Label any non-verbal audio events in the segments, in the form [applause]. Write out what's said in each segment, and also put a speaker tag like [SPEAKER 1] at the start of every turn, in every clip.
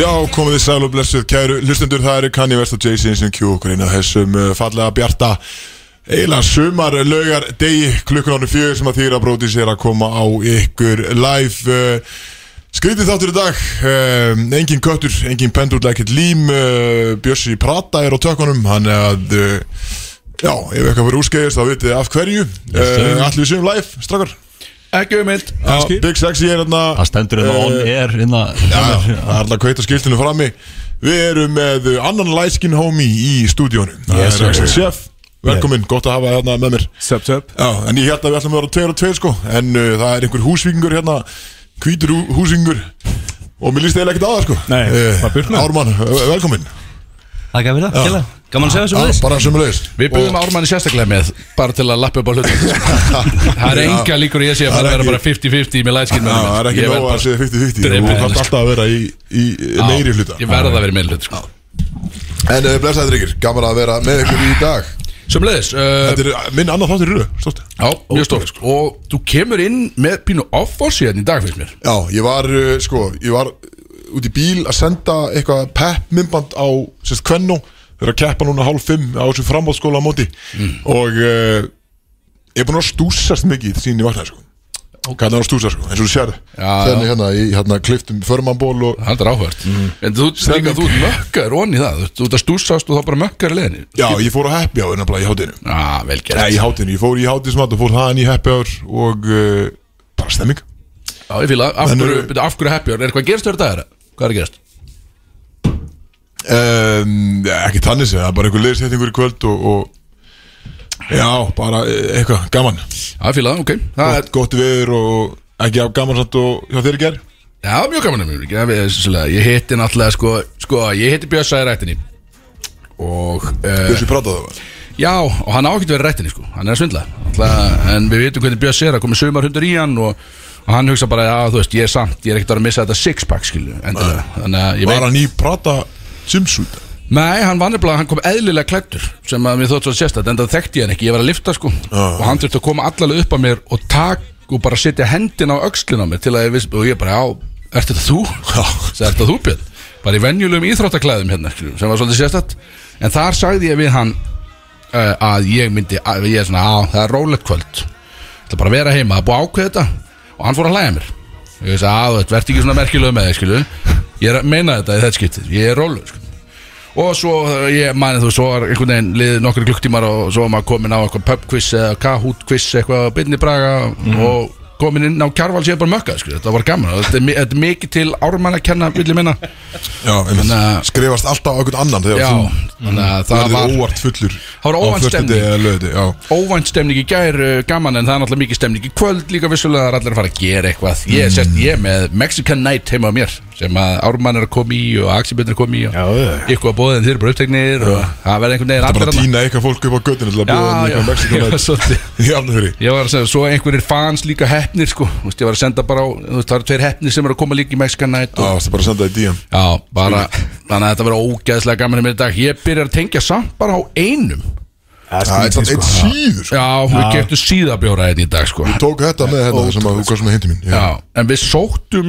[SPEAKER 1] Já, komið þið sæl og blessuð, kæru hlustendur, það eru Kanye West og Jay-Z sem kjú okkur inn að þessum uh, fallega bjarta eiginlega sumar laugar degi klukkan ánum fjögur sem að þýra bróti sér að koma á ykkur live uh, Skrítið þáttur í dag, um, engin köttur, engin pendur, ekkert lím, uh, Bjössi Prata er á tökunum, hann er að, uh, já, ef eitthvað fyrir úrskeiðist þá vitið þið af hverju, uh, allir við séum live, strakkar,
[SPEAKER 2] Ekki um eitt
[SPEAKER 1] Já, Big Sexy er hérna,
[SPEAKER 3] Það stendur hérna on
[SPEAKER 2] Eh,
[SPEAKER 3] air hérna
[SPEAKER 1] Já, það er alltaf kveit að skiltinu frammi Við erum með uh, annan læskin homie í stúdíónu Það er
[SPEAKER 2] Yes, sir.
[SPEAKER 1] Axel Sjef, velkomin, gott að hafa þér hérna með mér
[SPEAKER 2] Sup, sup
[SPEAKER 1] Já, en ég held að við ætlum að vera tveir og tveir sko En uh, það er einhver húsvíkingur hérna, hvítur hú- húsvíkingur Og mér líst eiginlega ekkert á það sko
[SPEAKER 2] Nei,
[SPEAKER 1] Eh,
[SPEAKER 2] maður burt með.
[SPEAKER 1] Ármann, eh, velkomin
[SPEAKER 4] Takk fyrir það, kjæla Gaman að segja þessu
[SPEAKER 1] Já,
[SPEAKER 4] með þess
[SPEAKER 1] Bara sem leðist
[SPEAKER 5] Við byggjum Ármanni sérstaklega með bara til að lappa upp á
[SPEAKER 1] [laughs]
[SPEAKER 5] hlutum Það er
[SPEAKER 1] Já.
[SPEAKER 5] enga líkur í þessi
[SPEAKER 1] Það er
[SPEAKER 5] að fara að
[SPEAKER 1] ekki-
[SPEAKER 5] vera bara 50-50 með læskinn með
[SPEAKER 1] Það er ekki nóg að segja 50-50 Þú þarf
[SPEAKER 5] Drepið þig, sko.
[SPEAKER 1] alltaf að vera í, í meiri hluta
[SPEAKER 5] Ég verða að vera með hlut sko.
[SPEAKER 1] En uh, blessaði drengir, gaman að vera með ykkur í dag
[SPEAKER 5] Sumleðis, uh,
[SPEAKER 1] Þetta er eh, minn annar þáttur í röðu, stórt
[SPEAKER 5] já, mjög stórt sko. Og þú kemur inn með pínu offforsi hérna í dag finnst mér
[SPEAKER 1] Já, ég var, uh, sko, ég var uh, út í bíl að senda eitthvað peppmyndband á, sérst, Kvenno þeir eru að keppa núna hálf fimm á þessu framhaldsskóla á móti og uh, ég er búin að stúsast mikið síðan ég vaknaði, sko kallar hann að stúsa, sko, eins og þú sér þenni hérna í hérna kliftum förmannból og
[SPEAKER 5] Það er áhört
[SPEAKER 1] Mm.
[SPEAKER 5] En þú, líka, þú mökkar onni það Þú- Þú ert að stúsast og þá bara mökkar leðinni
[SPEAKER 1] já, ég fór á happy hour nefnilega í hátinu
[SPEAKER 5] Já, Ah, vel
[SPEAKER 1] Nei,
[SPEAKER 5] gert
[SPEAKER 1] í hátinu, ég fór í hátinsmat og fór þaðan í happy hour og uh, bara stemming
[SPEAKER 5] Já, ég fíla, af
[SPEAKER 1] En
[SPEAKER 5] hverju,
[SPEAKER 1] eru-
[SPEAKER 5] byrju, af hverju happy hour Er eitthvað að gerast þér dagar? Hvað er að gerast?
[SPEAKER 1] um, ekki tannis, það er bara einhver leiðsettingur í kvöld og, og já, bara eh, eitthvað, gaman
[SPEAKER 5] Já, ég fíla, ok Það er
[SPEAKER 1] gott, gott viður og ekki af gaman samt og hjá þér í ger
[SPEAKER 5] Já, mjög gaman að mjög gaman Ég hitti náttúrulega, sko, sko ég hitti Björsa í rættinni Og, uh,
[SPEAKER 1] Bjössi prataði það var
[SPEAKER 5] já, og hann á ekki verið í rættinni, sko Hann er að svindla Alla, En við vitum hvernig Björsa er að koma sumar hundur í hann og, og hann hugsa bara, já, þú veist, ég er samt Ég er ekkert að vera að missa þetta sixpack, skilju Endilega Þannig að ég
[SPEAKER 1] Var
[SPEAKER 5] veit
[SPEAKER 1] hann í prata Simsút
[SPEAKER 5] Nei, hann var nefnilega, hann kom eðlilega klættur Sem að mér þótt svo sérstætt En það þekkti ég hann ekki, ég var að lifta, sko Og hann þurfti að koma allalega upp að mér Og tak og bara setja hendina á öxlina á mér Til að ég viss, og ég bara, já, ert þetta þú? Sæði þetta þú Björn Bara í venjulegum íþróttaklæðum hérna skilur, Sem var svolítið sérstætt En þar sagði ég við hann uh, Að ég myndi að, Ég er svona á það er rólegt kvöld Það bara að vera heima að búa ákveða þetta Og hann fór að hlæja að mér Ég veist að þú veit Vertu ekki svona merkilega með þig skilu Ég er að meina þetta í þetta skiptið Ég er róleg skilu Og svo, uh, ég mani þú, svo var einhvern veginn liðið nokkur klukktímar og svo var maður komin á eitthvað pub quiz eða kahoot quiz eitthvað á byrni braga
[SPEAKER 1] Mhm.
[SPEAKER 5] og komin inn á kjarval sér bara mökkað, sko, þetta var gaman og þetta er, mi- þetta er mikið til ármann að kenna, vil ég minna
[SPEAKER 1] Já, einmitt.
[SPEAKER 5] Þannig að-
[SPEAKER 1] Skrifast alltaf á einhvern annan
[SPEAKER 5] Já,
[SPEAKER 1] Þegar þú
[SPEAKER 5] þannig að það
[SPEAKER 1] Mm. verður
[SPEAKER 5] var
[SPEAKER 1] óvart fullur
[SPEAKER 5] Það var óvænt stemning.
[SPEAKER 1] löði, Já,
[SPEAKER 5] óvænt stemning í gær, uh, gaman en það er náttúrulega mikið stemning í kvöld líka vissulega, það er allir að fara að gera eitthvað
[SPEAKER 1] Mm.
[SPEAKER 5] Ég, sest, ég er með Mexican Night heima á mér sem að ármann er að koma í og Axibjörn er að koma í og ykkur að bóða en þeir eru bara uppteknir og það verður einhvern veginn
[SPEAKER 1] það er bara
[SPEAKER 5] allir
[SPEAKER 1] að
[SPEAKER 5] þarna.
[SPEAKER 1] týna eitthvað fólk upp á göttinu Til að bjóða þeim eitthvað
[SPEAKER 5] Já, [laughs] já, ég var
[SPEAKER 1] Mexikonar [laughs]
[SPEAKER 5] svolítið
[SPEAKER 1] Í alveg
[SPEAKER 5] Ég var að segja, svo einhverjir fans líka hefnir sko Þú veist, ég var að senda bara á þú veist, Það eru tveir hefnir sem eru að koma líka í Mexican Night
[SPEAKER 1] Já,
[SPEAKER 5] og,
[SPEAKER 1] það er bara að senda það í DM
[SPEAKER 5] Já, bara Þannig að þetta verður ógæðslega gaman í mér í dag Ég byrjar að tengja samt bara á einum
[SPEAKER 1] Það er samt eitt síður sko.
[SPEAKER 5] Já, við getum síðabjóra einn í dag sko
[SPEAKER 1] Ég Tók þetta með hérna sem að hvað sem að hindi mín Já,
[SPEAKER 5] Já, en við sóttum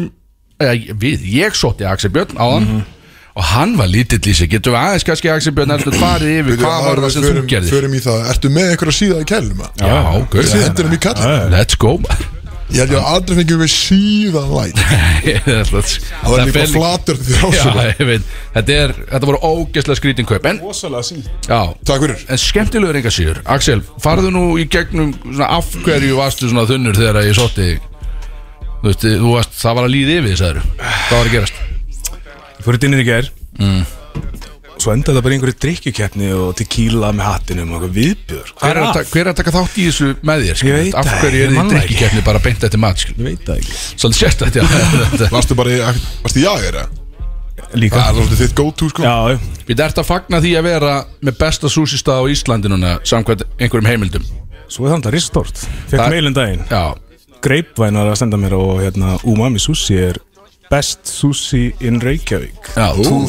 [SPEAKER 5] eða, við, Ég sótti Axel Björn á hann Og hann var lítill í sig Getum við aðeins kannski Axel Björn Ertu farið yfir
[SPEAKER 1] Við
[SPEAKER 5] hvað var það sem þú
[SPEAKER 1] förum-
[SPEAKER 5] gerðir
[SPEAKER 1] Förum í það, ertu með einhverja síða í kælum að?
[SPEAKER 5] Já, ok
[SPEAKER 1] Þessi hendur
[SPEAKER 5] hérna.
[SPEAKER 1] um í kallin
[SPEAKER 5] Let's go [laughs] maður.
[SPEAKER 1] Ég held ég að aldrei fengið með síðan
[SPEAKER 5] [laughs]
[SPEAKER 1] læt
[SPEAKER 5] Ég ætla að-
[SPEAKER 1] Það var líka
[SPEAKER 5] fer-
[SPEAKER 1] flatur til
[SPEAKER 5] Já,
[SPEAKER 1] rásulega
[SPEAKER 5] ég veit Þetta, er, þetta voru ógeðslega skrítin kaup En,
[SPEAKER 2] Ósalega sínt
[SPEAKER 5] já
[SPEAKER 1] Takk fyrir
[SPEAKER 5] En skemmtilegur enga síður Axel, farðu nú í gegnum svona, Af hverju varstu svona þunnur þegar ég sótti þig? Þú veist, þú varst, það var að líða yfir sagður Það var að gerast
[SPEAKER 2] Ég fór í dinnið í gær
[SPEAKER 3] Mm.
[SPEAKER 2] Svo endaði það bara í einhverju drikkjukeppni og tequila með hattinum og eitthvað viðbjör
[SPEAKER 5] Hver er, að, ta- hver er að taka þátt í þessu með þér? skilur?
[SPEAKER 2] Ég veit
[SPEAKER 5] Af
[SPEAKER 2] það,
[SPEAKER 5] hverju
[SPEAKER 2] ég
[SPEAKER 5] er
[SPEAKER 2] man
[SPEAKER 5] þið
[SPEAKER 2] það ekki.
[SPEAKER 5] drikkikefni bara beint eftir mat skilur?
[SPEAKER 2] Ég veit það ekki [laughs]
[SPEAKER 5] Svolítið sérstætt, já Þetta-
[SPEAKER 1] Varstu bara í, varstu í jagir eða?
[SPEAKER 2] Líka
[SPEAKER 1] Það er alveg þitt go-to sko
[SPEAKER 2] Já, já
[SPEAKER 5] Við ert að fagna því að vera með besta súsista á Íslandi núna Samkvæmt einhverjum heimildum
[SPEAKER 2] Svo er það það risastórt Fekk
[SPEAKER 5] Það-
[SPEAKER 2] meilin daginn
[SPEAKER 5] Já,
[SPEAKER 2] Greipvæn var að senda mér og hérna Umami Sushi er best sushi in Reykjavík
[SPEAKER 5] já, þú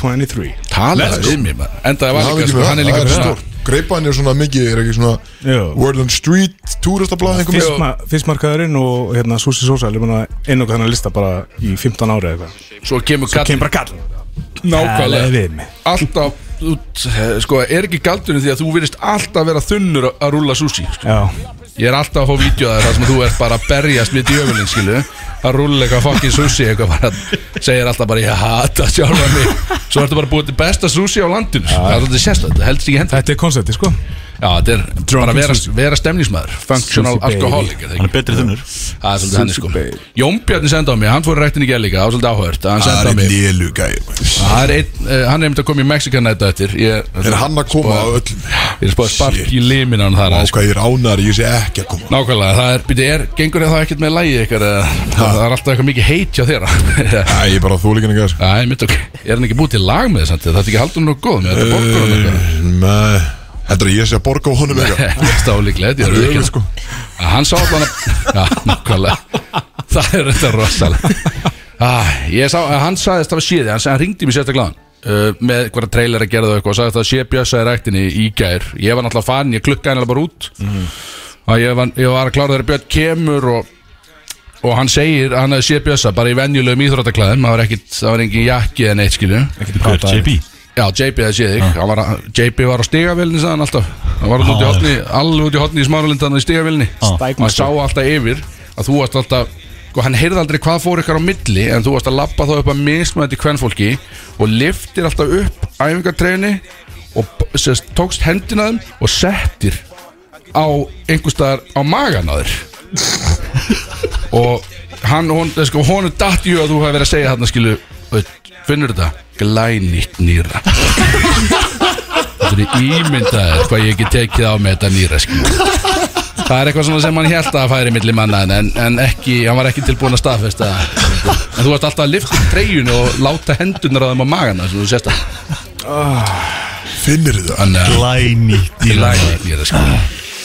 [SPEAKER 2] 2023
[SPEAKER 5] talaði við mér maður. Enda
[SPEAKER 1] Það
[SPEAKER 5] það var
[SPEAKER 1] er
[SPEAKER 5] líka,
[SPEAKER 1] ekki
[SPEAKER 5] sko,
[SPEAKER 1] með
[SPEAKER 5] hann er
[SPEAKER 1] það,
[SPEAKER 5] líka
[SPEAKER 1] það er
[SPEAKER 5] svona-
[SPEAKER 1] stórt. greipan er svona mikið er ekki svona
[SPEAKER 2] Jú.
[SPEAKER 1] World on Street túristablað einhver með
[SPEAKER 2] Fiskma, Fiskmarkaðurinn og hérna Susi Sosa er búin að einnoka þennan lista bara í 15 ári eða eitthvað
[SPEAKER 5] Svo kemur kall
[SPEAKER 2] Kemur bara kall Talaðu
[SPEAKER 5] Nákvæmlega
[SPEAKER 2] við mig
[SPEAKER 5] Alltaf út, Sko er ekki galdurinn því að þú virðist alltaf vera þunnur að rúlla sushi sko.
[SPEAKER 2] Já
[SPEAKER 5] Ég er alltaf að fá vídeo að það sem þú ert bara að berjast mitt í öfulinn, skilu að rúlla eitthvað fucking sushi eitthvað bara segir alltaf bara ég hata sjálfa mig svo ertu bara búið til besta sushi á landinu sko. það er alltaf sérstætt, það helst ekki hendur
[SPEAKER 2] Þetta er koncepti sko
[SPEAKER 5] Já, þetta er bara vera, vera stemningsmaður functional
[SPEAKER 2] Sushi baby.
[SPEAKER 5] alcoholic er það
[SPEAKER 3] Hann
[SPEAKER 5] ekki?
[SPEAKER 3] er betri þunnur
[SPEAKER 5] Það er svolítið henni
[SPEAKER 2] baby.
[SPEAKER 5] sko Jón Bjarni senda á mig, hann fór rættin í gæð líka það var svolítið áhört að hann
[SPEAKER 1] Það
[SPEAKER 5] senda á
[SPEAKER 1] er
[SPEAKER 5] mig
[SPEAKER 1] lélu gæði maður.
[SPEAKER 5] Það er einn, uh, hann er einmitt að koma í Mexikan nættu eftir ég,
[SPEAKER 1] Er hann að koma á
[SPEAKER 5] Spá-
[SPEAKER 1] öllum
[SPEAKER 5] Ég er spáð spark
[SPEAKER 1] Shit.
[SPEAKER 5] í liminan þar
[SPEAKER 1] Á
[SPEAKER 5] aðeins, sko.
[SPEAKER 1] hvað ég er ánæður, ég sé ekki að koma
[SPEAKER 5] Nákvæmlega, það er, byrja, er, gengur það ekkert með lægi ykkar eða það er alltaf eitthvað mikið heit hjá þér [laughs]
[SPEAKER 1] Æ, ég er bara þúlíkinn ekki að sko.
[SPEAKER 5] Það er mitt ok, er hann ekki búið til lag með þess að það er ekki haldun og góð með þetta borgur hann
[SPEAKER 1] Eh,
[SPEAKER 5] eitthvað
[SPEAKER 1] Nei, heldur að ég sé að borga á honum eitthvað
[SPEAKER 5] Ég [laughs] veist álíklegt, ég
[SPEAKER 1] Það
[SPEAKER 5] er
[SPEAKER 1] er
[SPEAKER 5] ekki
[SPEAKER 1] öfugt, sko.
[SPEAKER 5] Að Hann sá allan að, [laughs] já, nákvæmlega Það er þetta rosalega ah, Ég sá, hann sagðist það var séði, hann, sagði- hann ringdi mér sérstaklega hann Uh, með hverja trailer að gera það eitthvað og sagði að það sé bjössaði ræktinni í gær ég var náttúrulega farin, ég klukkaði hann alveg bara út að ég var, ég var að klára þegar Björn kemur og, og hann segir að hann hefði sé bjössa bara í venjulegum íþróttaklæðum það var ekkit, það var engin jakki eða neitt skilju
[SPEAKER 3] Hver, JB?
[SPEAKER 5] Já, JP það sé þig Hann var að- JP var á stigavélni sagðan alltaf Hann var út í hotni, alveg út í hotni í smáralindana í stigavélni og hann sá alltaf yfir að þú varst alltaf og hann heyrði aldrei hvað fór ykkar á milli en þú varst að labba þá upp að mismæti kvenfólki og liftir alltaf upp æfingartreyni og b- sest, tókst hendina þeim og settir á einhverstaðar á magan á þér og hann, hon, eh, sko, honum datt jú að þú hefði verið að segja þarna skilu veit, finnur þetta, glænýtt nýra þetta er ímyndaðir hvað ég ekki tekið á með þetta nýra skilu það er eitthvað svona sem hann held að færi milli manna en, en ekki, hann var ekki tilbúin að staðfesta það. en þú varst alltaf að lifta upp treyjun og láta hendunar á þeim á magana sem þú sést að
[SPEAKER 1] Finnir þið það?
[SPEAKER 5] hann er
[SPEAKER 3] Glæni
[SPEAKER 5] glænýtt nýra skilu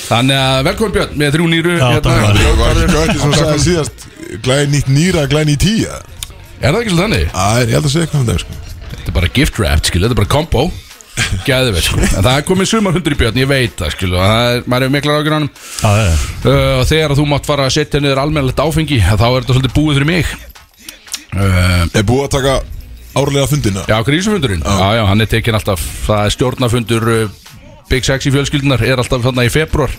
[SPEAKER 5] Þannig að velkomin Björn með þrjú nýru hérna.
[SPEAKER 3] Já, takk fyrir.
[SPEAKER 1] Það var [laughs] ekki ekki sem sagði síðast Glæði nýtt nýra, glæði nýtt tíja
[SPEAKER 5] Er það ekki svolítið þannig?
[SPEAKER 1] Það er, ég held að segja eitthvað um það sko.
[SPEAKER 5] Þetta er bara gift wrapped, skilu, þetta er bara combo Gæðveit, sko En það er komið sumar hundur í björn, ég veit það, skilu og það er, Maður hefur miklar ágjur hann uh,
[SPEAKER 3] Já, já, já.
[SPEAKER 5] Og þegar þú mátt fara að setja niður almennilegt áfengi að Þá er þetta svolítið búið fyrir mig uh,
[SPEAKER 1] Er búið að taka árlega fundina
[SPEAKER 5] Já, grísufundurinn Já, já, hann er tekin alltaf Það er stjórnafundur uh, Big Sexy fjölskyldunar Er alltaf þarna í februar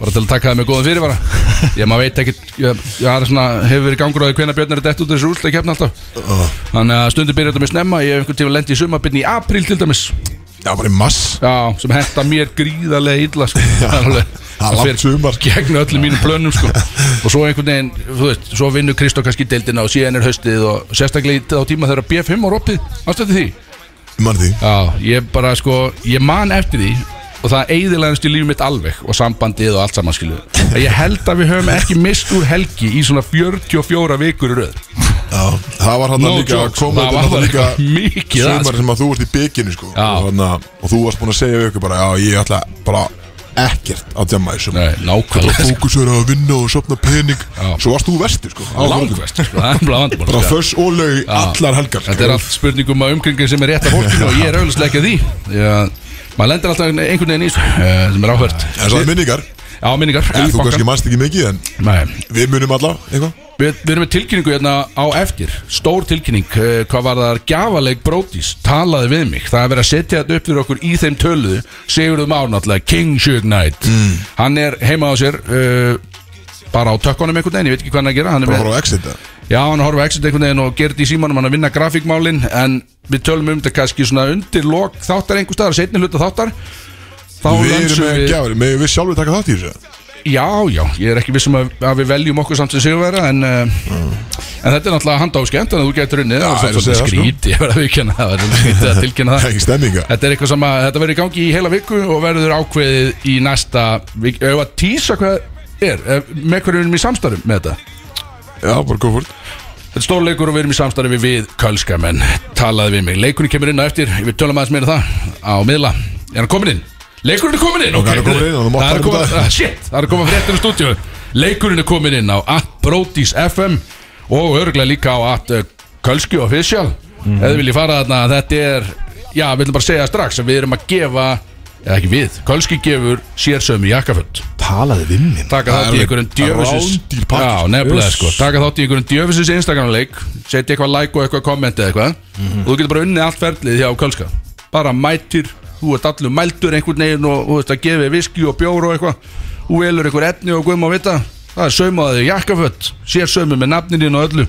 [SPEAKER 5] Bara til að taka það með góðan fyrirvara Ég maður veit ekki Ég, ég er svona, hefur verið gangur á því hvenær björn er dett út þessu úrslega alltaf Þannig að stundum byrja þetta með snemma Ég hef einhvern tíma lendi í sumarbyrni í apríl til dæmis
[SPEAKER 1] Já, bara í mass
[SPEAKER 5] Já, sem henda mér gríðarlega illa
[SPEAKER 1] [laughs]
[SPEAKER 5] sko. Það er alveg-
[SPEAKER 1] það er langt
[SPEAKER 5] fer
[SPEAKER 1] sumar.
[SPEAKER 5] Gegn öllum mínum plönum
[SPEAKER 1] [laughs]
[SPEAKER 5] sko. Og svo einhvern veginn, þú veist Svo vinnur Kristó kannski deildina og síðan er haustið Og sérstaklega í á tíma þegar BF5 var opið Ástætti því
[SPEAKER 1] Mann því
[SPEAKER 5] Já, ég bara sko, ég man eftir því Og það eiðilegast í líf mitt alveg Og sambandið og allt saman skilu Ég held að við höfum ekki mist úr helgi Í svona 44 vikur í röð
[SPEAKER 1] Já, það var hann
[SPEAKER 5] No
[SPEAKER 1] líka
[SPEAKER 5] joke, sko.
[SPEAKER 1] komið
[SPEAKER 5] Það
[SPEAKER 1] þetta
[SPEAKER 5] var
[SPEAKER 1] náttúrulega
[SPEAKER 5] eitthvað
[SPEAKER 1] líka
[SPEAKER 5] mikið að,
[SPEAKER 1] sumar sem að þú varst í bygginu sko
[SPEAKER 5] Já.
[SPEAKER 1] og, hana, og þú varst búin að segja við ykkur bara Já, ég ætla bara ekkert að djama í sumar
[SPEAKER 5] Nei, nákvæmlega sko.
[SPEAKER 1] Fókus er að vinna og sopna pening
[SPEAKER 5] Já.
[SPEAKER 1] Svo varst þú vesti sko á morgun.
[SPEAKER 5] Langvest, sko, það er bara vandamál
[SPEAKER 1] Bara
[SPEAKER 5] sko.
[SPEAKER 1] föss og laug allar helgar sko.
[SPEAKER 5] Þetta er allt spurningum að umkringin sem er rétt af fólkinu og ég er auðvitað ekki að því Já, maður lendir alltaf einhvern veginn í þessu eh, sem er áhört
[SPEAKER 1] En svo er minningar
[SPEAKER 5] Já, minningar í
[SPEAKER 1] Þú kannski
[SPEAKER 5] bankann.
[SPEAKER 1] manst ekki mikið en
[SPEAKER 5] Nei,
[SPEAKER 1] við munum alla eitthvað
[SPEAKER 5] Við, við erum með tilkynningu hérna á eftir Stór tilkynning, uh, hvað var það Gjafaleik Brótis, talaði við mig Það er verið að setja þetta upp fyrir okkur í þeim töluðu Sigurðum ánáttlega, King Shoot Knight
[SPEAKER 1] Mm.
[SPEAKER 5] Hann er heima á sér uh, Bara á tökkunum einhvern veginn Ég veit ekki hvað hann er að gera hann er
[SPEAKER 1] Bara
[SPEAKER 5] með,
[SPEAKER 1] fara á exit eða?
[SPEAKER 5] Já, hann horfa exit einhvern veginn og gerði í símanum hann að vinna grafíkmálin En við tölum um þetta kannski svona undir lok þáttar einhver staðar Setni hluta þáttar Þá
[SPEAKER 1] Við erum
[SPEAKER 5] lönsum
[SPEAKER 1] með gjafir, megum við sjálfur taka þátt í þessu
[SPEAKER 5] Já, já, ég er ekki vissum að, að við veljum okkur samt sem sigurvera en, uh, en þetta er náttúrulega handa á skemmt en þú getur unnið, það
[SPEAKER 1] ég er
[SPEAKER 5] er
[SPEAKER 1] að segja
[SPEAKER 5] svolítið
[SPEAKER 1] það, sko.
[SPEAKER 5] skríti ég verða að viðkjanna það, það er svolítið skrítið að tilkynna
[SPEAKER 1] Það er [laughs]
[SPEAKER 5] það
[SPEAKER 1] ekki stemminga
[SPEAKER 5] Þetta er eitthvað sem að þetta verður í gangi í heila viku og verður ákveðið í næsta vik, ef að tísa hvað er eh, með hverju við erum í samstarfum með þetta
[SPEAKER 1] Já, bara góð fólk
[SPEAKER 5] Þetta er stórleikur og við erum í samstarfi við Kölskamenn, talaði við mig Leikurinn kemur inn á eftir, við tölum aðeins meira um það á miðla, er hann komin inn? Leikurinn er komin inn, ok
[SPEAKER 1] hann er kominn inn og þú mátt
[SPEAKER 5] Það er
[SPEAKER 1] taka um
[SPEAKER 5] komin,
[SPEAKER 1] það.
[SPEAKER 5] ah, shit, það er komin fréttir í stúdíu Leikurinn er komin inn á Brotis FM og örgulega líka á at uh, Kölski
[SPEAKER 1] Mhm.
[SPEAKER 5] Official mm. Eða vilji fara þarna, þetta er já, við viljum bara segja strax að við erum að gefa eða ekki við, Kölski gefur sérsömi jakkaföld
[SPEAKER 2] Talaði við minn
[SPEAKER 5] taka
[SPEAKER 1] Það er
[SPEAKER 5] þátt í
[SPEAKER 1] alveg
[SPEAKER 5] einhverjum djöfisins
[SPEAKER 1] rándýr pakki,
[SPEAKER 5] Já,
[SPEAKER 1] sko.
[SPEAKER 5] nefnilega
[SPEAKER 2] Yes.
[SPEAKER 5] sko taka þátt í einhverjum djöfisins Instagramleik setja eitthvað like og eitthvað comment eða eitthvað
[SPEAKER 2] Mhm.
[SPEAKER 5] og þú getur bara unnið allt ferlið hjá Kölska bara mætir, þú ert allur mæltur einhvern veginn og þú veist að gefi viski og bjór og eitthvað þú velur einhver etni og guðum á vita það er saumaðið jakkaföld sér saumið með nafnininn og öllu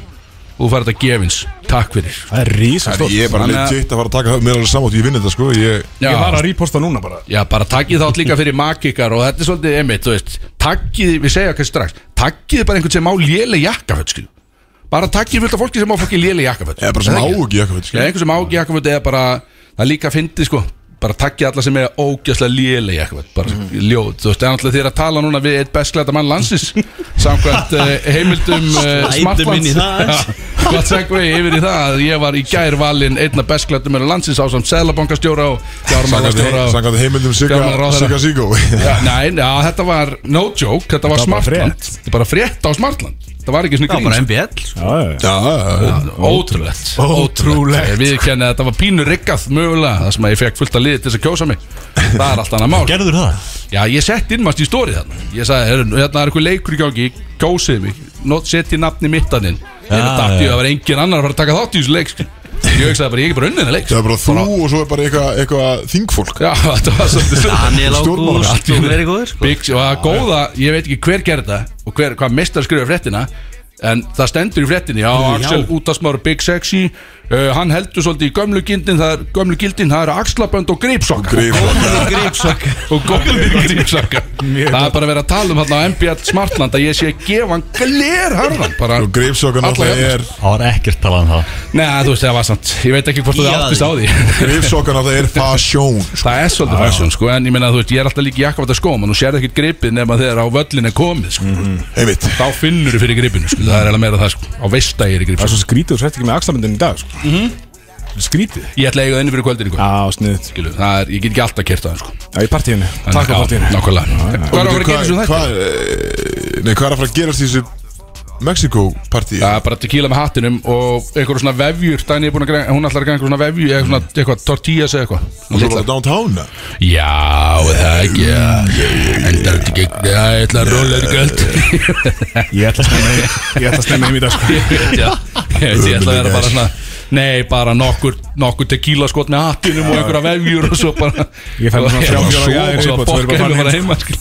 [SPEAKER 5] og þú farið þetta gefins, takk fyrir
[SPEAKER 2] Það er rísa
[SPEAKER 1] En ég er bara
[SPEAKER 5] Þannig að-
[SPEAKER 1] legit að fara að taka mér alveg samátt, ég vinn þetta sko Ég,
[SPEAKER 5] Já.
[SPEAKER 2] Ég var að reposta núna bara
[SPEAKER 5] Já, bara takkið þátt líka fyrir makikar og þetta er svolítið einmitt, þú veist takkið, við segja kannski strax, takkið bara einhvern sem á léleg jakkaföld, skil bara takkið fullt af fólki sem á fólki léleg jakkaföld
[SPEAKER 1] ég er bara sem áhugi eitthvað
[SPEAKER 5] Já, einhvern sem á ekki jakkaföld eða bara, það er líka fyndið, sko bara takkið alla sem er ógjörslega léleg jakkaföld, bara ljóð, þú veist, en alltaf þér að tala núna við eitt bestklæta mann landsins samkvæmt uh, heimildum uh,
[SPEAKER 4] Slætum inn í
[SPEAKER 5] smartphones
[SPEAKER 4] það.
[SPEAKER 5] Já, gott segvei yfir í það að ég var í gær valinn einna bestklæta mann landsins á samt seðlabankastjóra og fjármálastjóra og
[SPEAKER 1] Sankant heimildum Sigga
[SPEAKER 5] Fjármálaráðherra.
[SPEAKER 1] Sigga Sigó [laughs]
[SPEAKER 5] Já, nei, já, þetta var no joke,
[SPEAKER 2] Þetta var
[SPEAKER 5] þetta var
[SPEAKER 2] bara
[SPEAKER 5] smartland
[SPEAKER 2] frétt.
[SPEAKER 5] Þetta var bara frétt á smartland Þetta var ekki svona
[SPEAKER 4] Það var bara
[SPEAKER 5] grín
[SPEAKER 4] MBL sko.
[SPEAKER 2] Já, já, já.
[SPEAKER 1] Já, já,
[SPEAKER 5] Ótrúlegt
[SPEAKER 2] Ótrúlegt.
[SPEAKER 5] Við kenni að þetta var pínu riggað mögulega Það sem að ég fekk fullt að liði til þess að kjósa mig Það er allt annað mál
[SPEAKER 3] Gerður það?
[SPEAKER 5] Já, ég sett innmast í stóri þarna Ég sagði, "Heyrðu, hérna er eitthvað leikur í gangi Kjósið mig, Not- setti nafni mittaninn Ég
[SPEAKER 3] Já,
[SPEAKER 5] datt í
[SPEAKER 3] já.
[SPEAKER 5] að það var engin annar að fara að taka þátt í þessu leik sko. Ég hugsaði bara, ég er ekki bara unnið þennan leik sko.
[SPEAKER 1] það er bara þú og svo er bara eitthvað- eitthvað þingfólk
[SPEAKER 5] Já, [laughs] þetta var svolítið
[SPEAKER 4] Daniel
[SPEAKER 1] Stjórnmálamann.
[SPEAKER 4] Ágúst og fleiri góður sko.
[SPEAKER 5] Byggs og það góða, ég veit ekki hver gerði þetta og hver, hvað mestar skrifa fréttina en það stendur í fréttinni já, Axel útasmáru Big Sexy uh, hann heldur svolítið í gömlu gildin það er, gömlu gildin, það eru axlabönd og greipsokka
[SPEAKER 1] Greifsokka.
[SPEAKER 4] Grípsokk
[SPEAKER 5] [laughs] og góðið greipsokka það er bara verið að tala um hérna á MBL Smartland að ég sé að gefa hann gler harðan bara,
[SPEAKER 1] Og greifsokkan
[SPEAKER 5] Alla
[SPEAKER 1] alltaf
[SPEAKER 5] jafna.
[SPEAKER 1] er
[SPEAKER 3] Það var ekkert talað um það
[SPEAKER 5] neða, þú veist, það var samt ég veit ekki hvort þú
[SPEAKER 4] Já,
[SPEAKER 5] áttist á
[SPEAKER 4] því.
[SPEAKER 5] því [laughs]
[SPEAKER 1] Greifsokkan alltaf er fasjón
[SPEAKER 5] Það er svolítið fashion sko En ég meina þú veist Ég er alltaf líka í jakkafata skóm En þú sér ekkert gripið Nefn að þegar á völlin er komið sko.
[SPEAKER 1] Einmitt
[SPEAKER 5] Þá finnur þú fyrir gripinu sko. Það er alveg meira það sko. Á veistægi er í
[SPEAKER 2] Það
[SPEAKER 5] gripinu
[SPEAKER 2] er svo skrítið og sett ekki með axlamöndin í dag sko. mm -hmm. Skrítið
[SPEAKER 5] Ég ætla að eiga það inni fyrir kvöldinu sko.
[SPEAKER 2] Já, sniðið
[SPEAKER 5] Skilu, Það er, ég get ekki alltaf kert það sko.
[SPEAKER 2] Já, í partíinu
[SPEAKER 5] En-
[SPEAKER 2] Takk á
[SPEAKER 5] já,
[SPEAKER 2] partíinu
[SPEAKER 5] Nákvæmlega Hvað er að vera að gera þessu þetta?
[SPEAKER 1] Hvað eh, Nei, hvað er að fara að gerast í þessu Mexiko partí
[SPEAKER 5] Það er bara tequila með hattinum og einhverju svona vefjur Dæni er búin að græna, hún ætlar að græna einhverju svona vefjur eða svona eitthvað tortillas eða eitthvað
[SPEAKER 1] Þú
[SPEAKER 5] Litlar.
[SPEAKER 1] er downtown eða?
[SPEAKER 5] Já, er það ekki já, En það er ekki, það er eitthvað rólega göld
[SPEAKER 2] Ég ætla að snemma heim- ég ætla að snemma heim í dag sko.
[SPEAKER 5] ég veit já ég veit ég ætla að vera bara svona nei bara nokkur nokkur tequila skot með hattinum og einhverja vefjur og svo bara
[SPEAKER 2] Ég fæ mér svona þrjá, fjóra
[SPEAKER 5] og
[SPEAKER 2] gæðir
[SPEAKER 5] svo
[SPEAKER 2] viðbót, svo er bara
[SPEAKER 5] bokka henni
[SPEAKER 2] farin
[SPEAKER 5] bara
[SPEAKER 2] heim.
[SPEAKER 5] heima skil.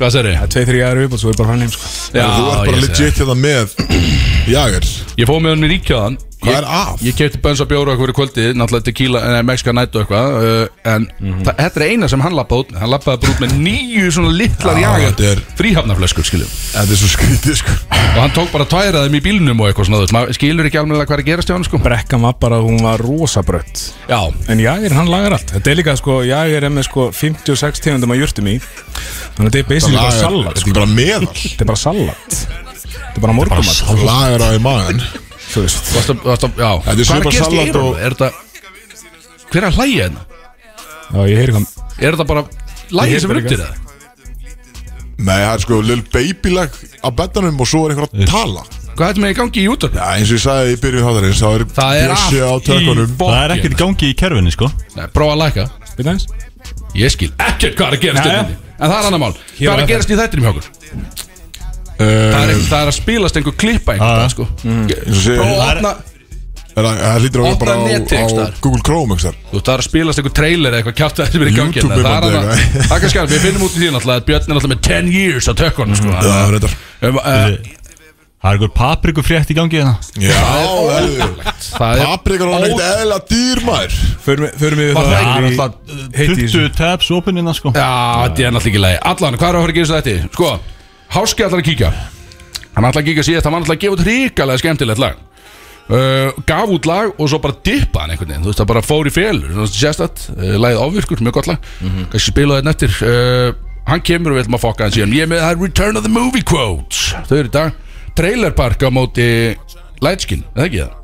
[SPEAKER 5] hvað sér ég?
[SPEAKER 2] Það er tveið þrjá aðra viðbútt Svo er bara farin heim sko.
[SPEAKER 5] já
[SPEAKER 1] Þú ert bara
[SPEAKER 5] ég segi
[SPEAKER 1] legit hérna með [clears throat] Jagger
[SPEAKER 5] það. ég fóð með hann í ríkjaðan
[SPEAKER 1] Hvað er af?
[SPEAKER 5] ég kefti bönns að bjóra okkur í kvöldið náttúrulega tequila nei, Mexica night og eitthvað uh, en það- þetta er eina sem hann lappaði út með hann lappaði bara út með nýju svona litlar
[SPEAKER 1] Já, þetta
[SPEAKER 5] jagar
[SPEAKER 1] er-
[SPEAKER 5] fríhafnaflöskur skiljum
[SPEAKER 1] Þetta er svo skrítið sko
[SPEAKER 5] og hann tók bara tværaðum í bílnum og eitthvað svona þú veist, maður skilur ekki alveg hvað er að gerast hjá hann sko
[SPEAKER 2] Brekkan var bara, hún var rosabrött
[SPEAKER 5] já
[SPEAKER 2] En Jægir, hann lagar allt Þetta er líka, sko, Jægir er með sko 56 tegundum að jurtum í Þannig að þetta er basically bara
[SPEAKER 1] Lagar-
[SPEAKER 2] salat
[SPEAKER 1] Þetta
[SPEAKER 2] sko.
[SPEAKER 1] er bara meðal
[SPEAKER 2] Þetta er bara salat Þetta er bara morgumat
[SPEAKER 1] Lagar á í magan
[SPEAKER 2] Þú veist
[SPEAKER 5] Vasta, vasta, já
[SPEAKER 1] Þetta er
[SPEAKER 5] Hvað
[SPEAKER 1] svipað
[SPEAKER 5] að gerast í
[SPEAKER 1] salat
[SPEAKER 5] eyrunum?
[SPEAKER 1] og-
[SPEAKER 5] Er þetta Hver er að hlæja hérna?
[SPEAKER 2] Já, ég heyri hvað
[SPEAKER 5] Er þetta bara
[SPEAKER 2] Ég
[SPEAKER 5] Lægi
[SPEAKER 2] heyri
[SPEAKER 5] sem
[SPEAKER 2] bara
[SPEAKER 5] er undir
[SPEAKER 2] ekki.
[SPEAKER 5] það?
[SPEAKER 1] Nei, það er sko Lil Baby lag á betanum og svo er einhver að tala
[SPEAKER 5] Hvað er þetta með í gangi í útvarp?
[SPEAKER 1] Já, eins og ég sagði í byrjun hátarins Það er
[SPEAKER 5] Það er
[SPEAKER 1] bjössi á
[SPEAKER 5] allt
[SPEAKER 1] tökunum
[SPEAKER 5] í bók
[SPEAKER 3] Það er ekkert í gangi í kerfinni sko
[SPEAKER 5] Nei, prófa að læka
[SPEAKER 2] Við aðeins
[SPEAKER 5] Ég skil ekkert hvað er að gerast
[SPEAKER 2] Jæja.
[SPEAKER 5] hérna En það er annar mál Hvað
[SPEAKER 2] var
[SPEAKER 5] er að
[SPEAKER 2] þetta.
[SPEAKER 5] gerast í þættinum hjá okkur? Það er,
[SPEAKER 1] Eh,
[SPEAKER 5] það er að spilast einhver klippa
[SPEAKER 3] Já, já.
[SPEAKER 5] einhvern veginn sko
[SPEAKER 1] Eins og segir
[SPEAKER 5] Prófa að
[SPEAKER 3] Það er-
[SPEAKER 5] opna
[SPEAKER 1] Það er- það hlýtur að vera
[SPEAKER 5] Opna
[SPEAKER 1] bara á,
[SPEAKER 5] netið
[SPEAKER 1] á
[SPEAKER 5] einhvers staðar.
[SPEAKER 1] Google Chrome ekki þar
[SPEAKER 5] Þú veist, það er að spilast einhver trailer eða eitthvað kjátt að þetta verið í gangi hérna.
[SPEAKER 1] YouTube
[SPEAKER 5] Það er
[SPEAKER 1] myndi
[SPEAKER 5] annað
[SPEAKER 1] eitthvað.
[SPEAKER 5] Það er kannski alveg, við finnum út í því náttúrulega að Björn er náttúrulega með 10 years á tökkunum sko
[SPEAKER 1] Já, reyndar
[SPEAKER 5] Um, uh,
[SPEAKER 3] Það er einhver paprikufrétt í gangi hérna
[SPEAKER 1] Já, það er
[SPEAKER 5] Það er
[SPEAKER 1] Paprikar var neitt eðla dýr maður
[SPEAKER 2] Förum við
[SPEAKER 5] Var það
[SPEAKER 2] það
[SPEAKER 5] ekki-
[SPEAKER 2] í- heiti í þessu.
[SPEAKER 3] 20 tabs open hérna sko
[SPEAKER 5] Já, þetta er náttúrulega ekki leið Allan, hvað er að fara að gera þetta? Sko, Háski ætlar að kíkja Hann ætlar að kíkja síðast, hann var ætlar að gefa út hrikalega skemmtilegt lag uh, Gaf út lag og svo bara dippa hann einhvern veginn Þú veist, það bara fór í félur Sérstætt, uh, lagið ofvirkur, mjög gott lag Kannski spilaði þetta eftir uh, Hann kemur og við ætlum að fokka hann síðan Ég er með það er Return of the Movie Quotes Þau eru í dag Trailer Park á móti Lightskin, eða ekki það?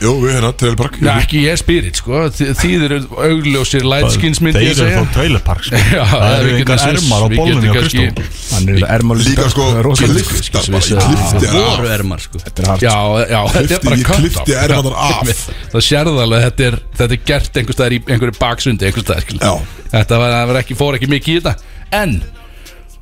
[SPEAKER 1] Jú, við hérna, Trailer Park
[SPEAKER 5] Já, ekki ég spirit sko Þi- Þið eru augljósir lightskins myndi
[SPEAKER 3] Þeir
[SPEAKER 5] ég
[SPEAKER 3] eru
[SPEAKER 5] segja
[SPEAKER 3] þá Trailer Park sko.
[SPEAKER 5] Já,
[SPEAKER 3] Það
[SPEAKER 5] við
[SPEAKER 3] eru einhvern
[SPEAKER 5] getum-
[SPEAKER 3] ermar á
[SPEAKER 5] við getum
[SPEAKER 3] bólunni á
[SPEAKER 5] kannski-
[SPEAKER 3] Kristó
[SPEAKER 2] Hann er ermálið
[SPEAKER 1] Líka sko, klifta bara, ég klifti hann af
[SPEAKER 4] Voru ermar sko
[SPEAKER 5] Já, já, þetta er
[SPEAKER 1] Klippti-
[SPEAKER 5] bara
[SPEAKER 1] ég
[SPEAKER 5] cut-off.
[SPEAKER 1] klippti ermarnar af.
[SPEAKER 5] Það sérð alveg, þetta er, þetta er gert einhvers staðar í einhverju baksundi einhvers staðar, skil
[SPEAKER 1] Já.
[SPEAKER 5] Þetta var, það var ekki, fór ekki mikið í þetta En,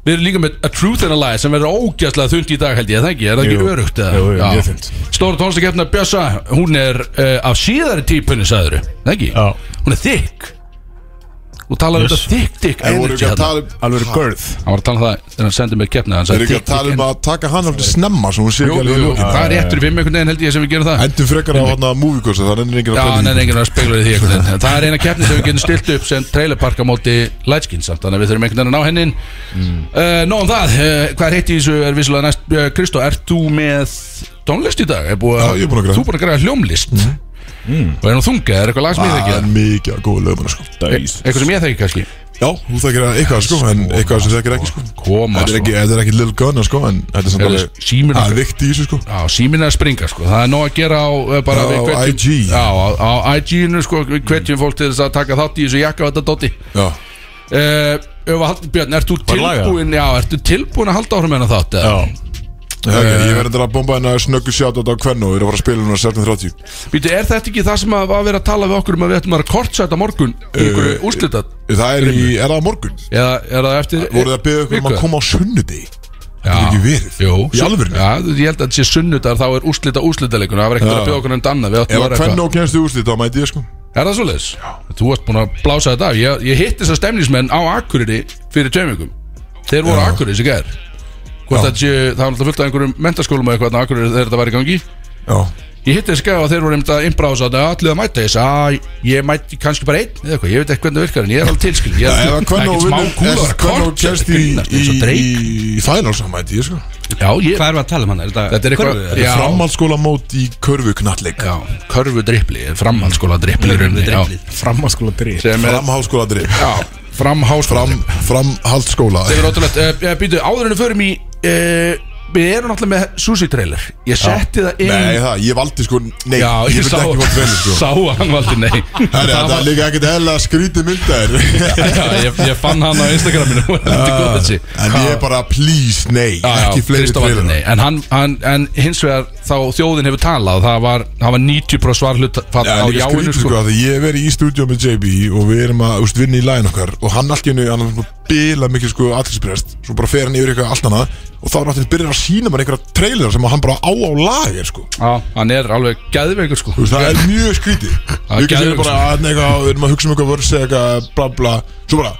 [SPEAKER 5] við erum líka með A Truth and a Lie sem verður ógæslega þund í dag held ég, er það ekki, er það
[SPEAKER 2] Jú.
[SPEAKER 5] ekki örugt eða?
[SPEAKER 2] Jú, jú,
[SPEAKER 5] Já.
[SPEAKER 2] mjög þunnt.
[SPEAKER 5] Stóra tónstakeppna Bjössa, hún er uh, af síðari típunni, sagður það ekki?
[SPEAKER 3] Já.
[SPEAKER 5] Hún er þykk Þú talar um
[SPEAKER 3] Yes.
[SPEAKER 5] þetta þykk, þykk
[SPEAKER 1] En voru
[SPEAKER 5] energy
[SPEAKER 1] ekki að
[SPEAKER 5] hérna
[SPEAKER 1] tala um
[SPEAKER 2] Alveg görð
[SPEAKER 5] Hann var að tala um það þegar hann sendi mig keppnið hann
[SPEAKER 1] Er
[SPEAKER 5] sagði
[SPEAKER 1] ekki að
[SPEAKER 5] þykk,
[SPEAKER 1] tala
[SPEAKER 5] þykk
[SPEAKER 1] um að taka hann aldrei snemma Svo hún sé ekki
[SPEAKER 5] Jú, jú,
[SPEAKER 1] alveg í
[SPEAKER 5] jú,
[SPEAKER 1] lókin
[SPEAKER 5] það er réttur við með einhvern veginn held ég sem við gerum það
[SPEAKER 1] Endum frekar á hann að movie kursa Það er enginn
[SPEAKER 5] Já,
[SPEAKER 1] að um pæla í
[SPEAKER 5] en er
[SPEAKER 1] því.
[SPEAKER 5] enginn að spegla því einhvern veginn En Það er eina keppni sem við getum stilt upp sem trailerpark á móti Lightskins samt Þannig að við þurfum einhvern veginn að ná henni mm. uh, Nó um það, uh, hvað er heitt í þessu er vissulega næst uh, Kristó, ert þú með tónlist í dag? Er búið,
[SPEAKER 1] Já, ég er búinn að græða. Mm.
[SPEAKER 5] Þú er búin að græða hljómlist Og er nú þunga, er eitthvað lag sem ég
[SPEAKER 1] Það er
[SPEAKER 5] þekki?
[SPEAKER 1] mikið að góða lögum sko.
[SPEAKER 5] Eitthvað sem ég þekki kannski
[SPEAKER 1] Já, þú þekkir að eitthvað sko En eitthvað sem þekkir ekki sko
[SPEAKER 5] Koma
[SPEAKER 1] Þetta er ekki,
[SPEAKER 5] sko
[SPEAKER 1] þetta er ekki Lil Gunna sko En þetta er samt
[SPEAKER 5] Er það
[SPEAKER 1] alveg
[SPEAKER 5] síminn
[SPEAKER 1] Það er
[SPEAKER 5] okkar?
[SPEAKER 1] vikt í þessu sko
[SPEAKER 5] Já, síminn er að springa sko Það er nóg að gera á uh, bara,
[SPEAKER 1] Já, á
[SPEAKER 5] við hvetjum-
[SPEAKER 1] IG.
[SPEAKER 5] Já, á, á IG-inu sko Við hvetjum fólk til þess að taka þátt í þessu jakka og þetta dóti
[SPEAKER 1] Já
[SPEAKER 5] Uh, Björn, ert þú
[SPEAKER 3] laga?
[SPEAKER 5] tilbúin já, ertu tilbúin að halda áfram með þátt eða?
[SPEAKER 3] Já,
[SPEAKER 1] Það er ekki,
[SPEAKER 5] Eh.
[SPEAKER 1] Ég verður að bomba hennar snöggu sjátt á þetta á kvennu Við erum að fara að spila hennar 17.30
[SPEAKER 5] Býtu, er þetta ekki það sem að var að vera að tala við okkur um að við ættum að vera kortsæta morgun í einhverju
[SPEAKER 1] Uh,
[SPEAKER 5] úrslitat
[SPEAKER 1] Það er í, er það á morgun?
[SPEAKER 5] eða er það eftir
[SPEAKER 1] Voruð það að byggja okkur um að
[SPEAKER 5] viku?
[SPEAKER 1] koma á sunnudegi? Þetta er
[SPEAKER 5] Já.
[SPEAKER 1] ekki verið
[SPEAKER 5] Jú,
[SPEAKER 1] Í
[SPEAKER 5] svo-
[SPEAKER 1] alvörinni
[SPEAKER 5] Já, ég held að þetta sé sunnudar þá er úrslita úrslitaleikunum það var ekkert
[SPEAKER 1] Já.
[SPEAKER 5] að byggja okkur um danna við
[SPEAKER 1] Ef
[SPEAKER 5] ættum að
[SPEAKER 1] að
[SPEAKER 5] vera
[SPEAKER 1] kvennu
[SPEAKER 5] eitthvað
[SPEAKER 1] og kennstu úrslit þá mæti ég sko
[SPEAKER 5] Er það svoleiðis? Þú varst búin að blása þetta af Ég, ég hitti þess að stemnismenn á Akureyri fyrir tveimingum Þeir voru á Akureyri sem gæðir Hvort
[SPEAKER 1] Já.
[SPEAKER 5] þetta sé, það var alltaf fullt af einhverjum mentaskólum eða eitthvað á Akureyri þegar þetta var í gangi
[SPEAKER 1] Já
[SPEAKER 5] Ég hitti þessi gæða og þeir voru einmitt að imprása að allir að mæta þess að ég mæti kannski bara einn eða eitthvað, ég veit ekki hvernig það virkar en ég er alveg tilskil ég
[SPEAKER 1] Ef
[SPEAKER 5] er
[SPEAKER 1] að
[SPEAKER 5] ekkert
[SPEAKER 1] kvennu og
[SPEAKER 5] smá
[SPEAKER 1] vinnur Ef að
[SPEAKER 5] kúla að vera
[SPEAKER 1] kvennu og
[SPEAKER 5] kort,
[SPEAKER 1] kennst
[SPEAKER 5] þetta er
[SPEAKER 1] í
[SPEAKER 5] grínast eins og
[SPEAKER 1] Í,
[SPEAKER 5] dreik.
[SPEAKER 1] í fælar þá mæti ég sko
[SPEAKER 5] Já, ég,
[SPEAKER 4] Hvað er að tala um hann? Er þetta,
[SPEAKER 5] þetta er eitthvað
[SPEAKER 4] körfu, eða?
[SPEAKER 5] já,
[SPEAKER 1] Framhaldsskóla mót í körfuknalleg
[SPEAKER 5] já, körfu dripli, framhaldsskóla dripli í rauninni, já,
[SPEAKER 4] Körfudriplið.
[SPEAKER 2] Framhanskóla drif
[SPEAKER 5] sem er,
[SPEAKER 1] Framhaldsskóla drif
[SPEAKER 5] já, framháskóla
[SPEAKER 1] Fram, Framhaldsskóla
[SPEAKER 5] Þetta er ótrúlegt, uh, býtu, áður en við förum í uh, við erum alltaf með sushi trailer ég setti það inn
[SPEAKER 1] Nei það, ég valdi sko Nei,
[SPEAKER 5] Já,
[SPEAKER 1] ég
[SPEAKER 5] ég
[SPEAKER 1] vildi
[SPEAKER 5] sá,
[SPEAKER 1] ekki fótt fyrir sko
[SPEAKER 5] sá að hann valdi
[SPEAKER 1] [laughs]
[SPEAKER 5] nei
[SPEAKER 1] Herri,
[SPEAKER 5] Það
[SPEAKER 1] þetta
[SPEAKER 5] var-
[SPEAKER 1] er líka ekkert hella skrítið myndaðir
[SPEAKER 5] [laughs] Já, ég, ég fann hann á Instagraminu [laughs] og hann er góð þessi
[SPEAKER 1] En ég er bara, please, nei
[SPEAKER 5] Já, já,
[SPEAKER 1] Ekki fleiri
[SPEAKER 5] Kristó Valdi,
[SPEAKER 1] trailer
[SPEAKER 5] nei. en, hann, hann, en hins vegar þá þjóðin hefur talað það var, það var 90% svar hlut
[SPEAKER 1] Já,
[SPEAKER 5] á
[SPEAKER 1] en líka
[SPEAKER 5] jáinu
[SPEAKER 1] skrítið sko,
[SPEAKER 5] sko.
[SPEAKER 1] sko Þegar ég hef verið í stúdíu með JB og við erum að úst, vinna í lægin okkar og hann allt í hennu, hann er svona bila mikil sko aðlisprest, svo bara fer hann yfir eitthvað allt annað og þá er náttúrulega byrjar að sína mér einhverja trailer sem að hann bara á á lagir sko
[SPEAKER 5] Já, hann er alveg gæðveikur sko.
[SPEAKER 1] Þú veist, það er mjög skrítið
[SPEAKER 5] Það er sko.
[SPEAKER 1] Við kannski
[SPEAKER 5] geðveikt,
[SPEAKER 1] bara að neka, við erum að hugsa um eitthvað vörsi eitthvað bla bla, svo bara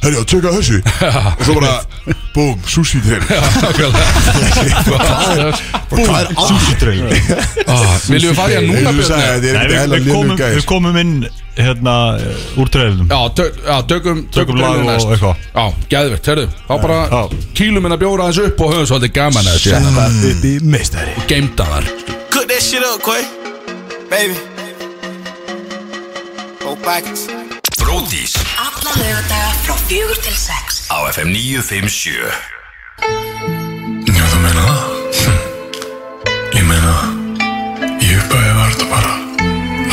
[SPEAKER 1] Herjá, tjöka
[SPEAKER 5] [laughs]
[SPEAKER 1] þessu Og svo bara, búm, sushi trailer Hvað er, bara, hvað er að?
[SPEAKER 3] sushi trailer
[SPEAKER 5] Ah, Viljum við fara í hann núna
[SPEAKER 1] Ég vil
[SPEAKER 5] Björn?
[SPEAKER 1] segja, þetta er
[SPEAKER 3] Nei,
[SPEAKER 1] ekkert
[SPEAKER 3] við,
[SPEAKER 1] hella
[SPEAKER 3] við,
[SPEAKER 1] linnum
[SPEAKER 3] komum, við
[SPEAKER 1] gæs
[SPEAKER 3] komum inn hérna eh, úr trailerunum
[SPEAKER 5] Já, tök, já, tökum,
[SPEAKER 3] Tökum lag
[SPEAKER 5] trailerinn
[SPEAKER 3] og
[SPEAKER 5] næst.
[SPEAKER 3] eitthvað.
[SPEAKER 5] Já, gæðveikt, herru Þá bara
[SPEAKER 3] Já.
[SPEAKER 5] kýlum henn að bjóra þessu upp og höfum svolítið gaman að þessu hérna.
[SPEAKER 2] Það er upp í meistari
[SPEAKER 5] Geimda þar
[SPEAKER 6] Cook that shit up, Quay. Baby. Go back.
[SPEAKER 7] Bródís
[SPEAKER 8] Alla lögadaga frá fjögur til sex
[SPEAKER 7] á FM 957 Já, þú meina það? Hm. Ég meina Í uppæði var þetta bara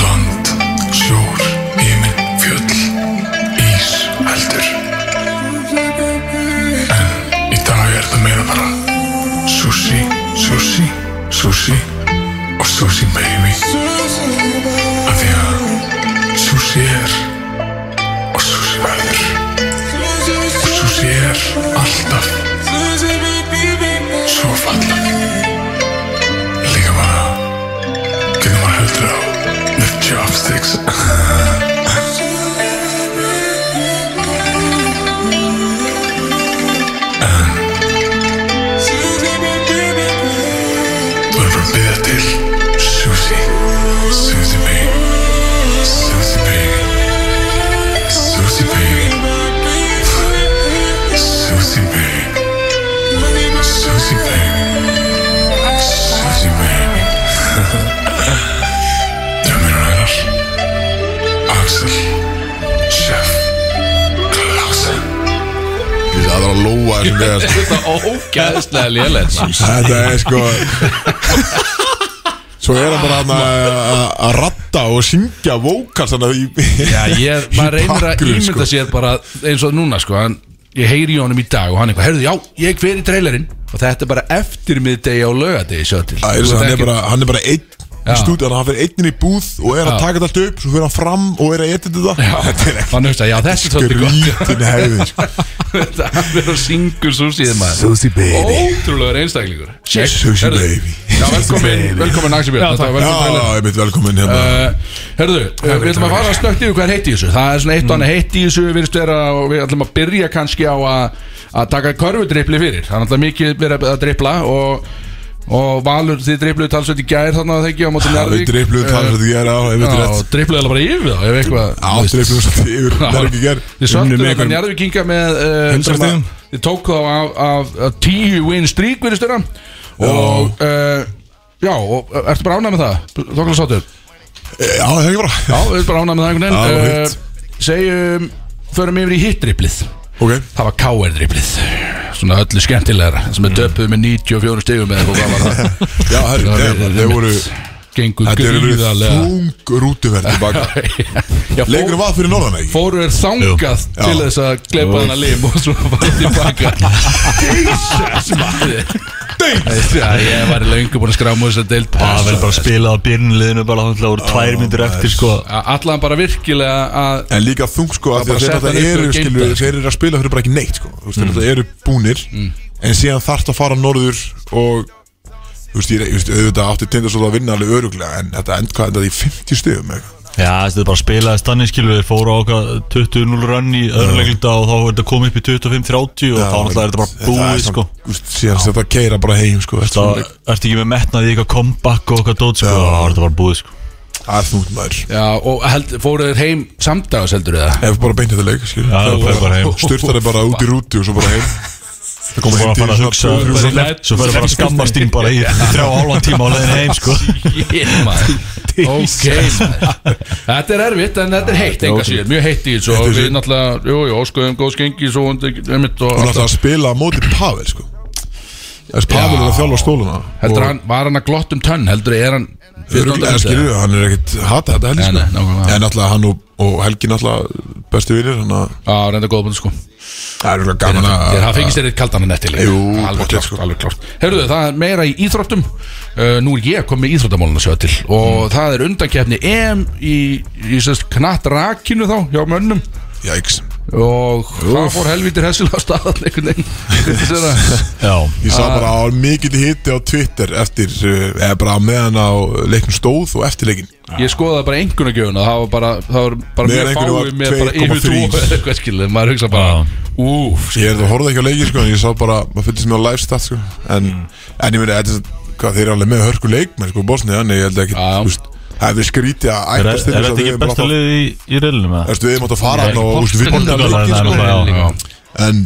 [SPEAKER 7] Land, sjór, himinn, fjöll Ís, heldur En í dag er þetta meira bara Sushi, sushi, sushi Og sushi baby Af því að Sushi er Og sushi verður Susi er alltaf Svo falleg Líka bara Getur maður heldur á The chopsticks En Þú erum bara að byggja til Susi Susi baby Susi baby Susi baby Susie baby. Susie baby. Susie baby. Drömmin ræðar. Axel. Chef. Klausen.
[SPEAKER 1] Það er að lóa þessum gæs
[SPEAKER 5] Þetta er ógæðslega lélega
[SPEAKER 1] Þetta er sko Svo er hann bara hann að- að- að ratta og syngja vókals hann að því
[SPEAKER 5] Já,
[SPEAKER 1] [laughs]
[SPEAKER 5] ég, maður reynir að
[SPEAKER 1] bakgrunn,
[SPEAKER 5] ímynda
[SPEAKER 1] sko.
[SPEAKER 5] sér bara eins og núna sko hann, Ég heyri í honum í dag og hann eitthvað Herðu, já, ég fer í trailerinn Og þetta er bara eftir miðdegi á laugadegi sjá til
[SPEAKER 1] Það er svo,
[SPEAKER 5] Þú ert
[SPEAKER 1] hann er
[SPEAKER 5] ekki-
[SPEAKER 1] bara, hann er bara einn
[SPEAKER 5] Já.
[SPEAKER 1] í stúdíu, hann fyrir einn inn í búð og er að
[SPEAKER 5] Já.
[SPEAKER 1] taka þetta allt upp, svo fyrir hann fram og er að etja þetta [laughs] Þetta er
[SPEAKER 5] Hann hugsa, já, þetta er svolítið gott
[SPEAKER 1] grítin hefði sko.
[SPEAKER 5] [laughs] Þetta er verið að syngu sushi maður
[SPEAKER 1] Sushi baby
[SPEAKER 5] Ótrúlega reynstaklingur
[SPEAKER 1] Sushi baby
[SPEAKER 5] Já, velkomin, velkomin Axel Björn Þetta var
[SPEAKER 1] Já,
[SPEAKER 5] velkomin trailer.
[SPEAKER 1] ég mitt velkomin hérna
[SPEAKER 5] Uh, herðu, uh, við ætlum að fara að snögt yfir hvað er heitt í þessu Það er svona eitt og
[SPEAKER 1] Mm.
[SPEAKER 5] annað heitt í þessu við, virðist vera, og við ætlum að byrja kannski á að, að taka körfudreipli fyrir Það er alltaf mikið verið að dreipla og, og Valur, þið dreipluðu talsveit í gær þannig að það ekki á mótum
[SPEAKER 1] Það er dreifluð talsveit ég er á, ég veit
[SPEAKER 5] eh, Já,
[SPEAKER 1] rétt
[SPEAKER 5] dreipluðu alveg bara yfir þá ef eitthvað
[SPEAKER 1] Á, dreifluð svolítið
[SPEAKER 5] [laughs]
[SPEAKER 1] yfir, það er ekki gerð
[SPEAKER 5] Þið hérna
[SPEAKER 2] Unnum
[SPEAKER 5] söttu
[SPEAKER 2] með
[SPEAKER 5] þetta
[SPEAKER 2] einhverjum-
[SPEAKER 5] njárvíkinga með uh,
[SPEAKER 2] 100
[SPEAKER 5] bara-
[SPEAKER 2] stigum.
[SPEAKER 5] Þið tók þá af, af, af tíu win streak verið störa Og uh, já, og, uh, ertu bara ánægð með það? Þókala sáttur
[SPEAKER 1] Já, það er ekki bara
[SPEAKER 5] Já, við erum bara ánægð með það einhvern
[SPEAKER 1] Já,
[SPEAKER 5] veginn
[SPEAKER 1] hitt.
[SPEAKER 5] uh, Segjum, förum yfir í hittdriplið
[SPEAKER 1] Ok,
[SPEAKER 5] Það var KR-driplið Svona öllu skemmtilegra Sem er döpuð með 94 stegum eða hvað var
[SPEAKER 1] [laughs]
[SPEAKER 5] það
[SPEAKER 1] já, herri,
[SPEAKER 5] Það
[SPEAKER 1] þeir-
[SPEAKER 5] var-
[SPEAKER 1] þeir voru
[SPEAKER 5] Gengur
[SPEAKER 1] Þetta er verið [laughs]
[SPEAKER 5] hérna. gríðarlega
[SPEAKER 1] þung rútuverð tilbaka
[SPEAKER 5] [laughs] Já, fó-
[SPEAKER 1] Leikur var fyrir norðan ekki
[SPEAKER 5] Fóru er þangað
[SPEAKER 1] Já.
[SPEAKER 5] til þess að gleipa hana lim og svo bara tilbaka Jesus maður Já, Ég var í löngu búin að skráma þess að deilt
[SPEAKER 3] Það verður bara að spila á byrjunliðinu bara þannig að voru tvær myndir eftir sko
[SPEAKER 5] Allan bara virkilega að
[SPEAKER 1] En líka þung sko að
[SPEAKER 5] Það bara
[SPEAKER 1] þeir náttúrulega eru,
[SPEAKER 5] setja hann upp og
[SPEAKER 1] skilur,
[SPEAKER 5] geymda það, sko.
[SPEAKER 1] þeir eru að spila fyrir bara ekki neitt sko Þú veist,
[SPEAKER 3] Mm.
[SPEAKER 1] þeir náttúrulega eru búnir En síðan þarft að fara norður og Þú veist, ég, ég veist, auðvitað átti tindar svolítið að vinna alveg öruglega En þetta end, hvað endaði í 50 stigum eitthvað.
[SPEAKER 3] Já, þessi bara spilaði stannir skilu Þeir fóru á okkar 20-0 rönn í öðruleglita og þá er þetta komið upp í 25-30 og þá náttúrulega er þetta bara
[SPEAKER 1] Það er
[SPEAKER 3] búið
[SPEAKER 1] svona,
[SPEAKER 3] sko
[SPEAKER 1] þú veist, Síðan þetta keira bara heim sko þetta
[SPEAKER 3] Það ertu ekki með metnað í eitthvað comeback og eitthvað dót sko
[SPEAKER 1] Já.
[SPEAKER 3] og þá er þetta bara búið sko
[SPEAKER 1] Það er þungt maður
[SPEAKER 5] Já, og held, fóru þeir heim samdags
[SPEAKER 1] [laughs]
[SPEAKER 5] heldur þið það?
[SPEAKER 1] Ef bara beint þetta leik, skilur
[SPEAKER 3] Já, það fer bara
[SPEAKER 1] [laughs]
[SPEAKER 3] heim.
[SPEAKER 1] Styrtar er bara út í rúti og svo bara heim Það
[SPEAKER 3] Svo
[SPEAKER 1] komið
[SPEAKER 3] bara
[SPEAKER 1] heim
[SPEAKER 3] að fara að hugsa um
[SPEAKER 1] til
[SPEAKER 3] Svo
[SPEAKER 1] þess
[SPEAKER 5] bara-
[SPEAKER 3] svo fer það bara að skammast þín bara í þrjá álvan tíma á leiðin heim sko
[SPEAKER 5] Ég, maður. Ok maður. Þetta er erfitt en þetta er heitt enga síður Mjög heitt í þessu og
[SPEAKER 1] Heitt í
[SPEAKER 5] við
[SPEAKER 1] þessu.
[SPEAKER 5] náttúrulega Jú, jú, skoðum góð skengi Svo undir- einmitt og
[SPEAKER 1] Þú náttúrulega að spila á móti Pavel sko Þess Pavel er að þjálfa stóluna
[SPEAKER 5] Heldur hann, var hann að glott um tönn Heldur er hann
[SPEAKER 1] Örugglega, eða skilur við, hann er ekkert hata þetta helgi
[SPEAKER 5] Nei, nei,
[SPEAKER 1] sko
[SPEAKER 5] nákvæmlega.
[SPEAKER 1] En náttúrulega hann og, og helgi náttúrulega bestu vinir Þannig að hérna-
[SPEAKER 5] Já, reynda góða búin sko
[SPEAKER 1] það er örugglega gaman að
[SPEAKER 5] Þegar það fengist þér eitt kaldan en eftir líka.
[SPEAKER 1] Jú,
[SPEAKER 5] alveg
[SPEAKER 1] pottþétt,
[SPEAKER 5] klart,
[SPEAKER 1] sko.
[SPEAKER 5] alveg klart Herðu, það er meira í íþróttum uh, Nú er ég komið í íþróttamálun að sjá til Og
[SPEAKER 1] Mm.
[SPEAKER 5] það er undankefni EM í, í sérst knatt rakinu þá Hjá mönnum
[SPEAKER 1] Jæks
[SPEAKER 5] Og það fór helvítir hessilega á staðan einhvern veginn Þetta er að-
[SPEAKER 1] [laughs]
[SPEAKER 3] Já,
[SPEAKER 1] Ég sá
[SPEAKER 5] Ah.
[SPEAKER 1] bara á mikill hitti á Twitter Eftir, eh, eða bara á meðan á leiknum stóð og eftir leikin
[SPEAKER 5] Ég skoðaði bara einhverjum gjöfuna Það var bara, það var bara
[SPEAKER 1] Meðan
[SPEAKER 5] mjög
[SPEAKER 1] einhverju var
[SPEAKER 5] fáið með bara
[SPEAKER 1] 2,3.
[SPEAKER 5] yfir tvo [laughs] eða Eitthvað skilur, maður hugsa bara Úf,
[SPEAKER 1] Ég er það horfði ekki á leikin sko En ég sá bara, maður fylgist með á live stat sko En,
[SPEAKER 5] Mm.
[SPEAKER 1] en ég meina, þetta er hvað þeir eru alveg með hörku leikmenn sko Bosni, þannig ég held ekki
[SPEAKER 5] Já.
[SPEAKER 1] Það hefur skrítið að
[SPEAKER 3] er
[SPEAKER 1] ætlast til þess
[SPEAKER 3] er
[SPEAKER 1] að
[SPEAKER 3] þetta
[SPEAKER 1] við
[SPEAKER 3] ekki
[SPEAKER 1] erum bara að
[SPEAKER 3] besta
[SPEAKER 1] fá-
[SPEAKER 3] lið í, í reilinu með
[SPEAKER 1] Þú veist, við erum átt að fara hann og þú veist, vinna
[SPEAKER 3] Portugal, það er
[SPEAKER 1] leikinn, sko.
[SPEAKER 3] náttúrulega, já.
[SPEAKER 1] En,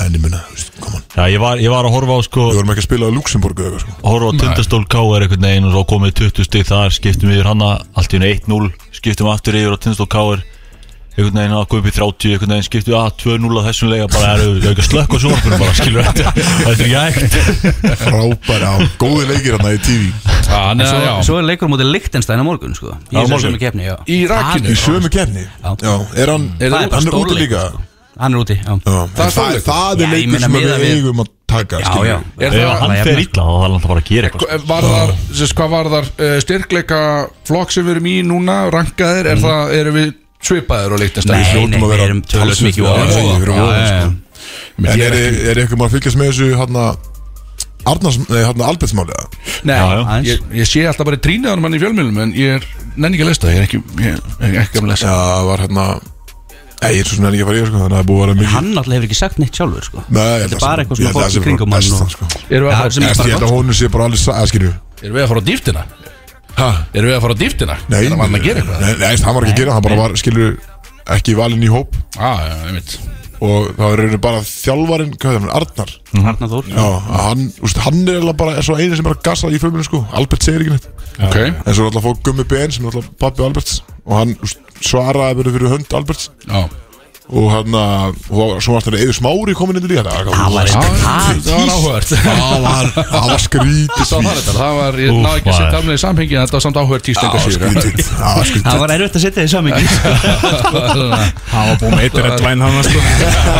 [SPEAKER 1] en ég meina, þú veist, come on.
[SPEAKER 3] Já, ég var, ég var að horfa á sko
[SPEAKER 1] við vorum ekki að spila á Luxemburgu eða eitthvað, sko.
[SPEAKER 3] horfa á tindastól K.R. einhvern veginn og svo komið 20 stig þar, skiptum yfir hana allt í hennu 1-0, skiptum aftur yfir á tindastól K.R. einhvern veginn að koma upp í 30 einhvern veginn skiptum að 2-0 að þessum leika bara eru er ekki að slökka á sjónarbrunum bara skilur [laughs] þetta, þetta er jægt
[SPEAKER 1] frábæri á góði leikir hann í TV
[SPEAKER 5] hann er já
[SPEAKER 4] Svo er leikur mútið Lichtenstein á morgun sko Í
[SPEAKER 3] Á
[SPEAKER 4] þessum
[SPEAKER 3] morgun.
[SPEAKER 4] sömu keppni, já
[SPEAKER 5] Í rakinu
[SPEAKER 1] í sömu kefni já, er hann,
[SPEAKER 5] Er
[SPEAKER 4] Það
[SPEAKER 1] hann
[SPEAKER 5] það-
[SPEAKER 1] er
[SPEAKER 4] stórleikur,
[SPEAKER 1] úti líka
[SPEAKER 4] sko. Hann er úti, já
[SPEAKER 1] Já, en
[SPEAKER 5] Það
[SPEAKER 1] það,
[SPEAKER 5] er stórleikur.
[SPEAKER 1] það
[SPEAKER 4] Já,
[SPEAKER 1] er
[SPEAKER 4] ég
[SPEAKER 1] leikur
[SPEAKER 4] meina,
[SPEAKER 1] sem við
[SPEAKER 4] miðað við-
[SPEAKER 1] eigum að taka
[SPEAKER 4] Já,
[SPEAKER 1] skilur.
[SPEAKER 4] já
[SPEAKER 5] Er
[SPEAKER 3] ef
[SPEAKER 5] það-
[SPEAKER 3] hann fer illa þá þarf hann bara að gera eitthvað sko.
[SPEAKER 5] Var þar, sérst, hvað var þar uh, styrkleika flokk sem við erum í núna Rankaðir, er það, erum við svipaðir og leiktast
[SPEAKER 4] Mm. Nei,
[SPEAKER 1] hljótum
[SPEAKER 4] nei,
[SPEAKER 1] að
[SPEAKER 4] við
[SPEAKER 1] vera
[SPEAKER 4] erum tölvöld
[SPEAKER 1] talsvert
[SPEAKER 4] mikið
[SPEAKER 1] með
[SPEAKER 4] ofar, sko.
[SPEAKER 1] það. Já, við erum
[SPEAKER 4] Já,
[SPEAKER 1] ofar,
[SPEAKER 4] já, já.
[SPEAKER 1] en er, er, er eitthvað maður að fylgjast með þessu hann Arnars, nei, hann Albertsmáli eða?
[SPEAKER 5] Nei,
[SPEAKER 3] Já, já.
[SPEAKER 5] Ég, ég sé alltaf bara trínaðanum hann í fjölmjölum En ég er nenni ekki að lesta, ég er ekki, ég er ekki að
[SPEAKER 1] já,
[SPEAKER 5] lesta
[SPEAKER 1] það var hérna Nei, ég er svo sem henni ekki að fara í það, sko, þannig að það er búið að vera mikið
[SPEAKER 4] Hann náttúrulega hefur ekki sagt neitt sjálfur sko
[SPEAKER 1] Nei, ég held
[SPEAKER 4] Þetta
[SPEAKER 1] að
[SPEAKER 4] er bara
[SPEAKER 1] sé-
[SPEAKER 4] eitthvað
[SPEAKER 1] ég
[SPEAKER 4] svona fólk
[SPEAKER 1] held að sé
[SPEAKER 4] í
[SPEAKER 1] bara
[SPEAKER 4] kringum hann
[SPEAKER 1] bestan,
[SPEAKER 4] og-
[SPEAKER 1] sko.
[SPEAKER 5] Erum við að
[SPEAKER 4] Já,
[SPEAKER 5] fara-
[SPEAKER 4] sem er
[SPEAKER 1] Ég
[SPEAKER 4] bara
[SPEAKER 1] held að honum sé bara alveg aðskilju
[SPEAKER 5] erum við að fara á dýftina?
[SPEAKER 1] Hæ?
[SPEAKER 5] Erum við að fara á dýftina?
[SPEAKER 1] Nei,
[SPEAKER 5] Er hann að gera eitthvað?
[SPEAKER 1] Nei, nei, hann var ekki að gera, hann bara var, skilur ekki valinn í hóp
[SPEAKER 5] Ah, já, einmitt
[SPEAKER 1] og það er rauninni bara þjálfarinn, hvað er það, Arnar
[SPEAKER 4] Arnar Þór
[SPEAKER 1] Já, að hann, úst, hann er alltaf bara er svo eini sem er að gasa í fjölminu sko, Albert segir ekki neitt
[SPEAKER 5] Ok,
[SPEAKER 1] en svo er alltaf að fá Gummi BN sem er alltaf pappi Alberts og hann úst, svaraði bara fyrir hönd Alberts
[SPEAKER 5] já
[SPEAKER 1] og hann að, og svo varst hann eða smári komin inn í líka
[SPEAKER 4] Það var eitthvað það
[SPEAKER 5] Ah, það var áhugavert [laughs]
[SPEAKER 1] Það var, það var skrítið
[SPEAKER 5] Það var þetta, það var, ég
[SPEAKER 3] Úff,
[SPEAKER 5] náði ekki að
[SPEAKER 3] maður.
[SPEAKER 5] setja alveg í samhengi en þetta var samt áhugavert tíst enga síður
[SPEAKER 1] skrítið Það var skrítið
[SPEAKER 4] Það var erfitt að setja þið samingi
[SPEAKER 5] [laughs]
[SPEAKER 2] Það var búið með eitt redline hann sko.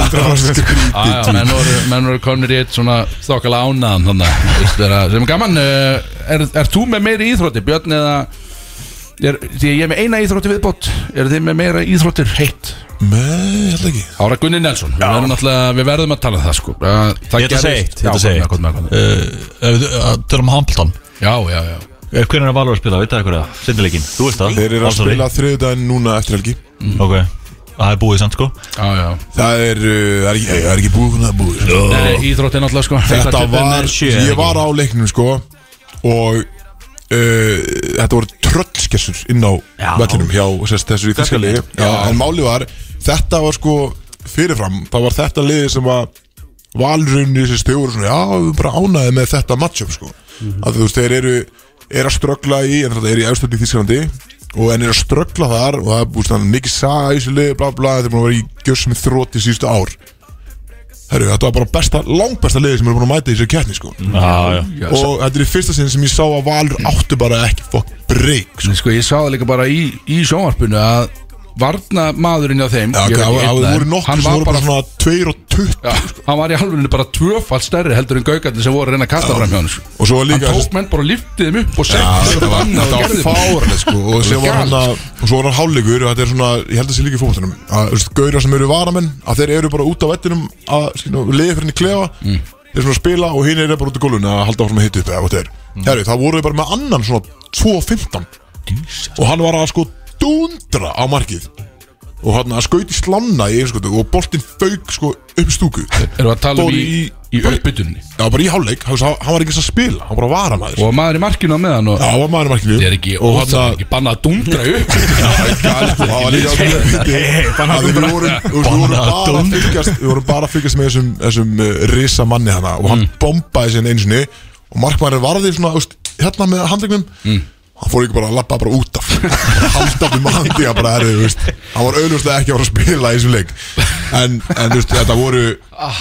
[SPEAKER 1] Það var skrítið
[SPEAKER 5] Já, já, menn voru, menn voru konir í eitt svona þokkala ánaðan þannig veistu, er að- sem er gaman, eh, er, er þú með meiri íþrótti Björn eða er, því ég er með eina íþrótti viðbót eru þið með meira íþróttir heitt
[SPEAKER 1] Nei, ég held ekki
[SPEAKER 5] Ára Gunni Nelson, við verðum, náttúrulega- við verðum að tala um það sko Það, það
[SPEAKER 3] Ég ætla að segja eitt, ég ætla að segja
[SPEAKER 5] Já, gott með, gott með, gott með.
[SPEAKER 3] Eh, Það er um Hamilton
[SPEAKER 5] já, já, já.
[SPEAKER 3] Eh, Hvenær er Valur að spila, veit það eitthvað það? Sindileikin, þú veist það
[SPEAKER 1] Þeir eru að
[SPEAKER 3] Valsari.
[SPEAKER 1] spila þriðudaginn núna eftir helgi
[SPEAKER 3] Ok, það er búið samt sko
[SPEAKER 5] já, já.
[SPEAKER 1] Það er, uh, það er, ekki, það er ekki búið hvernig það er búið sko.
[SPEAKER 5] Nei, Íþrótti náttúrulega sko
[SPEAKER 1] Þetta var, ég
[SPEAKER 5] ég var
[SPEAKER 1] var á leiknum sko Og uh, þetta voru tröllskessur inn á
[SPEAKER 4] Já.
[SPEAKER 1] vellinum hjá sérst, þessu í þesskalegi En máli var, þetta var sko fyrirfram Það var þetta liði sem að valrunni þessi þau voru svona Já, við erum bara ánæði með þetta matchup sko að þú veist, þeir eru, eru að ströggla í en þetta er í austöld í Þísklandi og en eru að ströggla þar og það er búið svona mikið saga í sér liði, bla bla, þeir eru búin að vera í gjössum í þróti síðustu ár Herru, þetta var bara besta, langbesta liði sem eru búin að mæta í sér keppni sko
[SPEAKER 5] Mm.
[SPEAKER 3] Já, já
[SPEAKER 1] og þetta er í fyrsta sinn sem ég sá að valur áttu bara ekki fokk breyk sko.
[SPEAKER 5] Sko ég sá það líka bara í, í sjónvarpinu að varna maðurinn á þeim
[SPEAKER 1] Já,
[SPEAKER 5] ég
[SPEAKER 1] það það
[SPEAKER 5] veit ekki einn af
[SPEAKER 1] voru
[SPEAKER 5] þeim,
[SPEAKER 1] nokkur
[SPEAKER 5] Hann
[SPEAKER 1] sem
[SPEAKER 5] var
[SPEAKER 1] voru bara
[SPEAKER 5] bara
[SPEAKER 1] svona 2 og 20
[SPEAKER 5] Já, hann var í halvunni bara tvöfalt stærri heldur en gaugarnir sem voru að reyna að kasta fram hjá hann sko.
[SPEAKER 1] og svo var
[SPEAKER 5] Hann
[SPEAKER 1] líka
[SPEAKER 5] tók menn bara og lyftið þeim upp og
[SPEAKER 1] Já,
[SPEAKER 5] setti
[SPEAKER 1] þetta
[SPEAKER 5] þeim
[SPEAKER 1] var,
[SPEAKER 5] annað
[SPEAKER 1] þetta
[SPEAKER 5] og
[SPEAKER 1] var
[SPEAKER 5] gerði þeim
[SPEAKER 1] fáralegt sko og, sem var hann að, og svo var hann hálfleikur og þetta er svona, ég held að sé líka í fótboltanum að þú veist, gauðra sem eru varamenn að þeir eru bara út á vettinum að liði fyrir henni klefa
[SPEAKER 5] Mm.
[SPEAKER 1] þeir eru svona að spila og hinn eru bara út á gólun að halda áfram að hitta upp eða hvað þeir mm. Herri, það voru þeir bara með annan svona 2.15 og hann var að sko dundra á markið og hann að skauti slanna í einskotu og boltinn fauk sko upp stúku
[SPEAKER 5] Erum við að tala um
[SPEAKER 1] Fór
[SPEAKER 5] í,
[SPEAKER 1] í-
[SPEAKER 5] í uppbytunni
[SPEAKER 1] Já, bara í hálfleik, hann hann var ekki eins að spila hann var bara varamaður
[SPEAKER 5] Og maður í markinu á meðan og
[SPEAKER 1] Já, hann var maður í markinu
[SPEAKER 5] Þetta er ekki,
[SPEAKER 1] og
[SPEAKER 5] og
[SPEAKER 1] hann
[SPEAKER 5] það er
[SPEAKER 1] að
[SPEAKER 5] ekki bannað að dundra upp
[SPEAKER 1] [laughs] Það var líka ákveðið fyndið. Að Við vorum við vorum bara að fylgjast Við vorum bara að fylgjast með þessum, þessum uh, risa manni hana og
[SPEAKER 5] Mm.
[SPEAKER 1] hann bombaði sinni einu sinni og markmæður varði svona úst, hérna með handlegnum
[SPEAKER 5] Mm.
[SPEAKER 1] hann fór ekki bara að lappa bara út af [laughs] bara halda upp um handi að bara erði veist. hann var auðvitað ekki að fara að spila í þessum leik en, en þú veist, þetta voru já,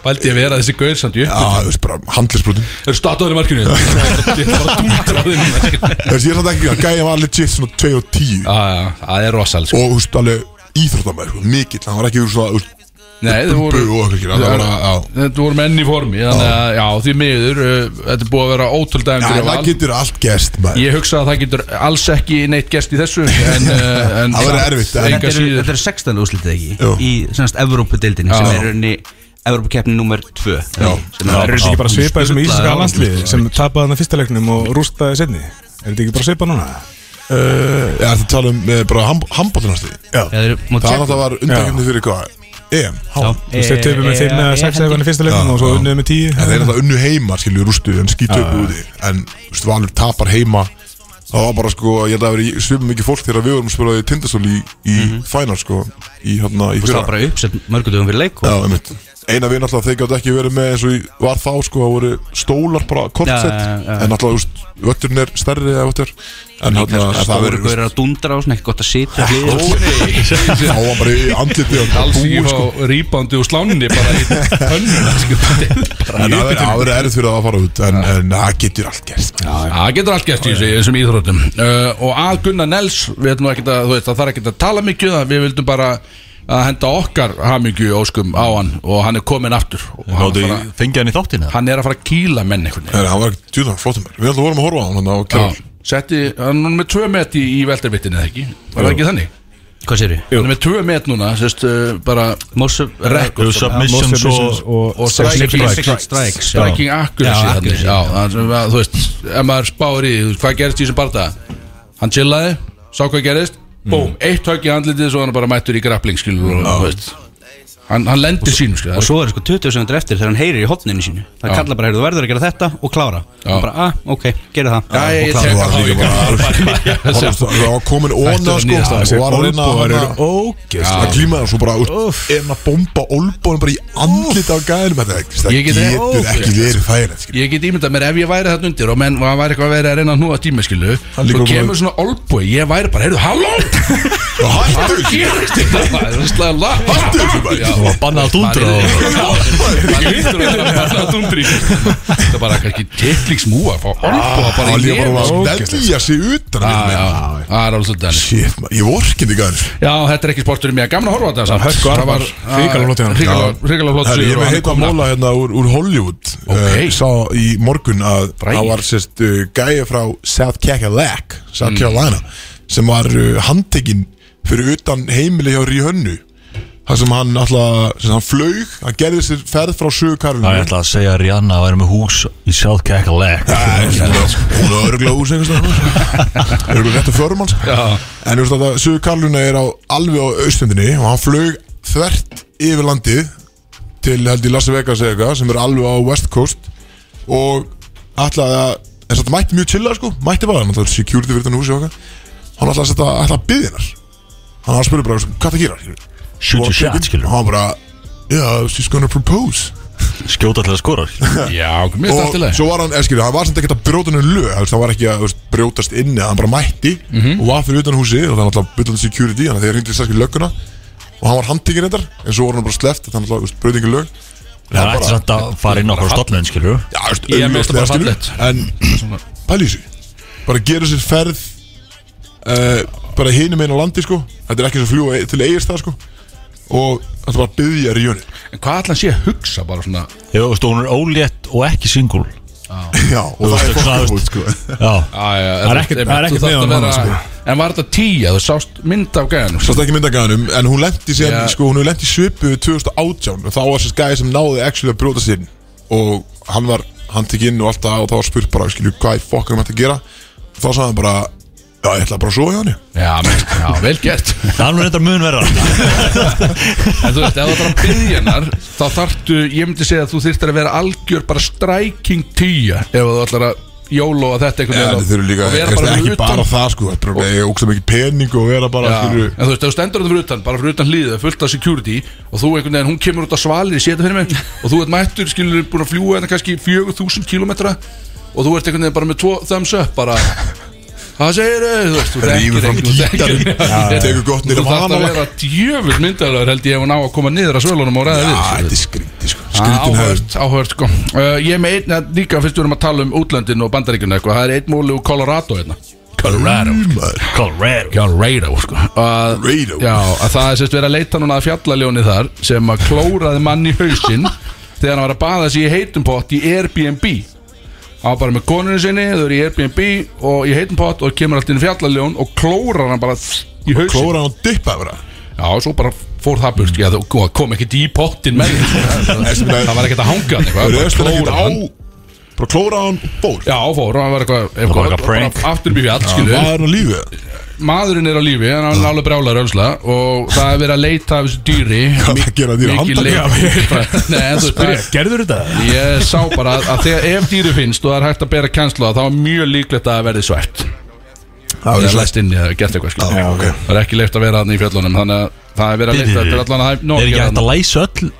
[SPEAKER 5] Vældi ég að vera þessi gaur samt í upp
[SPEAKER 1] þú veist, bara handlisbrutin
[SPEAKER 5] Er stataður í markinu Þetta er bara dúndraður í markinu
[SPEAKER 1] [laughs] þess ég er samt ekki að gæja var legit svona 2 og 10
[SPEAKER 5] Já, já, það er rosal sko.
[SPEAKER 1] og þú veist, alveg íþróttamæður sko, mikill, hann var ekki úr svona þú veist,
[SPEAKER 5] Nei, þau voru
[SPEAKER 1] bubbu og eitthvað skilur, það var að- já.
[SPEAKER 5] Þetta voru menn í formi Þannig að, já, því miður uh, Þetta er búið að vera ótrúld
[SPEAKER 1] Já,
[SPEAKER 5] dagum fyrir
[SPEAKER 1] það
[SPEAKER 5] val
[SPEAKER 1] getur allt gerst maður
[SPEAKER 5] Ég hugsa að það getur alls ekki neitt gerst í þessu En, uh, en
[SPEAKER 1] [laughs] Það verður erfitt, en-
[SPEAKER 5] Enga
[SPEAKER 4] Þetta eru-
[SPEAKER 5] síður
[SPEAKER 4] þetta eru 16 úslitið ekki
[SPEAKER 1] Jú.
[SPEAKER 4] Í semast Evrópudeildinni sem er raunni Evrópukeppni nummer 2 sem
[SPEAKER 2] Það
[SPEAKER 4] er
[SPEAKER 2] eru þetta ekki bara svipað sem
[SPEAKER 4] Sturlaður
[SPEAKER 2] íslenska
[SPEAKER 4] árangur,
[SPEAKER 2] landsliði sem tapaði hann að fyrsta leiknum og rústaði setni Er þetta ekki bara svipað núna?
[SPEAKER 1] Ég ætla að tala um eh, bara handbóttunarstuði
[SPEAKER 4] Já, þeir eru móti
[SPEAKER 1] Það
[SPEAKER 4] Tékkum.
[SPEAKER 1] náttúrulega var undarkjöfni fyrir hvað? EM, há
[SPEAKER 4] Já.
[SPEAKER 1] En
[SPEAKER 2] Þú veist, þeir töpu með 5 eða 6 eða eitthvað í fyrsta leiknum
[SPEAKER 1] Já,
[SPEAKER 2] og svo
[SPEAKER 1] já.
[SPEAKER 2] unnuðu með 10
[SPEAKER 1] þeir náttúrulega unnu heima, skilju, rústu En skýtu upp úti En, þú veist, Valur tapar heima Það var bara, sko, ég held að vera svipum mikið fólk Þegar við vorum að spila í tindastól í, í final, sko Í, hérna,
[SPEAKER 4] Mhm. Það
[SPEAKER 1] í
[SPEAKER 4] var
[SPEAKER 1] fyrra
[SPEAKER 4] bara uppsett mörgundugum fyrir leik
[SPEAKER 1] Já,
[SPEAKER 4] og
[SPEAKER 1] einmitt Eina við náttúrulega, þeir gæti ekki verið með eins og í- var þá, sko Það voru stólar bara kortsett
[SPEAKER 4] Já, já, já.
[SPEAKER 1] En náttúrulega, þú veist, vötturinn er stærri eða vöttur En hérna,
[SPEAKER 4] kannski
[SPEAKER 1] það
[SPEAKER 4] stóru
[SPEAKER 1] verið,
[SPEAKER 4] gaurar að dundra og svona ekki gott að sitja
[SPEAKER 1] [laughs]
[SPEAKER 4] hlýður
[SPEAKER 1] þá var bara í andliti
[SPEAKER 5] Alls ekki
[SPEAKER 1] sko.
[SPEAKER 5] fá rýbandi úr sláninni Bara í hönnuna [laughs] sko. Bara
[SPEAKER 1] En
[SPEAKER 5] í
[SPEAKER 1] það verður-
[SPEAKER 5] uppbytunni.
[SPEAKER 1] það verður erfitt fyrir það að fara út En en það getur allt gerst
[SPEAKER 5] Já, Það getur allt gert í þessu- í þessum íþróttum uh, Og að Gunnar Nels Við ætlum ekki að, þú veist, það þarf ekki að tala mikið um það- Við vildum bara að henda okkar hamingju óskum á hann Og hann er kominn aftur Og hann, er
[SPEAKER 3] Gáttu
[SPEAKER 5] að fara-
[SPEAKER 3] fengið hann í þáttinn eða?
[SPEAKER 5] hann er að fara að kýla menn einhvern
[SPEAKER 1] En það var djúðan flottum Við ætlum að vorum að horfa á hann þarna á
[SPEAKER 5] veginn
[SPEAKER 1] Keflavík.
[SPEAKER 5] Já. Setti, hann er með tvö met í, í veldarvittinu eða ekki Var það ekki þannig?
[SPEAKER 4] Hvað sér við?
[SPEAKER 5] Hann er með tvö met núna, sérst, uh, bara
[SPEAKER 4] Mosu
[SPEAKER 5] Rekord.
[SPEAKER 3] Þú submissions og
[SPEAKER 2] og
[SPEAKER 5] og striking
[SPEAKER 4] Striking strikes, já.
[SPEAKER 5] striking accuracy
[SPEAKER 4] Já,
[SPEAKER 5] þannig,
[SPEAKER 4] accuracy,
[SPEAKER 5] já,
[SPEAKER 4] já.
[SPEAKER 5] þannig að, þú veist, ef maður spáir í, þú veist, hvað gerist í þessum barða hann chillaði,
[SPEAKER 4] Mm.
[SPEAKER 5] sá hvað gerist búm, eitt högg í andlitið svo hann bara mættur í grappling skilur og, þú veist Hann, hann lendir sínu skilja
[SPEAKER 4] Og svo er sko 20 sekundur eftir þegar hann heyrir í hotninu sínu Það
[SPEAKER 5] Já.
[SPEAKER 4] kallar bara, heyrðu, þú verður að gera þetta og klára
[SPEAKER 5] Já.
[SPEAKER 4] Og bara, ah, ok, gera það
[SPEAKER 5] Já, ég, ég
[SPEAKER 1] Það
[SPEAKER 5] tek
[SPEAKER 1] var
[SPEAKER 5] hann líka
[SPEAKER 1] líka
[SPEAKER 5] bara
[SPEAKER 1] bara Það var komin óna
[SPEAKER 5] var
[SPEAKER 1] sko
[SPEAKER 5] nýjasta, þessi
[SPEAKER 1] Og var að reyna að-
[SPEAKER 2] Olbóar eru
[SPEAKER 1] að
[SPEAKER 2] ógeðslega
[SPEAKER 1] að glíma það svo bara En að bomba olbóin bara í andlit á gæðinum Þetta það
[SPEAKER 5] Ég get-
[SPEAKER 1] getur ekki verið þægilegt skilur.
[SPEAKER 5] Ég get ímyndað mér ef ég væri þarna undir og menn og hann væri eitthvað að vera að reyna að núa tíma skilu
[SPEAKER 1] líka
[SPEAKER 5] Svo
[SPEAKER 1] bara-
[SPEAKER 5] kemur svona olbúi, ég væri bara, heyrðu, halló
[SPEAKER 1] Og
[SPEAKER 5] Hvað
[SPEAKER 1] Hættu þessu
[SPEAKER 5] gerist þetta? maður? Það er slæðan lag
[SPEAKER 1] Hættu þessu bara
[SPEAKER 3] Það var bannað að dúndra og
[SPEAKER 5] Það lítur að vera bara að dundri Það er bara kannski titlingsmúa Fá olbúa bara
[SPEAKER 1] Það
[SPEAKER 5] í
[SPEAKER 1] líka bara
[SPEAKER 5] nefn
[SPEAKER 1] að velja sig utan að
[SPEAKER 5] Já, já,
[SPEAKER 1] mér
[SPEAKER 5] það er alveg svolítið þannig.
[SPEAKER 1] Shit, maður, ég vorkindi gæðin
[SPEAKER 5] Já, þetta er ekki sporturinn mér, gaman að horfa á þetta samt.
[SPEAKER 2] Hörku
[SPEAKER 5] Það
[SPEAKER 2] Arnar,
[SPEAKER 5] var
[SPEAKER 2] hrikalega flott hérna. hjá honum.
[SPEAKER 5] Ríkala flott
[SPEAKER 1] Herri, ég
[SPEAKER 5] sigur og
[SPEAKER 1] með
[SPEAKER 5] hann
[SPEAKER 1] heita
[SPEAKER 5] kom
[SPEAKER 1] móla hérna úr, úr Hollywood okay. Sá í morgun að
[SPEAKER 5] Bragi.
[SPEAKER 1] það var sérst uh, gæja frá South Cackalack South Carolina sem var uh, handtekinn fyrir utan heimili hjá Ríhönnu þar sem hann alltaf, sem hann flaug hann gerði sér ferð frá
[SPEAKER 3] Já, ég
[SPEAKER 1] sögukarfinu
[SPEAKER 3] ætla að segja að Rihanna væri með hús í South Cackalack
[SPEAKER 1] Hún er örgulega úr segjast Örgulega rétt að förum hans
[SPEAKER 5] Já.
[SPEAKER 1] En þú veist að það, Suður Karluna er á alveg á austundinni og hann flög þvert yfir landið til held í Las Vegas eða eitthvað sem er alveg á West Coast og ætlaði að en satt mætti mjög chilla sko, mætti bara hann ætlaði security fyrir þannig húsi og eitthvað hann ætlaði að setja, ætlaði að byggja hennar hann hann spurði bara, hvað það gerar?
[SPEAKER 3] Shoot your shot,
[SPEAKER 1] og
[SPEAKER 3] skilur
[SPEAKER 1] hann bara, yeah, she's gonna propose
[SPEAKER 3] Skjóta til að skora skilur.
[SPEAKER 5] Já, mér er
[SPEAKER 1] og
[SPEAKER 5] þetta alltaf
[SPEAKER 1] svo var hann, eskilur, hann var samt ekkert að brjóta henni lög, þú veist, hann var ekki að þú veist, brjótast inn eða hann bara mætti og var fyrir utan húsi og það er alltaf byllandi security þannig að þeir hringdi sérskilt lögguna og hann var handtíkin reyndar en svo var hann bara sleppt þannig að hann brjóti ekki lög
[SPEAKER 3] Það er eftir samt að fara inn á okkur stofnun, skilur
[SPEAKER 1] Já, þú veist,
[SPEAKER 5] Ég er með þetta bara
[SPEAKER 1] augljóslega, skilur, en pæli í sig bara gera sér ferð uh, bara hinum einu á landi sko þetta er ekki eins og fljúa til eigirstað sko og þetta er bara byggja ríunni
[SPEAKER 5] En hvað ætla hann sé að hugsa bara svona
[SPEAKER 3] Ég veist, hún er ólétt og ekki singul
[SPEAKER 1] [laughs] já, og
[SPEAKER 3] Þú
[SPEAKER 1] það er
[SPEAKER 3] veist, það
[SPEAKER 1] fokkum
[SPEAKER 3] veist-
[SPEAKER 1] út sko
[SPEAKER 3] Já,
[SPEAKER 5] Það
[SPEAKER 2] er ekkert- það er ekkert með honum sko. annars,
[SPEAKER 5] En var þetta tíja, þú sást mynd af gæðanum
[SPEAKER 1] Sást ekki myndagæðanum, en hún lendi síðan,
[SPEAKER 5] Já.
[SPEAKER 1] sko, hún hefur lendi svipu 2018 og þá var þessi gæði sem náði actually að brjóta sér og hann var, hann tek inn og allt það og þá var spurt bara, skilju, hvað í fokk er maður að gera og þá sagði hann bara, já, ég ætla bara að sofa hjá hann
[SPEAKER 5] Já, menn, já, vel gert
[SPEAKER 3] það er nú reyndar mun verra
[SPEAKER 5] En þú veist, ef þú ætlar að byggja hennar Þá þarftu, ég myndi segja að þú þyrftir að vera algjör bara striking tíja Ef þú ætlar að jóla þetta einhvern
[SPEAKER 1] Já,
[SPEAKER 5] veginn
[SPEAKER 1] þið
[SPEAKER 5] og-
[SPEAKER 1] þurfum líka,
[SPEAKER 5] og vera
[SPEAKER 1] er
[SPEAKER 5] bara
[SPEAKER 1] það ekki
[SPEAKER 5] utan.
[SPEAKER 1] bara það, sko, þetta er bara, ég ógst mikið pening og vera bara,
[SPEAKER 5] Já,
[SPEAKER 1] skilju
[SPEAKER 5] en þú veist, ef þú stendur þetta fyrir utan, bara fyrir utan hlýðið, fullt af security og þú einhvern veginn, hún kemur út af svalir, sé þetta fyrir
[SPEAKER 1] [laughs]
[SPEAKER 5] mig og þú ert mættur, skilur, búin að fljúa þetta kannski 4000 kilometra og þú ert einhvern veginn bara með tvo thumbs up,
[SPEAKER 1] [laughs]
[SPEAKER 5] bara hvað segir þau, þú veist, þú
[SPEAKER 1] Rífur fram gítarinn, tekur gott
[SPEAKER 5] Þú
[SPEAKER 1] nýra
[SPEAKER 5] þarf að
[SPEAKER 1] vanalag
[SPEAKER 5] vera djöfull myndaðalögur held ég ef hún á að koma niður að svölunum og ræða
[SPEAKER 1] Já,
[SPEAKER 5] við
[SPEAKER 1] þetta er
[SPEAKER 5] skilurðu.
[SPEAKER 1] skrítið, sko,
[SPEAKER 5] Ah,
[SPEAKER 1] skrítið hefur
[SPEAKER 5] Áhört, áhört sko uh, Ég er með einn að líka fyrst við erum að tala um útlöndin og bandaríkjunni eitthvað Það er einn múli úr Colorado hérna Colorado
[SPEAKER 3] Colorado
[SPEAKER 5] Colorado sko að,
[SPEAKER 1] Colorado.
[SPEAKER 5] Já, að það er sérst verið að leita núna að fjallaljóni þar sem að klóraði mann í hausinn þegar hann var að baða sig í heitum pott í Airbnb hann var bara með konunni sinni, þau eru í Airbnb og í heitum pott og kemur allt inn fjallaljón og klórar hann bara í hausinn
[SPEAKER 1] Klóra hann og dippa yfir það
[SPEAKER 5] Já, og svo bara fór það burt sko. Já, þú kom ekkert í pottin með þér, sko. [laughs] það var ekkert að hanga hann
[SPEAKER 1] Það
[SPEAKER 5] eitthvað,
[SPEAKER 1] er
[SPEAKER 5] bara
[SPEAKER 1] östin ekkert
[SPEAKER 5] klóra
[SPEAKER 1] á,
[SPEAKER 5] hann.
[SPEAKER 1] bara klóra hann og fór
[SPEAKER 5] Já, fór, og hann var eitthvað, eitthvað,
[SPEAKER 3] eitthvað prank.
[SPEAKER 5] bara aftur upp í fjall,
[SPEAKER 1] Það
[SPEAKER 5] skilu
[SPEAKER 1] er nú lífið
[SPEAKER 5] maðurinn er á lífi en hann er alveg brjálar ölsla og það er verið að leita af þessu dýri
[SPEAKER 1] Hvað það gera dýri?
[SPEAKER 5] mikið
[SPEAKER 1] Handtaka?
[SPEAKER 5] leit Nei, en þú
[SPEAKER 2] Byrja,
[SPEAKER 5] veist,
[SPEAKER 2] Gerður þetta?
[SPEAKER 5] bara ég sá bara að, að þegar ef dýri finnst og það er hægt að bera kænslu þá er mjög líklegt að það verði svært
[SPEAKER 1] Það er
[SPEAKER 5] það er
[SPEAKER 1] slæst
[SPEAKER 5] læst inn í það, gert eitthvað skil
[SPEAKER 1] Já, ok.
[SPEAKER 5] það er ekki leikt að vera hann í fjöllunum þannig að það er verið að leita
[SPEAKER 3] Bíddu,
[SPEAKER 5] þetta er allan að hægt
[SPEAKER 3] Er ekki hægt að læsa öll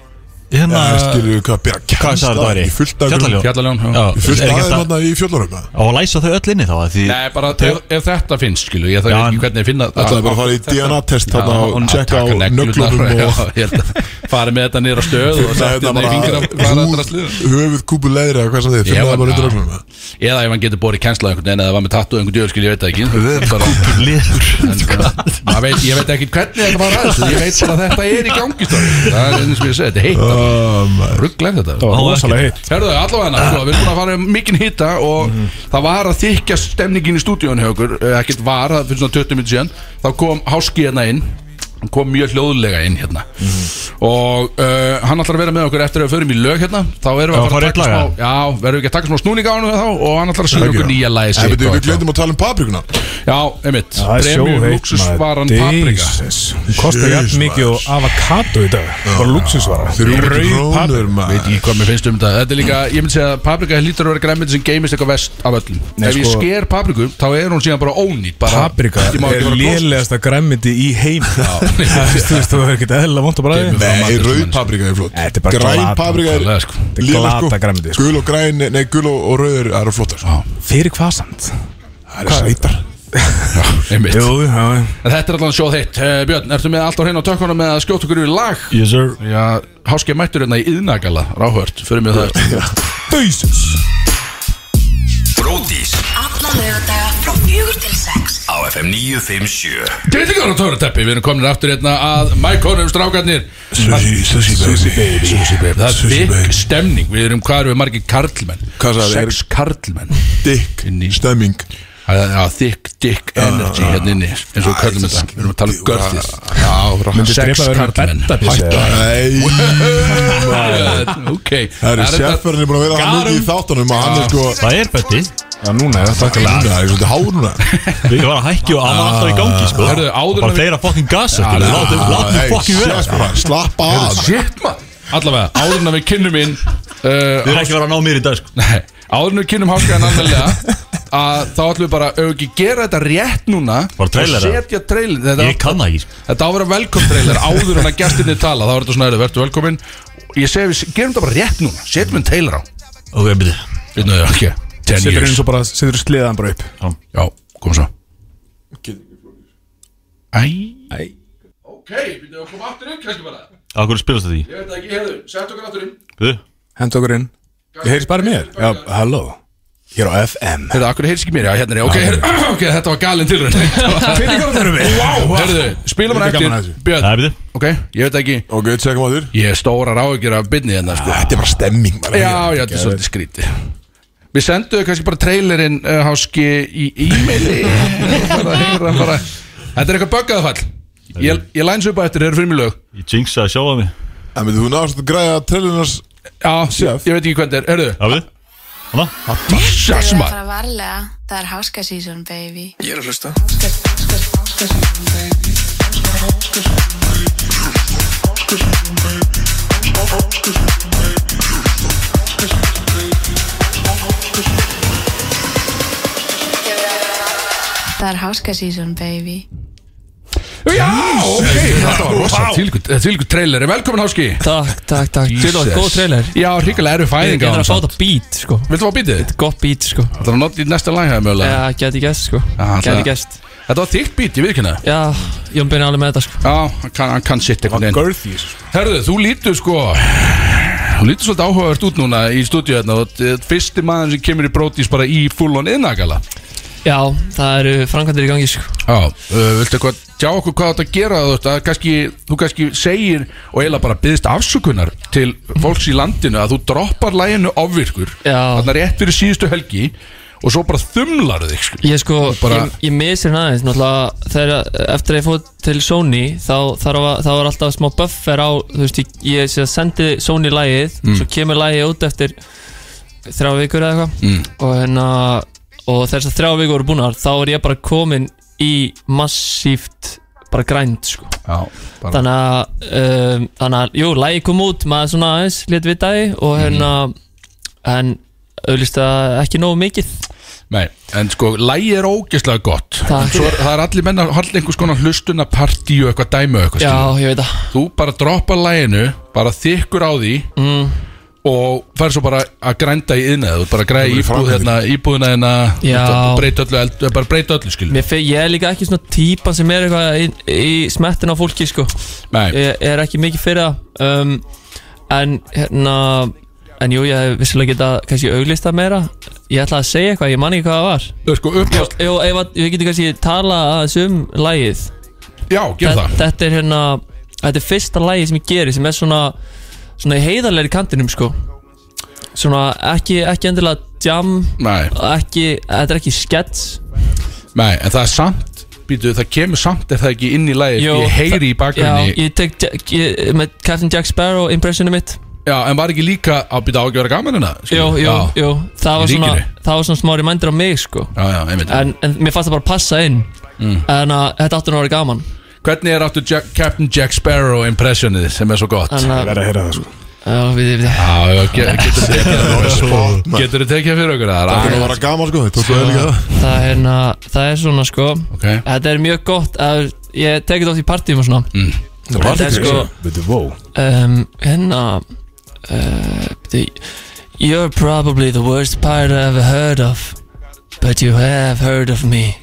[SPEAKER 3] Hérna
[SPEAKER 1] Það skilur við hvað að byrja
[SPEAKER 3] Hvað sagði þetta væri?
[SPEAKER 1] í fullt af
[SPEAKER 3] Fjallaljón
[SPEAKER 5] Fjallaljón, já.
[SPEAKER 3] Já,
[SPEAKER 1] í fullt
[SPEAKER 3] er
[SPEAKER 1] af þeim
[SPEAKER 3] ekki hægt
[SPEAKER 1] hérna
[SPEAKER 3] að
[SPEAKER 1] í fjallarum eða?
[SPEAKER 3] Á að læsa þau öll inni þá að Því
[SPEAKER 5] Nei, bara ef, ef þetta finnst, skilu, ég
[SPEAKER 3] Já,
[SPEAKER 5] þarf
[SPEAKER 3] en-
[SPEAKER 5] ekki hvernig ég finna
[SPEAKER 1] Það er bara að fara í DNA-test þarna og checka á nöglunum
[SPEAKER 5] [laughs]
[SPEAKER 1] og
[SPEAKER 5] og farið hérna, með þetta nýra stöð og
[SPEAKER 1] fulla
[SPEAKER 5] sett
[SPEAKER 1] hérna
[SPEAKER 5] þetta í fingra
[SPEAKER 1] bara höfuð kúpu leðri eða hvað sem þið
[SPEAKER 5] Ég
[SPEAKER 1] finna
[SPEAKER 5] var-
[SPEAKER 1] það bara undir nöglunum eða?
[SPEAKER 5] Eða ef hann getur borið kenslað einhvern veginn eða var með tattu einhvern djöl skil, ég veit það ekki Það er bara,
[SPEAKER 3] Liður
[SPEAKER 5] en, maður veit, Ég veit ekki hvernig þetta var aðeins Ég veit bara að þetta er í gangi strákar. Það er eins og ég segi, þetta er heitt alveg.
[SPEAKER 1] Um,
[SPEAKER 5] Rugglega þetta
[SPEAKER 2] Það var
[SPEAKER 3] Á,
[SPEAKER 2] rosalega
[SPEAKER 3] ekki.
[SPEAKER 2] hitt
[SPEAKER 5] Herðu, allavega sko, við erum búin að fara um mikinn hitta og það var að þykja stemningin í stúdíónu hjá okkur eh, ekkert var, það fyrir svona 20 minnir síðan þá kom Háski hérna inn hann kom mjög hljóðlega inn hérna og uh, hann ætlar að vera með okkur eftir að við förum í lög hérna þá erum við
[SPEAKER 3] Já,
[SPEAKER 5] að
[SPEAKER 3] fara
[SPEAKER 5] fara að taka
[SPEAKER 3] í eitt lag,
[SPEAKER 5] smá já, verðum við ekki að taka smá snúning á hann þá og hann ætlar að sína okkur nýja lagi
[SPEAKER 1] En betur,
[SPEAKER 5] sitt og
[SPEAKER 1] við
[SPEAKER 5] eitthvað.
[SPEAKER 1] glemdum að tala um paprikuna
[SPEAKER 5] já, einmitt,
[SPEAKER 2] Það er
[SPEAKER 5] premium
[SPEAKER 2] sjóheit
[SPEAKER 5] luxusvaran paprika
[SPEAKER 2] Hún kostar jætt mikið og avokado í dag Bara luxusvara
[SPEAKER 1] Þrjú
[SPEAKER 2] Rauð
[SPEAKER 1] krónur
[SPEAKER 2] paprika
[SPEAKER 5] veit
[SPEAKER 1] maður
[SPEAKER 5] ekki hvað mér finnst um þetta þetta er líka, ég myndi segja að paprika lítur að vera græmið sem geimist eitthvað vest af öllum
[SPEAKER 2] Nei,
[SPEAKER 5] ef ég
[SPEAKER 2] sko-
[SPEAKER 5] sker papriku, þá er hún síðan bara ónýtt bara,
[SPEAKER 2] Paprika
[SPEAKER 5] Ég má ekki
[SPEAKER 2] er
[SPEAKER 5] fara að klósa.
[SPEAKER 2] lélegasta græmmiti í heim [laughs] Það veist, þú veist, þú er ekkert eðlilega vont að bræði
[SPEAKER 5] Kemur.
[SPEAKER 1] Nei, rauð paprika er flott
[SPEAKER 2] Nei, þetta er bara
[SPEAKER 1] Græn
[SPEAKER 2] glata-
[SPEAKER 1] paprika er
[SPEAKER 5] Klálega, sko.
[SPEAKER 2] Þetta er
[SPEAKER 1] líka, sko.
[SPEAKER 2] glata grænmeti, sko.
[SPEAKER 1] Gul og græn, nei, gul og og rauð eru- eru flottar sko.
[SPEAKER 2] Fyrir hvað samt?
[SPEAKER 1] Það eru sætar
[SPEAKER 5] einmitt
[SPEAKER 2] Jú, já,
[SPEAKER 5] En þetta er allan sjóð heitt uh, Björn, ertu með allt á hreinu á tökkunum með að skjóta okkur í lag?
[SPEAKER 3] Yes sir
[SPEAKER 5] Já, háskja mættur hérna í yðnagala Ráhört, fyrir mig það
[SPEAKER 2] Dauðsins
[SPEAKER 9] Bródís
[SPEAKER 8] Alla lögadaga frá fjögur til sex
[SPEAKER 9] á FM 957
[SPEAKER 5] Greitingar á Töfrateppi, við erum komin aftur hérna að mækonum strákarnir
[SPEAKER 1] Sushi, sushi baby Sushi baby
[SPEAKER 5] Það er bygg stemning, við erum hvað eru við margir karlmenn
[SPEAKER 1] Hvað sagði, er-
[SPEAKER 5] Sex karlmenn
[SPEAKER 1] Dick,
[SPEAKER 5] Inn í-
[SPEAKER 1] stemming
[SPEAKER 5] Það er- Já, thick, dick energy hérna inni eins og við kallum þetta, við erum að tala um görðið Já, sex karlmenn
[SPEAKER 1] Nei,
[SPEAKER 5] Hætta [laughs] Ok
[SPEAKER 1] það eru sérferðinni búin að vera hann mikið í þáttunum og hann er sko
[SPEAKER 3] Það er betti
[SPEAKER 2] Já, núna, já, takk
[SPEAKER 1] Núna, það er svolítið hár núna
[SPEAKER 3] Við varum að hækki og hann var alltaf í gangi sko
[SPEAKER 5] Hörðu, áður en
[SPEAKER 3] Bara
[SPEAKER 5] við-
[SPEAKER 3] þeirra fokkin gasa skilur við, Látum látum
[SPEAKER 1] Nei,
[SPEAKER 3] fokkin vera sko.
[SPEAKER 1] sjást Ah, bara, Slappa af
[SPEAKER 5] Shit man Allavega, áður en að við kynnum inn uh,
[SPEAKER 3] Við erum ekki að vera að ná mér í dag sko
[SPEAKER 5] Nei, áður en við kynum háskaðan annaðlega að þá ætlum við bara ef við ekki gera þetta rétt núna
[SPEAKER 3] Bara trailera.
[SPEAKER 5] og setja trailer þetta,
[SPEAKER 3] Ég kann það ekki sko.
[SPEAKER 5] þetta á að vera velkom trailer áður en að gestinni tala þá er þetta svona erðu, verður velkomin ég segi við gerum þetta bara rétt núna setjum við trailer á
[SPEAKER 3] Ok, byrju
[SPEAKER 5] Við náðum ekki 10
[SPEAKER 2] Setur
[SPEAKER 5] years
[SPEAKER 2] eins og bara, setur sliðan bara upp
[SPEAKER 5] Já, kom svo Æ Æ Ok, við náðum að koma aftur inn kannski bara
[SPEAKER 3] Akkur spilast þetta ekki
[SPEAKER 5] Ég veit það ekki, heyrðu, setjum okkur aftur inn
[SPEAKER 3] Byrju
[SPEAKER 2] Hent okkur inn Ég heyrðis bara mér Já, halló Hér á FM
[SPEAKER 5] Heyrðu, akkur heyrðis ekki mér, já, hérna er ég Ok, heyrðu, [clears throat] ok, þetta var galin [laughs] tilrönd
[SPEAKER 2] Peningar þurfum við Wow
[SPEAKER 5] Heyrðu, spilum hann
[SPEAKER 2] Þetta er gaman að
[SPEAKER 5] eftir
[SPEAKER 2] þessu.
[SPEAKER 5] Björn,
[SPEAKER 3] Það er byrju
[SPEAKER 5] ok, ég veit ekki
[SPEAKER 1] Ok, tjekkum að þér
[SPEAKER 5] Ég hef stórar áhyggjur af byrni hérna sko.
[SPEAKER 1] Þetta er bara stemming maður.
[SPEAKER 5] Já, já, þetta er svolítið skríti Við senduðu kannski bara trailerinn uh, Háski í [laughs] e-maili Bara að heyra bara Þetta er eitthvað buggaðu fall Ég, ég læns upp á eftir, þeir eru fyrir mig lög
[SPEAKER 3] Ég jinxa að sjá það mig
[SPEAKER 1] En veitir, þú náðast að græja trillunars
[SPEAKER 5] Já,
[SPEAKER 1] Chef.
[SPEAKER 5] ég veit ekki hvernig er,
[SPEAKER 3] Já, byrju Hanna
[SPEAKER 5] hörðu Jesus
[SPEAKER 10] Ég er að
[SPEAKER 5] maður
[SPEAKER 10] fara varlega, það er háska season baby
[SPEAKER 7] Ég er að hlusta
[SPEAKER 10] Það er háska season baby
[SPEAKER 5] Já, ok, þetta var rosa Þvílíkur þvílíkur traileri, velkomin Háski
[SPEAKER 11] Takk, takk, takk Þetta var góð trailer
[SPEAKER 5] Já, hrikalega eru
[SPEAKER 11] Ég
[SPEAKER 5] fæðinga
[SPEAKER 11] er að fá þetta beat, sko
[SPEAKER 5] Viltu fá bítið?
[SPEAKER 11] Gott beat, sko
[SPEAKER 5] Þetta var nátt í næsta lag hefði mögulega
[SPEAKER 11] Já, geti gæst, sko
[SPEAKER 5] Já, það-
[SPEAKER 11] Geti gæst
[SPEAKER 5] Þetta var þykkt bít, ég veit ekki hérna
[SPEAKER 11] Já, Jón Björn er alveg með þetta, sko
[SPEAKER 5] Já, hann kann- hann kann sitt einhvern veginn
[SPEAKER 2] Girthy
[SPEAKER 5] Herðu, þú lítur sko Þú lítur svolítið áhugavert út núna í stúdíu hérna og þú ert fyrsti maður sem kemur í brótis bara í fullon innagala
[SPEAKER 11] Já, það eru framkvæmdir í gangi, sko
[SPEAKER 5] Já, uh, viltu eitthvað tjá okkur hvað þetta gera þú veist að kannski, þú kannski segir og eiginlega bara byggðist afsökunar til fólks í landinu að þú droppar læginu ofvirkur
[SPEAKER 11] Já.
[SPEAKER 5] þannig rétt fyrir síðustu helgi og svo bara þumlar þig sko.
[SPEAKER 11] Ég sko,
[SPEAKER 5] Bara-
[SPEAKER 11] ég, ég misir hann aðeins Náttúrulega, þegar, eh, eftir að ég fóð til Sony Þá, þarf að, þá var alltaf smá buffer á Þú veist, ég, ég sé að sendi Sony lægið Svo kemur lægið út eftir Þrjá vikur eða eitthvað mm. Og hérna Og þegar þess að þrjá vikur voru búnar Þá er ég bara komin í massíft Bara grænt, sko
[SPEAKER 5] Já, bara
[SPEAKER 11] þannig að um, þannig að, jú, lægi kom út maður svona aðeins, létt við dagi og hérna, en auðvist að ekki nógu mikið
[SPEAKER 5] Nei, en sko, lægi er ógeðslega gott
[SPEAKER 11] Takk.
[SPEAKER 5] En svo er, það er allir menna haldið einhvers konar hlustunapartí og eitthvað dæmi og eitthvað
[SPEAKER 11] já,
[SPEAKER 5] skilur.
[SPEAKER 11] ég veit að,
[SPEAKER 5] þú bara droppa læginu bara þykkur á því
[SPEAKER 11] mm,
[SPEAKER 5] og fær svo bara að grænda í innað þú bara græði íbúð, hérna, íbúðina hérna,
[SPEAKER 11] Já.
[SPEAKER 5] þetta, breyta öllu, eld, bara breyta öllu skil
[SPEAKER 11] mér feg, ég er líka ekki svona típan sem er eitthvað í, í smettin á fólki, sko,
[SPEAKER 5] Nei,
[SPEAKER 11] ég er ekki mikið fyrir það um, en hérna en jú, ég hef vissilega geta kannski auglista meira, ég ætla að segja eitthvað ég man ekki hvað það var,
[SPEAKER 5] þú sko uppjást
[SPEAKER 11] jú, ef að- við getum kannski tala aðeins um lægið
[SPEAKER 5] Já, gera
[SPEAKER 11] Þe-
[SPEAKER 5] það
[SPEAKER 11] Þetta er hérna Þetta er fyrsta lagi sem ég geri sem er svona Svona í heiðarlegri kantinum sko Svona ekki, ekki endilega jam
[SPEAKER 5] Nei,
[SPEAKER 11] Ekki, þetta er ekki skets
[SPEAKER 5] nei, en það er samt býtu, það kemur samt er það ekki inn í lagið
[SPEAKER 11] Jó,
[SPEAKER 5] Ég heyri í bakgrunni
[SPEAKER 11] Já, ég tek Jack- ég, með Captain Jack Sparrow impressionu mitt sko.
[SPEAKER 5] Já, en var ekki líka á býta á ekki að vera gaman hérna
[SPEAKER 11] Jó,
[SPEAKER 5] skilur?
[SPEAKER 11] jó,
[SPEAKER 5] Já.
[SPEAKER 11] jó Það var
[SPEAKER 5] Í
[SPEAKER 11] svona,
[SPEAKER 5] ríkinu.
[SPEAKER 11] það var svona smá reminder á mig sko
[SPEAKER 5] Já, já, einmitt
[SPEAKER 11] en, en mér fannst það bara passa inn
[SPEAKER 5] Mm.
[SPEAKER 11] En að þetta áttur nú að vera gaman
[SPEAKER 5] Hvernig er áttu Jack, Captain Jack Sparrow impressionið sem er svo gott?
[SPEAKER 11] En að- Ég verð að heyra
[SPEAKER 5] það sko
[SPEAKER 11] Já, við, við
[SPEAKER 5] Já, já, ge- getur þú [laughs] tekið það fyrir- Getur þú tekið það fyrir okkur það?
[SPEAKER 11] Það er nú að vera
[SPEAKER 1] gaman sko, þetta
[SPEAKER 11] Já, það, er hérna, það er svona sko
[SPEAKER 5] Ok.
[SPEAKER 11] Þetta er mjög gott að, Ég tekið þetta oft í partíum og svona
[SPEAKER 5] mm.
[SPEAKER 2] Það var þetta sko Þetta er vó
[SPEAKER 11] um, hérna uh, the, You're probably the worst pirate I've ever heard of But you have heard of me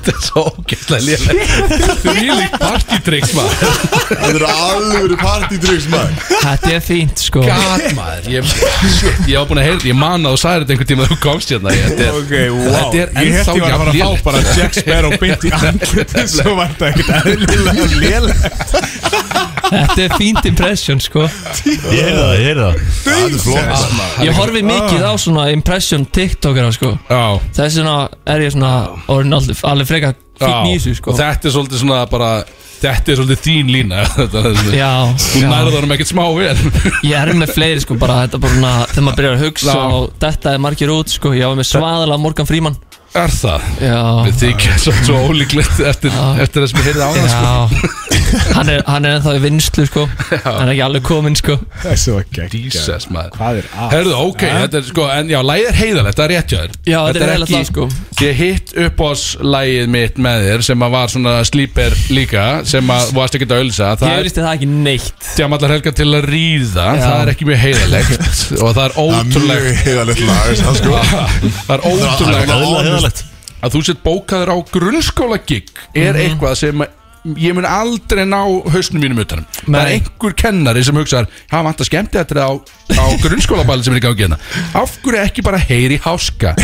[SPEAKER 5] Þetta er svo ógætlega lélega Því lík partytricks maður
[SPEAKER 1] Þetta eru alveg partytricks maður
[SPEAKER 11] Þetta er fínt
[SPEAKER 5] [laughs]
[SPEAKER 11] sko
[SPEAKER 5] God maður Ég, shit, ég var búin að heyra þetta Ég man að þú sagði þetta einhvern tíma að þú komst hérna Ég- Þetta er,
[SPEAKER 2] Ok, wow.
[SPEAKER 5] þetta er
[SPEAKER 2] Ég hélt
[SPEAKER 5] ennþá
[SPEAKER 2] ég var að fara að fá
[SPEAKER 5] jafn
[SPEAKER 2] bara
[SPEAKER 5] lélegt.
[SPEAKER 2] Jack Sparrow beint í andlitið, svo var þetta ekkert eðlilega lélegt.
[SPEAKER 11] Þetta er fínt impression sko
[SPEAKER 3] Ég heyrði það, ég heyrði það
[SPEAKER 1] Það er flott
[SPEAKER 11] Ég horfi mikið á svona impression tiktokera sko
[SPEAKER 5] Já.
[SPEAKER 11] Þess vegna er ég svona orðin allir, allir freka fín í þessu sko
[SPEAKER 5] Og þetta er svolítið svona bara Þetta er svolítið þín lína [laughs] Þetta er svona-
[SPEAKER 11] Já,
[SPEAKER 5] Þú
[SPEAKER 11] já.
[SPEAKER 5] nærður honum ekkert smá vel [laughs]
[SPEAKER 11] Ég er með fleiri sko bara Þetta er bara svona þegar maður byrjar að hugsa
[SPEAKER 5] Já.
[SPEAKER 11] og þetta er margir út sko Ég var með svaðalega Morgan Freeman
[SPEAKER 5] Er það?
[SPEAKER 11] Já
[SPEAKER 5] Við þykja svolítið svo ólíklegt eftir, eftir það sem ég heyrði á það sko.
[SPEAKER 11] Já hann er, hann er ennþá í vinslu sko Hann er ekki alveg kominn sko
[SPEAKER 2] Þessu var gegn
[SPEAKER 5] Jesus maður
[SPEAKER 2] Hvað er að?
[SPEAKER 5] Herðu, ok, þetta er sko, en já, lagið er heiðalegt, það er rétt hjá þér
[SPEAKER 11] Já, þetta er heiðarlegt lag, sko.
[SPEAKER 5] Ég hitt upp ás lagið mitt með þér sem að var svona slíper líka sem að varst ekkert að ölsa
[SPEAKER 11] Ég
[SPEAKER 5] Það er
[SPEAKER 11] auðvitað það ekki neitt
[SPEAKER 5] djamallar helga til að ríða,
[SPEAKER 11] Já.
[SPEAKER 5] það er ekki mjög heiðalegt
[SPEAKER 11] [laughs]
[SPEAKER 5] og það
[SPEAKER 1] Það
[SPEAKER 5] er
[SPEAKER 1] er
[SPEAKER 5] ótrúlegt [laughs]
[SPEAKER 1] mjög heiðalegt lag það sko.
[SPEAKER 5] Það er ótrúlegt
[SPEAKER 3] Það er
[SPEAKER 5] að-
[SPEAKER 3] heiðalegt
[SPEAKER 5] að þú sett bókaður á grunnskóla gig er
[SPEAKER 11] Mhm.
[SPEAKER 5] eitthvað sem að- ég mun aldrei ná hausnum mínum utanum það er
[SPEAKER 11] Nei.
[SPEAKER 5] einhver kennari sem hugsaðar hann vant að skemmti þetta á, á grunnskólabæli sem er í gangi hérna af hverju ekki bara heyri
[SPEAKER 11] [laughs]
[SPEAKER 5] háska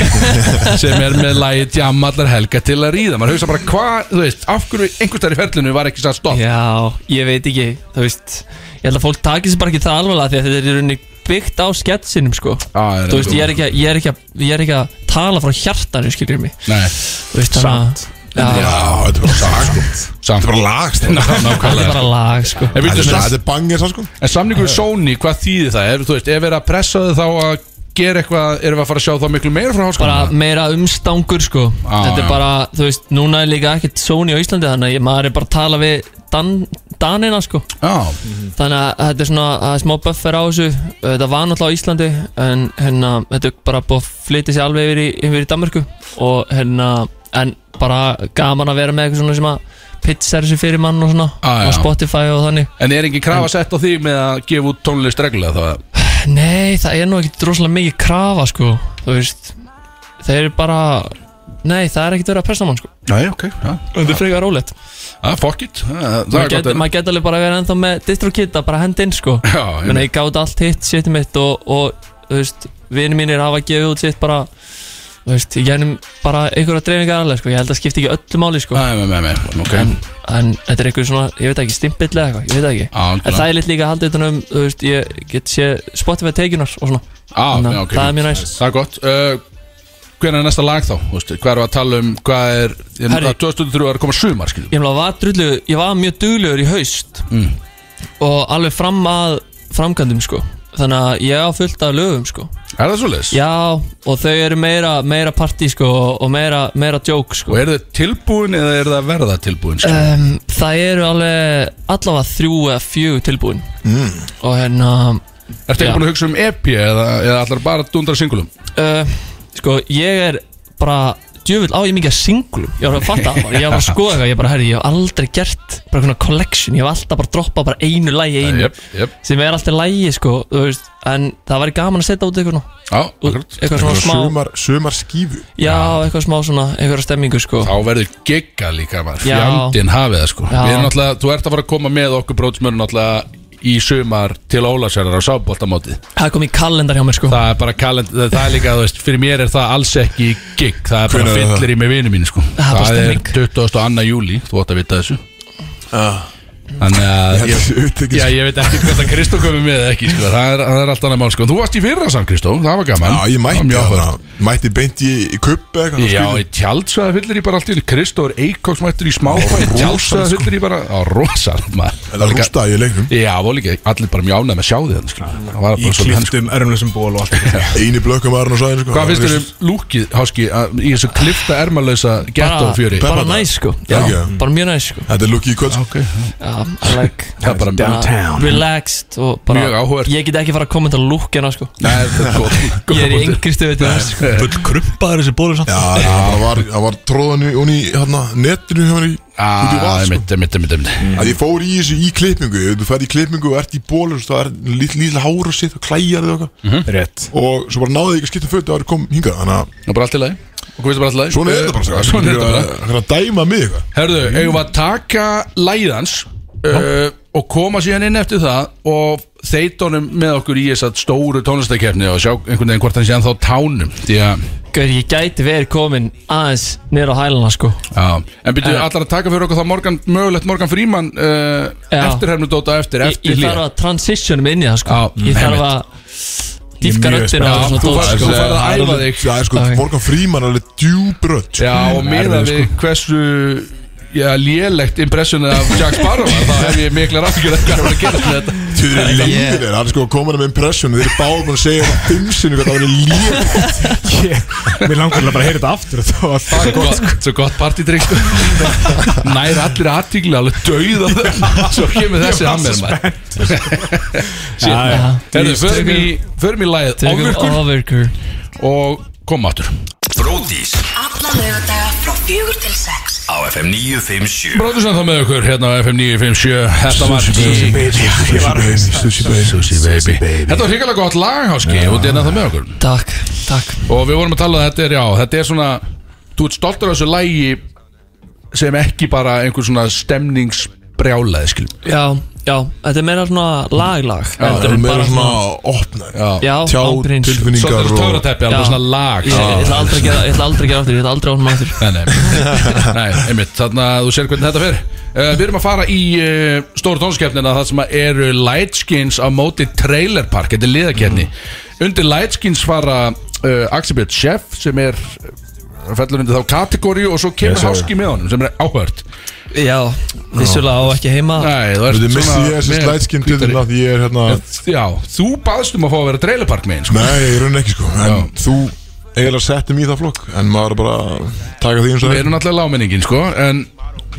[SPEAKER 5] sem er með lagi djamallar helga til að ríða maður hugsa bara hvað, þú veist, af hverju einhverstaðar í ferlinu var ekki sagt stopp
[SPEAKER 11] Já, ég veit ekki Þú veist Ég held að fólk taki sér bara ekki það alvarlega Því að þetta er í rauninni byggt á sketsinum sko
[SPEAKER 5] ah,
[SPEAKER 11] Þú veist, ég er ekki, að- ég er ekki, að- ég er ekki að tala frá hjartanu skilur mig [laughs]
[SPEAKER 5] Nei,
[SPEAKER 11] Þú veist, þannig að Já,
[SPEAKER 1] Já, þetta er bara lag sko.
[SPEAKER 5] samt
[SPEAKER 1] Þetta er bara lag sko.
[SPEAKER 11] þetta er
[SPEAKER 5] nákvæmlega
[SPEAKER 11] bara lag sko
[SPEAKER 5] En
[SPEAKER 1] Þetta
[SPEAKER 5] býttu,
[SPEAKER 1] er-
[SPEAKER 5] sam-
[SPEAKER 1] Þetta er bangið svo sko
[SPEAKER 5] En samningur við Sony, hvað þýðir það? Er, þú veist, ef við erum að pressa þau þá að gera eitthvað, erum við að fara að sjá þá miklu meira frá háskóla?
[SPEAKER 11] bara meira umstangur sko
[SPEAKER 5] Á,
[SPEAKER 11] þetta er
[SPEAKER 5] já.
[SPEAKER 11] bara, þú veist, núna er líka ekkert Sony á Íslandi þannig að ég- maður er bara að tala við Dan, Danina sko
[SPEAKER 5] Já,
[SPEAKER 11] þannig að þetta er svona að smá buffer á þessu þetta var náttúrulega á Íslandi en hérna, þetta er bara búið að flytja sér alveg yfir í, yfir í Danmarku og hérna, en bara gaman að vera með eitthvað svona sem að pitsar þessu fyrir mann og svona
[SPEAKER 5] Á, Ah, já.
[SPEAKER 11] og Spotify og þannig
[SPEAKER 5] en er engin krafa sett á því með að gefa út tónlist reglulega þá?
[SPEAKER 11] Nei, það er nú ekkert rosalega mikið krafa sko, þú veist þeir eru bara, nei, það er ekkert verið að pressa mann sko,
[SPEAKER 5] Nei, ok, já,
[SPEAKER 11] þetta er frekar rólegt
[SPEAKER 5] ah, fuck it, Ah, það er
[SPEAKER 11] maður
[SPEAKER 5] gott
[SPEAKER 11] get,
[SPEAKER 5] en-
[SPEAKER 11] mað get alveg bara verið ennþá með distro kitta bara hend inn sko
[SPEAKER 5] Já,
[SPEAKER 11] Menna,
[SPEAKER 5] einmitt.
[SPEAKER 11] ég gáði allt hitt sétt mitt og, og þú veist, vinir mínir hafa gefið út sitt bara þú veist, ég gennum bara einhverja dreifingar alveg sko, ég held að skipti ekki öllu máli sko
[SPEAKER 5] Nei, nei, nei, nei, Ah, ok
[SPEAKER 11] en, en þetta er einhver svona, ég veit ekki, stimpill eða eitthvað, ég veit það ekki
[SPEAKER 5] Já,
[SPEAKER 11] En
[SPEAKER 5] algjörlega.
[SPEAKER 11] það er litt líka að halda utan um, þú veist, ég get sé Spotify tekinar og svona
[SPEAKER 5] Á,
[SPEAKER 11] Þannig
[SPEAKER 5] Ah, já,
[SPEAKER 11] að
[SPEAKER 5] ok.
[SPEAKER 11] það er mjög næst.
[SPEAKER 5] Það er gott uh, Hvernig er næsta lag þá? Þú veist, Hvað erum við að tala um, hvað er er-
[SPEAKER 11] Herri.
[SPEAKER 5] að 2003 er að koma sumar, skiljum
[SPEAKER 11] Ég, mjög, var drullu, ég var mjög duglegur í haust
[SPEAKER 5] Mm.
[SPEAKER 11] og alveg fram að framkvæmdum sko Þannig að ég á fullt af lögum sko
[SPEAKER 5] Er það svoleiðis?
[SPEAKER 11] Já, og þau eru meira, meira partí sko og- og meira, meira joke sko
[SPEAKER 5] Og er það tilbúin eða er það að verða tilbúin? skiljum?
[SPEAKER 11] um, Það eru alveg allavega þrjú eða fjögur tilbúin mm. og hérna
[SPEAKER 5] Ertu
[SPEAKER 11] já.
[SPEAKER 5] ekki búin að hugsa um EP eða, eða allar bara að dundra singulum?
[SPEAKER 11] uh, sko ég er bara djöfull á ég mikið að singlum ég var að fatta það bara, ég var bara að skoða eitthvað ég bara herri, ég hef aldrei gert bara svona collection ég hef alltaf bara droppað bara einu lægi einu
[SPEAKER 5] Jöp, jöp
[SPEAKER 11] sem er alltaf lægi sko þú veist, en það væri gaman að setja út eitthvað nú
[SPEAKER 5] Já, akkurat.
[SPEAKER 11] eitthvað svona smá
[SPEAKER 1] Sumar, sumar skífu
[SPEAKER 11] já, eitthvað smá svona einhverja stemmingu sko
[SPEAKER 5] Þá verður gegga líka maður
[SPEAKER 11] Já.
[SPEAKER 5] Fjandinn hafið það sko
[SPEAKER 11] Já.
[SPEAKER 5] Við erum náttúrulega, þú ert að fara að koma með okkur brótsmörn náttúrulega í sumar til Ólasverðar á sábóltamóti
[SPEAKER 11] það kom í kalendar hjá mér sko
[SPEAKER 5] Það er bara kalend, það, það er líka, þú veist, fyrir mér er það alls ekki gig Það er bara
[SPEAKER 1] Hvenær er það?
[SPEAKER 5] fyllir í með vinnu mín sko
[SPEAKER 11] er bara
[SPEAKER 5] Það er
[SPEAKER 11] stemning.
[SPEAKER 5] 22. júli, þú átt að vita þessu Þannig að
[SPEAKER 1] Þetta
[SPEAKER 5] ég,
[SPEAKER 1] er uttekist
[SPEAKER 5] Já, ég veit ekki hvort að Kristó komið með eða ekki sko. það, er, það er allt annað mál sko. Þú varst í fyrra samt Kristó, það var gaman
[SPEAKER 1] Já, ég mætti
[SPEAKER 5] það var mjög
[SPEAKER 1] þarna.
[SPEAKER 5] áhugavert.
[SPEAKER 1] Mætti beint í, í kupp eða eitthvað
[SPEAKER 5] Já,
[SPEAKER 1] skrýtið?
[SPEAKER 5] í tjaldsvæða fyllir ég bara allt í Kristóður Eikóks mættur í smáfæ
[SPEAKER 1] Rosalegt,
[SPEAKER 5] Tjaldsvæða
[SPEAKER 1] sko.
[SPEAKER 5] fyllir ég bara á rosalegt maður
[SPEAKER 1] En það rústaði í
[SPEAKER 5] [laughs]
[SPEAKER 1] leiknum.
[SPEAKER 5] Já, voru líka allir bara mjánað með sjáði þannig skilur Það var
[SPEAKER 2] Í
[SPEAKER 5] bara svolítið hann, sko.
[SPEAKER 2] kliftum, erumlösum ból og allt þetta.
[SPEAKER 1] Einu blökkum var hann á sæðin sko.
[SPEAKER 5] Hvað finnst þér um lúkið, Háski, að- í þessu klifta ermalösa ghetto fjöri?
[SPEAKER 11] bara næs sko
[SPEAKER 1] Já.
[SPEAKER 11] bara mjög næs sko
[SPEAKER 1] Þetta er lukki í kvöld
[SPEAKER 5] Ah, Ok, já.
[SPEAKER 11] Já, I like
[SPEAKER 5] það er bara
[SPEAKER 2] Downtown.
[SPEAKER 11] relaxed og bara
[SPEAKER 5] Mjög áhugavert.
[SPEAKER 11] ég get ekki fara að kommenta lúkina sko
[SPEAKER 5] Nei, þetta er góð
[SPEAKER 11] ég er í
[SPEAKER 5] punktur.
[SPEAKER 11] yngri stöðu til þess sko.
[SPEAKER 3] Full krumpaður þessi bólur samt
[SPEAKER 1] Já, það var, það var tróðan í, hún í hérna, netinu hjá hann í
[SPEAKER 5] Ah,
[SPEAKER 1] út í vatn, sko.
[SPEAKER 5] einmitt, einmitt, einmitt, einmitt.
[SPEAKER 1] Að ég fór í þessu í klippingu Ef þú ferð í klippingu og ert í bólur Það er lítið lítið hára sitt og klæjar þig og
[SPEAKER 5] Mm.
[SPEAKER 1] eitthvað
[SPEAKER 2] Rétt.
[SPEAKER 1] Og svo bara náði ég ekki að skipta fötu ári kom hingað Þannig að
[SPEAKER 5] Það er bara allt í lagi Okkur finnst það bara allt í lagi
[SPEAKER 1] svona er þetta bara
[SPEAKER 5] Eh,
[SPEAKER 1] sko.
[SPEAKER 5] Svona er þetta bara
[SPEAKER 1] Það er að dæma mig eitthvað
[SPEAKER 5] Herðu, eigum við að taka læðans uh, og koma síðan inn eftir það og þeitunum með okkur í þess að stóru tónlistakefni og sjá einhvern veginn hvort hann sé ennþá á tánum því að,
[SPEAKER 11] Gaur, ég gæti verið komin aðeins niður á hælana sko
[SPEAKER 5] já, en byrju
[SPEAKER 11] Eh.
[SPEAKER 5] allar að taka fyrir okkur þá morgan, mögulegt Morgan Fríman uh,
[SPEAKER 11] Já.
[SPEAKER 5] eftirhermnudóta eftir,
[SPEAKER 11] ég,
[SPEAKER 5] eftir
[SPEAKER 11] ég
[SPEAKER 5] hlé
[SPEAKER 11] þarf að transitionum inn í það sko
[SPEAKER 5] Já,
[SPEAKER 11] ég
[SPEAKER 5] einmitt.
[SPEAKER 11] þarf að dýfka
[SPEAKER 2] mjög
[SPEAKER 11] röddina
[SPEAKER 5] Já,
[SPEAKER 11] og svona
[SPEAKER 5] þú
[SPEAKER 11] dót,
[SPEAKER 5] færð-
[SPEAKER 11] sko.
[SPEAKER 5] þú færð að æfa þig
[SPEAKER 1] Það er sko,
[SPEAKER 11] Ok.
[SPEAKER 1] Morgan Freeman er alveg sko. djúbrött
[SPEAKER 5] Já, og meða
[SPEAKER 2] erfiður,
[SPEAKER 5] við
[SPEAKER 11] sko.
[SPEAKER 5] hversu já, lélegt impressionið af Jack Sparrow var, þá hef ég mikla rafgjur hvað er að gera með þetta
[SPEAKER 1] Þau eru lífið Það er sko að koma með impression Þeir eru báðum búin að segja það fimm sinni Hvað það var lífið
[SPEAKER 2] Mér langar alveg bara að heyra þetta aftur og það var
[SPEAKER 5] Svo
[SPEAKER 2] það gott.
[SPEAKER 5] gott, svo gott partydrykk sko. Nær allir aðtíkli alveg dauða þeim. Svo kemur þessi að mér maður
[SPEAKER 2] Já,
[SPEAKER 5] Þegar við förum í, förum í lagið
[SPEAKER 11] Tökum
[SPEAKER 5] Ofvirkur
[SPEAKER 11] ofurkur
[SPEAKER 5] og koma aftur
[SPEAKER 6] Bróðís
[SPEAKER 8] Alla lögadaga frá fjögur til sex
[SPEAKER 6] á FM 957
[SPEAKER 5] Bróðursan þá með okkur hérna á FM 957 Þetta var
[SPEAKER 2] Sushi
[SPEAKER 5] í-
[SPEAKER 2] baby. Ég var að
[SPEAKER 1] Sushi baby
[SPEAKER 5] Sushi Baby Þetta var hrikalega gott lag háski og þetta er það með okkur
[SPEAKER 11] takk, takk
[SPEAKER 5] Og við vorum að tala um að þetta er já Þetta er svona, þú ert stoltur af þessu lagi sem ekki bara einhver svona stemningsbrjálaði skilum
[SPEAKER 11] já, já, þetta er meira svona laglag
[SPEAKER 1] Það
[SPEAKER 11] heldur
[SPEAKER 1] er
[SPEAKER 11] en
[SPEAKER 1] meira
[SPEAKER 11] bara
[SPEAKER 1] svona opnar
[SPEAKER 5] Já,
[SPEAKER 11] já,
[SPEAKER 1] Tjá
[SPEAKER 11] ángríns.
[SPEAKER 5] svo
[SPEAKER 1] tilfinningar
[SPEAKER 5] þetta er töfrateppi, alveg
[SPEAKER 11] Já.
[SPEAKER 5] svona lag
[SPEAKER 11] Ég ég ætla aldrei að gera ég ætla aldrei að gera aftur, ég ætla aldrei að honum aftur
[SPEAKER 5] Nei, nei, nei, einmitt, þannig að þú sér hvernig þetta fer uh, Við erum að fara í uh, stóru tónskeppnina Það sem að eru Lightskins á móti Trailer Park, þetta er liðakeppni
[SPEAKER 1] Mhm.
[SPEAKER 5] Undir Lightskins fara uh, Axel Björn Chef sem er uh, fellur undir þá kategóri og svo kemur yes, Háski með honum sem er áhört
[SPEAKER 11] já, vissulega á ekki
[SPEAKER 1] Ah.
[SPEAKER 11] heima
[SPEAKER 5] Nei, þú ert
[SPEAKER 1] Þú missi ég þessi
[SPEAKER 5] með
[SPEAKER 1] slætskinn til
[SPEAKER 5] hvítari-
[SPEAKER 1] þarna Því ég er hérna
[SPEAKER 5] Já, þú baðst um að fá að vera Trailer Park með einn sko.
[SPEAKER 1] Nei, ég raun ekki sko En
[SPEAKER 5] Já.
[SPEAKER 1] þú eiginlega settum í það flokk En maður er bara að taka því eins og
[SPEAKER 5] Við erum náttúrulega láminningin sko, en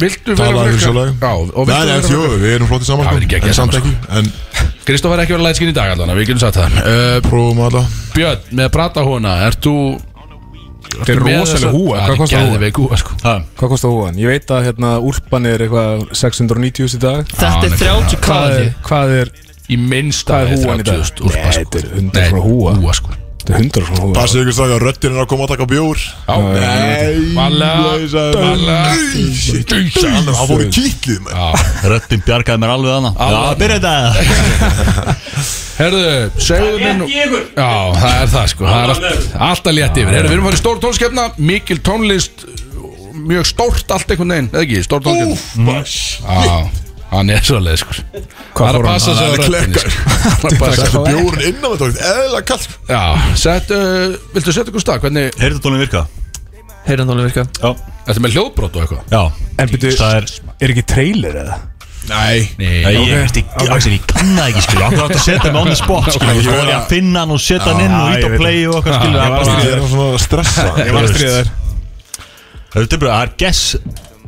[SPEAKER 5] viltu vera
[SPEAKER 1] Tala aðeins
[SPEAKER 5] frekar-
[SPEAKER 1] og lag
[SPEAKER 5] Já, og
[SPEAKER 1] Nei,
[SPEAKER 5] viltu
[SPEAKER 1] nei,
[SPEAKER 5] vera
[SPEAKER 1] jú, við erum flotti saman
[SPEAKER 5] Já, við erum
[SPEAKER 1] sko
[SPEAKER 5] geggjað
[SPEAKER 1] En samt
[SPEAKER 5] saman,
[SPEAKER 1] ekki En
[SPEAKER 5] Kristof er ekki verið lætskinn í dag allan, við getum sagt það uh,
[SPEAKER 1] prófum alla
[SPEAKER 5] Björn, með að prata húna, ert þú
[SPEAKER 2] Þetta er rosalega húa. Hvað kostar húa?
[SPEAKER 5] Geðveik húa, sko
[SPEAKER 3] Ha,
[SPEAKER 2] Hvað kostar húan? Ég veit að hérna úlpan er eitthvað 690 í dag.
[SPEAKER 11] þetta er 30
[SPEAKER 2] Hvað
[SPEAKER 11] kvaði
[SPEAKER 2] er, hvað er,
[SPEAKER 5] Í minnsta
[SPEAKER 2] hvað er húan í dag? Nei,
[SPEAKER 5] Úrpa, sko
[SPEAKER 2] þetta er 100 svona húa.
[SPEAKER 5] Húa, sko
[SPEAKER 2] Þetta er 100 svona húa.
[SPEAKER 1] Bara segja ykkur stakka, röddin er að koma að taka bjór Nei,
[SPEAKER 5] Valla, valla.
[SPEAKER 1] Nei, shit Hann hann fór í kýtlið maður.
[SPEAKER 3] Röddin bjargaði mér alveg annað Já, byrja þetta
[SPEAKER 5] Herðu, segðu minn Já, það er það, sko Það er allt- alltaf létt yfir Herðu, við erum farið í stór tónskefna Mikil tónlist Mjög stórt allt einhvern veginn Eða ekki, stór tónskefna
[SPEAKER 1] Úff, bara shit
[SPEAKER 5] Já, hann er svolítið, sko Það er að passa sig á
[SPEAKER 1] Hann er
[SPEAKER 5] röddinni,
[SPEAKER 1] klekkar
[SPEAKER 2] [laughs]
[SPEAKER 5] sko. Hann er að passa sig
[SPEAKER 1] Settu
[SPEAKER 5] á röddinni
[SPEAKER 1] bjórn innan með tókt Eðla kall
[SPEAKER 5] Já, sett, uh, viltu setja ykkur stað? Hvernig,
[SPEAKER 3] Heyrðu tónum virka
[SPEAKER 11] heyrðan alveg virka
[SPEAKER 3] Já,
[SPEAKER 5] ertu með hljóðbrot og eitthvað?
[SPEAKER 3] já
[SPEAKER 2] En byrju,
[SPEAKER 3] Það er
[SPEAKER 2] er ekki trailer eða?
[SPEAKER 1] Nei
[SPEAKER 3] Nei, ég veist ekki, Axel, ég kann það ekki, skilur Akkur átt að setja mig on the spot, skilur Svo var ég að finna hann og setja hann inn og
[SPEAKER 2] ég
[SPEAKER 3] ít á
[SPEAKER 2] veit
[SPEAKER 3] play og okkar, skilur Það er bara
[SPEAKER 1] Ég er svona að stressa
[SPEAKER 3] Ég var að stríða þér Þetta er bara, það er guess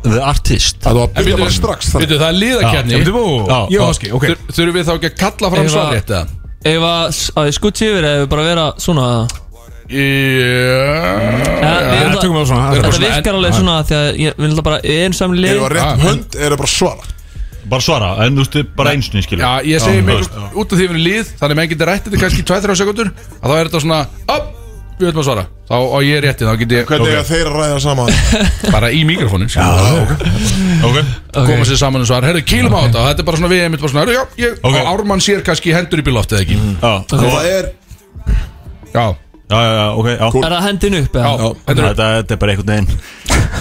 [SPEAKER 3] the artist
[SPEAKER 1] Það var að byrja bara
[SPEAKER 5] bíddu,
[SPEAKER 1] strax þannig.
[SPEAKER 5] Veitu, það er liðakerni
[SPEAKER 2] Ég veit þú,
[SPEAKER 3] Já,
[SPEAKER 2] ég
[SPEAKER 3] já.
[SPEAKER 2] og Háski, ok.
[SPEAKER 5] Þurfum við þá ekki að kalla fram
[SPEAKER 11] Ef að-
[SPEAKER 5] svarrétt eða?
[SPEAKER 11] ef að að ég skutt yfir eða við bara vera svona
[SPEAKER 5] Já
[SPEAKER 11] Eða,
[SPEAKER 2] Það
[SPEAKER 11] við erum það-
[SPEAKER 2] tökum við á svona. það er
[SPEAKER 5] Þetta bara
[SPEAKER 11] þetta
[SPEAKER 2] bara-
[SPEAKER 5] svona-
[SPEAKER 11] virkar alveg svona því að ég vil það bara ég er saman
[SPEAKER 1] Ef
[SPEAKER 11] lið
[SPEAKER 1] það var
[SPEAKER 5] Ah.
[SPEAKER 1] rétt um hönd, er það bara að svara
[SPEAKER 3] Bara svara, en þú veist, bara einsni, skilur
[SPEAKER 5] Já, ég segi
[SPEAKER 3] þú
[SPEAKER 5] mig
[SPEAKER 3] veist.
[SPEAKER 5] út af því við erum lið Þannig að menn getur rætt þetta kannski í 2-3 sekundur Að þá er þetta svona Upp, við veitum að svara Þá á ég rétti, þá get ég
[SPEAKER 1] Hvernig okay. þeir að ræða
[SPEAKER 5] [laughs]
[SPEAKER 1] saman
[SPEAKER 5] bara í mikrofónin Koma
[SPEAKER 3] Ok,
[SPEAKER 11] Ok.
[SPEAKER 5] sér saman og svara Herðu, kýlum á þetta Þetta er bara svona við einmitt bara svona Herðu, já, ég
[SPEAKER 3] Ok. Mm.
[SPEAKER 5] Og Ármann sér kannski hendur upp í loftið ekki
[SPEAKER 3] já,
[SPEAKER 1] Og það er
[SPEAKER 5] Já,
[SPEAKER 3] já, já, já, ok, já
[SPEAKER 11] er það hendin upp eða?
[SPEAKER 5] já, hendur upp
[SPEAKER 3] Þetta þetta er bara einhvern veginn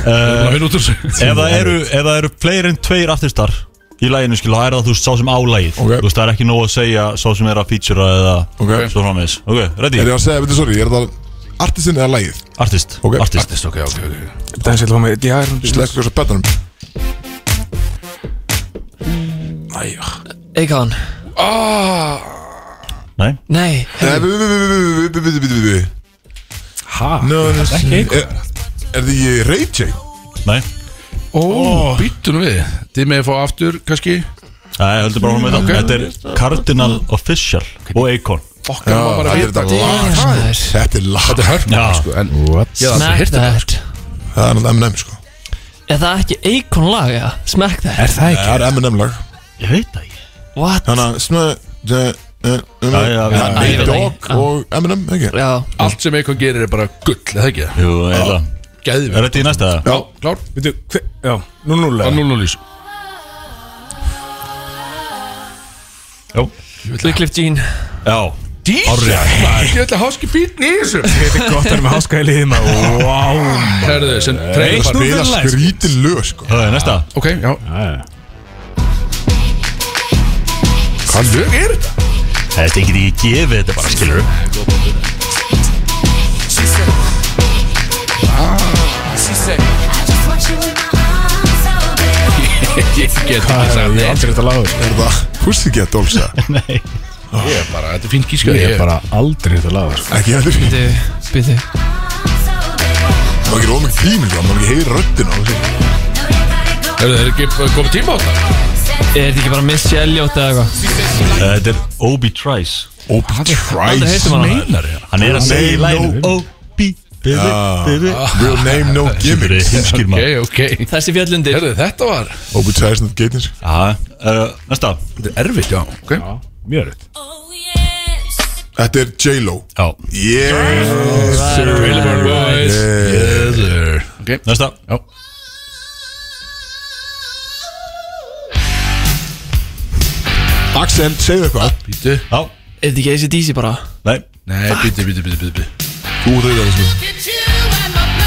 [SPEAKER 5] Það er hinn út úr sig
[SPEAKER 3] Ef það eru, ef það eru fleiri en tveir artistar í læginu skil, þá er það þú veist sá sem á lægið
[SPEAKER 1] Ok.
[SPEAKER 3] Þú veist, það er ekki nóg að segja sá sem er að featura eða
[SPEAKER 1] Ok.
[SPEAKER 3] svo framvegis Ok, ready?
[SPEAKER 1] Er ég að segja, veitir, sorry, ég er það artistin eða lagið?
[SPEAKER 3] Artist
[SPEAKER 1] Ok.
[SPEAKER 3] Artist
[SPEAKER 5] ok, ok, ok
[SPEAKER 2] Dans ég ætla að fá mig Já, er hún
[SPEAKER 1] Slekkur svo betanum
[SPEAKER 2] Næja
[SPEAKER 11] Eikon
[SPEAKER 3] Nei
[SPEAKER 11] Nei
[SPEAKER 1] Hæ? No, no,
[SPEAKER 5] ekki
[SPEAKER 1] er, er því Ray J?
[SPEAKER 3] Nei
[SPEAKER 5] Ó, býttu nú við Þið með að fá aftur, kannski
[SPEAKER 3] Nei, heldur bara hún með það
[SPEAKER 5] ok.
[SPEAKER 3] Þetta er Cardinal Official og Akon
[SPEAKER 5] Okkar má bara
[SPEAKER 1] þetta er
[SPEAKER 5] vita
[SPEAKER 1] þetta lag
[SPEAKER 11] maður.
[SPEAKER 1] sko. Þetta er lag
[SPEAKER 5] Þetta er hörna,
[SPEAKER 3] Já.
[SPEAKER 5] sko En ég hef aldrei
[SPEAKER 11] Smack
[SPEAKER 5] hirt þetta
[SPEAKER 11] that
[SPEAKER 1] Það er náttúrulega M&M sko
[SPEAKER 11] Er það ekki Eikon lag, já? Smack that
[SPEAKER 2] Er það ekki?
[SPEAKER 1] Það er M&M lag
[SPEAKER 3] Ég veit það ekki
[SPEAKER 11] What?
[SPEAKER 1] Þannig að uh, snöðu
[SPEAKER 3] Já, já, já.
[SPEAKER 11] Ég veit
[SPEAKER 1] Nate
[SPEAKER 11] það
[SPEAKER 1] Dogg
[SPEAKER 11] ekki.
[SPEAKER 1] um, og M&M ekki
[SPEAKER 11] Já
[SPEAKER 5] Allt sem eitthvað gerir er bara gull, eða ekki það?
[SPEAKER 3] Jú, eða
[SPEAKER 5] Gæðvig
[SPEAKER 3] Er þetta í næsta það?
[SPEAKER 5] Já, klár
[SPEAKER 2] Veitu, hver Já, nú núlega
[SPEAKER 5] Það er 0-0 ís
[SPEAKER 3] Jó
[SPEAKER 11] Wycliffe Jean
[SPEAKER 3] Já
[SPEAKER 5] Dísa, ég ætla að háski bítni í þessu
[SPEAKER 2] Þetta er gott að vera með háska í liðið maður Wow maður.
[SPEAKER 5] Herðu, sem
[SPEAKER 1] Það
[SPEAKER 5] treyfar
[SPEAKER 1] spila
[SPEAKER 2] snúður lag, sko.
[SPEAKER 1] skrítin lög sko
[SPEAKER 3] Það er næsta
[SPEAKER 5] Ok, já Hvað lög er þetta?
[SPEAKER 3] Það er ekki því ég gefi þetta bara, skilur
[SPEAKER 5] Ég get ekki
[SPEAKER 2] Það er
[SPEAKER 5] sagt
[SPEAKER 2] ég hef
[SPEAKER 5] neitt.
[SPEAKER 2] aldrei þetta lagur
[SPEAKER 1] Er það Pussycat Dolls eða?
[SPEAKER 3] Nei
[SPEAKER 5] Ég er bara, þetta er fín gíska
[SPEAKER 2] Ég hef bara aldrei þetta lagur
[SPEAKER 1] Ekki heldur
[SPEAKER 11] Býtu, býtu
[SPEAKER 1] Það er ekki ómeng tímil sko. Það er ekki heyri röddina á þessu.
[SPEAKER 5] Herðu, það er ekki komið tíma á þetta
[SPEAKER 11] Er þetta ekki bara Miss Elliot eða eitthvað?
[SPEAKER 3] Þetta er Obi Trice
[SPEAKER 1] Obi
[SPEAKER 11] Aldrei
[SPEAKER 1] Trice
[SPEAKER 11] heitum hann
[SPEAKER 5] Meinar ég
[SPEAKER 3] Hann er að segja í
[SPEAKER 1] Nei,
[SPEAKER 3] læginu Obi Bibi Bibi
[SPEAKER 1] Real name no
[SPEAKER 3] Gimmi
[SPEAKER 1] gimmicks
[SPEAKER 3] Hinskir
[SPEAKER 5] Ok,
[SPEAKER 3] maður
[SPEAKER 5] ok
[SPEAKER 11] Þessi fjallundir
[SPEAKER 5] Herðu, þetta var
[SPEAKER 1] Obi Trice not getins
[SPEAKER 3] Já, er það Næsta
[SPEAKER 5] Þetta er erfitt, já Ok
[SPEAKER 2] Mjög rétt
[SPEAKER 1] Þetta er J-Lo
[SPEAKER 3] Já
[SPEAKER 1] Yeah
[SPEAKER 5] Trailer Boys Together Ok
[SPEAKER 3] Næsta
[SPEAKER 5] Já
[SPEAKER 1] Axel, segðu eitthvað
[SPEAKER 5] Býtu
[SPEAKER 3] Já
[SPEAKER 11] Er þetta ekki ACDC bara?
[SPEAKER 3] Nei
[SPEAKER 5] Nei, býtu, býtu, býtu, býtu, býtu
[SPEAKER 1] Þú reyðar þessu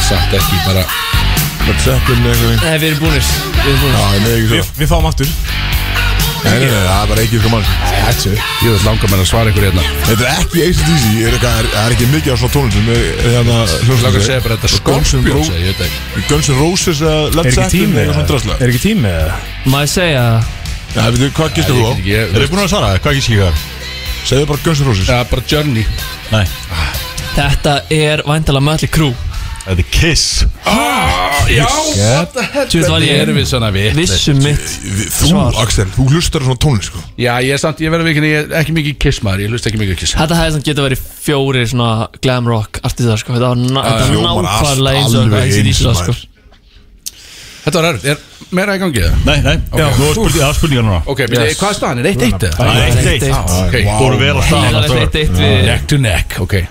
[SPEAKER 5] Samt ekki, bara
[SPEAKER 1] Led Zeppelin um eitthvað
[SPEAKER 11] Nei, við erum búnir Við erum búnir
[SPEAKER 1] Já, ég með ekki
[SPEAKER 2] Við,
[SPEAKER 1] svo
[SPEAKER 2] við fáum aftur
[SPEAKER 1] Nei, nei, nei, það er bara ekki eitthvað mann
[SPEAKER 5] Ættu Ég vil langa mér að svara ykkur hérna
[SPEAKER 1] Þetta er ekki ACDC er eitthvað- Það er- það er ekki mikið á svona tónum sem er er hérna
[SPEAKER 5] Ég langa að segja bara þetta Scorpions eða Ég veit ekki
[SPEAKER 1] Guns N' Roses eða Led
[SPEAKER 2] Er ekki
[SPEAKER 1] Zeppelin
[SPEAKER 2] tími
[SPEAKER 1] eða svona drasla
[SPEAKER 2] Er ekki tími eða?
[SPEAKER 11] Má ég segja
[SPEAKER 1] Já, veitu, hvað gistir þú á?
[SPEAKER 5] Ég- ég-
[SPEAKER 3] Er þið búin að svara? Hvað ekki skilja það?
[SPEAKER 1] Segðu bara Guns N' Roses
[SPEAKER 5] Já, bara Journey
[SPEAKER 3] Nei
[SPEAKER 11] Þetta er væntalega Mötli Crew
[SPEAKER 3] Þetta er Kiss
[SPEAKER 5] Ah, Já, what the hell
[SPEAKER 11] Tjóð var ég
[SPEAKER 5] Erum við svona við
[SPEAKER 11] Vissum mitt
[SPEAKER 1] Við- Þú,
[SPEAKER 11] Svar.
[SPEAKER 1] Axel, þú hlustar á svona tónlist sko
[SPEAKER 5] Já, ég er samt, ég verður vikinni, ég er ekki mikið kiss maður, ég hlust ekki mikið á kiss
[SPEAKER 11] Þetta hefði samt getið verið fjórir svona glam rock artistar sko Þetta var ná- þetta var
[SPEAKER 1] Hljómar allt
[SPEAKER 11] nákvæmlega eins og
[SPEAKER 1] alveg
[SPEAKER 11] ACDC
[SPEAKER 1] eins,
[SPEAKER 11] það sko
[SPEAKER 1] maður.
[SPEAKER 5] Þetta var erfitt, er meira í gangi það?
[SPEAKER 3] Nei, nei Já, nú er spurning- það er spurningar núna
[SPEAKER 5] Ok, yes. hvað er staðan, er eitt eitt eða?
[SPEAKER 3] Það er eitt eitt
[SPEAKER 11] Eitt,
[SPEAKER 5] Ok,
[SPEAKER 3] Bóru vel að
[SPEAKER 11] Það
[SPEAKER 3] staða
[SPEAKER 11] er eitt eitt við
[SPEAKER 5] neck to neck, ok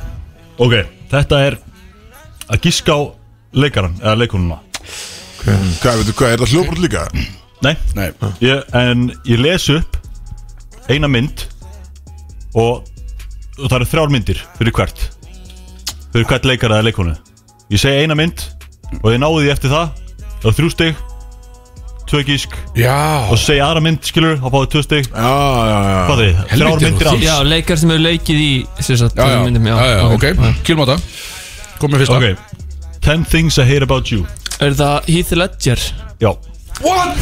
[SPEAKER 3] Ok, þetta er að gíska á leikaran eða leikununa
[SPEAKER 1] Hvað, veitu, hvað, er það hljóbrot líka?
[SPEAKER 3] Nei,
[SPEAKER 5] Nei,
[SPEAKER 3] ég, en ég les upp eina mynd og, og það eru þrjár myndir fyrir hvert fyrir hvert leikara eða leikonu ég segi eina mynd og ég náði því eftir það það er þrjú stig tvö gísk
[SPEAKER 5] já
[SPEAKER 3] og segi aðra mynd skilur þá fáið tvö stig
[SPEAKER 1] Já, já, já
[SPEAKER 3] hvað er þið? þrjár
[SPEAKER 5] Helvíti,
[SPEAKER 3] myndir
[SPEAKER 5] þú-
[SPEAKER 3] alls
[SPEAKER 11] Já, leikar sem hefur leikið í Sérsagt,
[SPEAKER 5] Já, já,
[SPEAKER 11] myndum,
[SPEAKER 5] já, já, ok, kýlum á það Kom með fyrsta
[SPEAKER 3] ok Ten things I hate about you
[SPEAKER 11] Er það Heath Ledger?
[SPEAKER 3] já
[SPEAKER 5] What?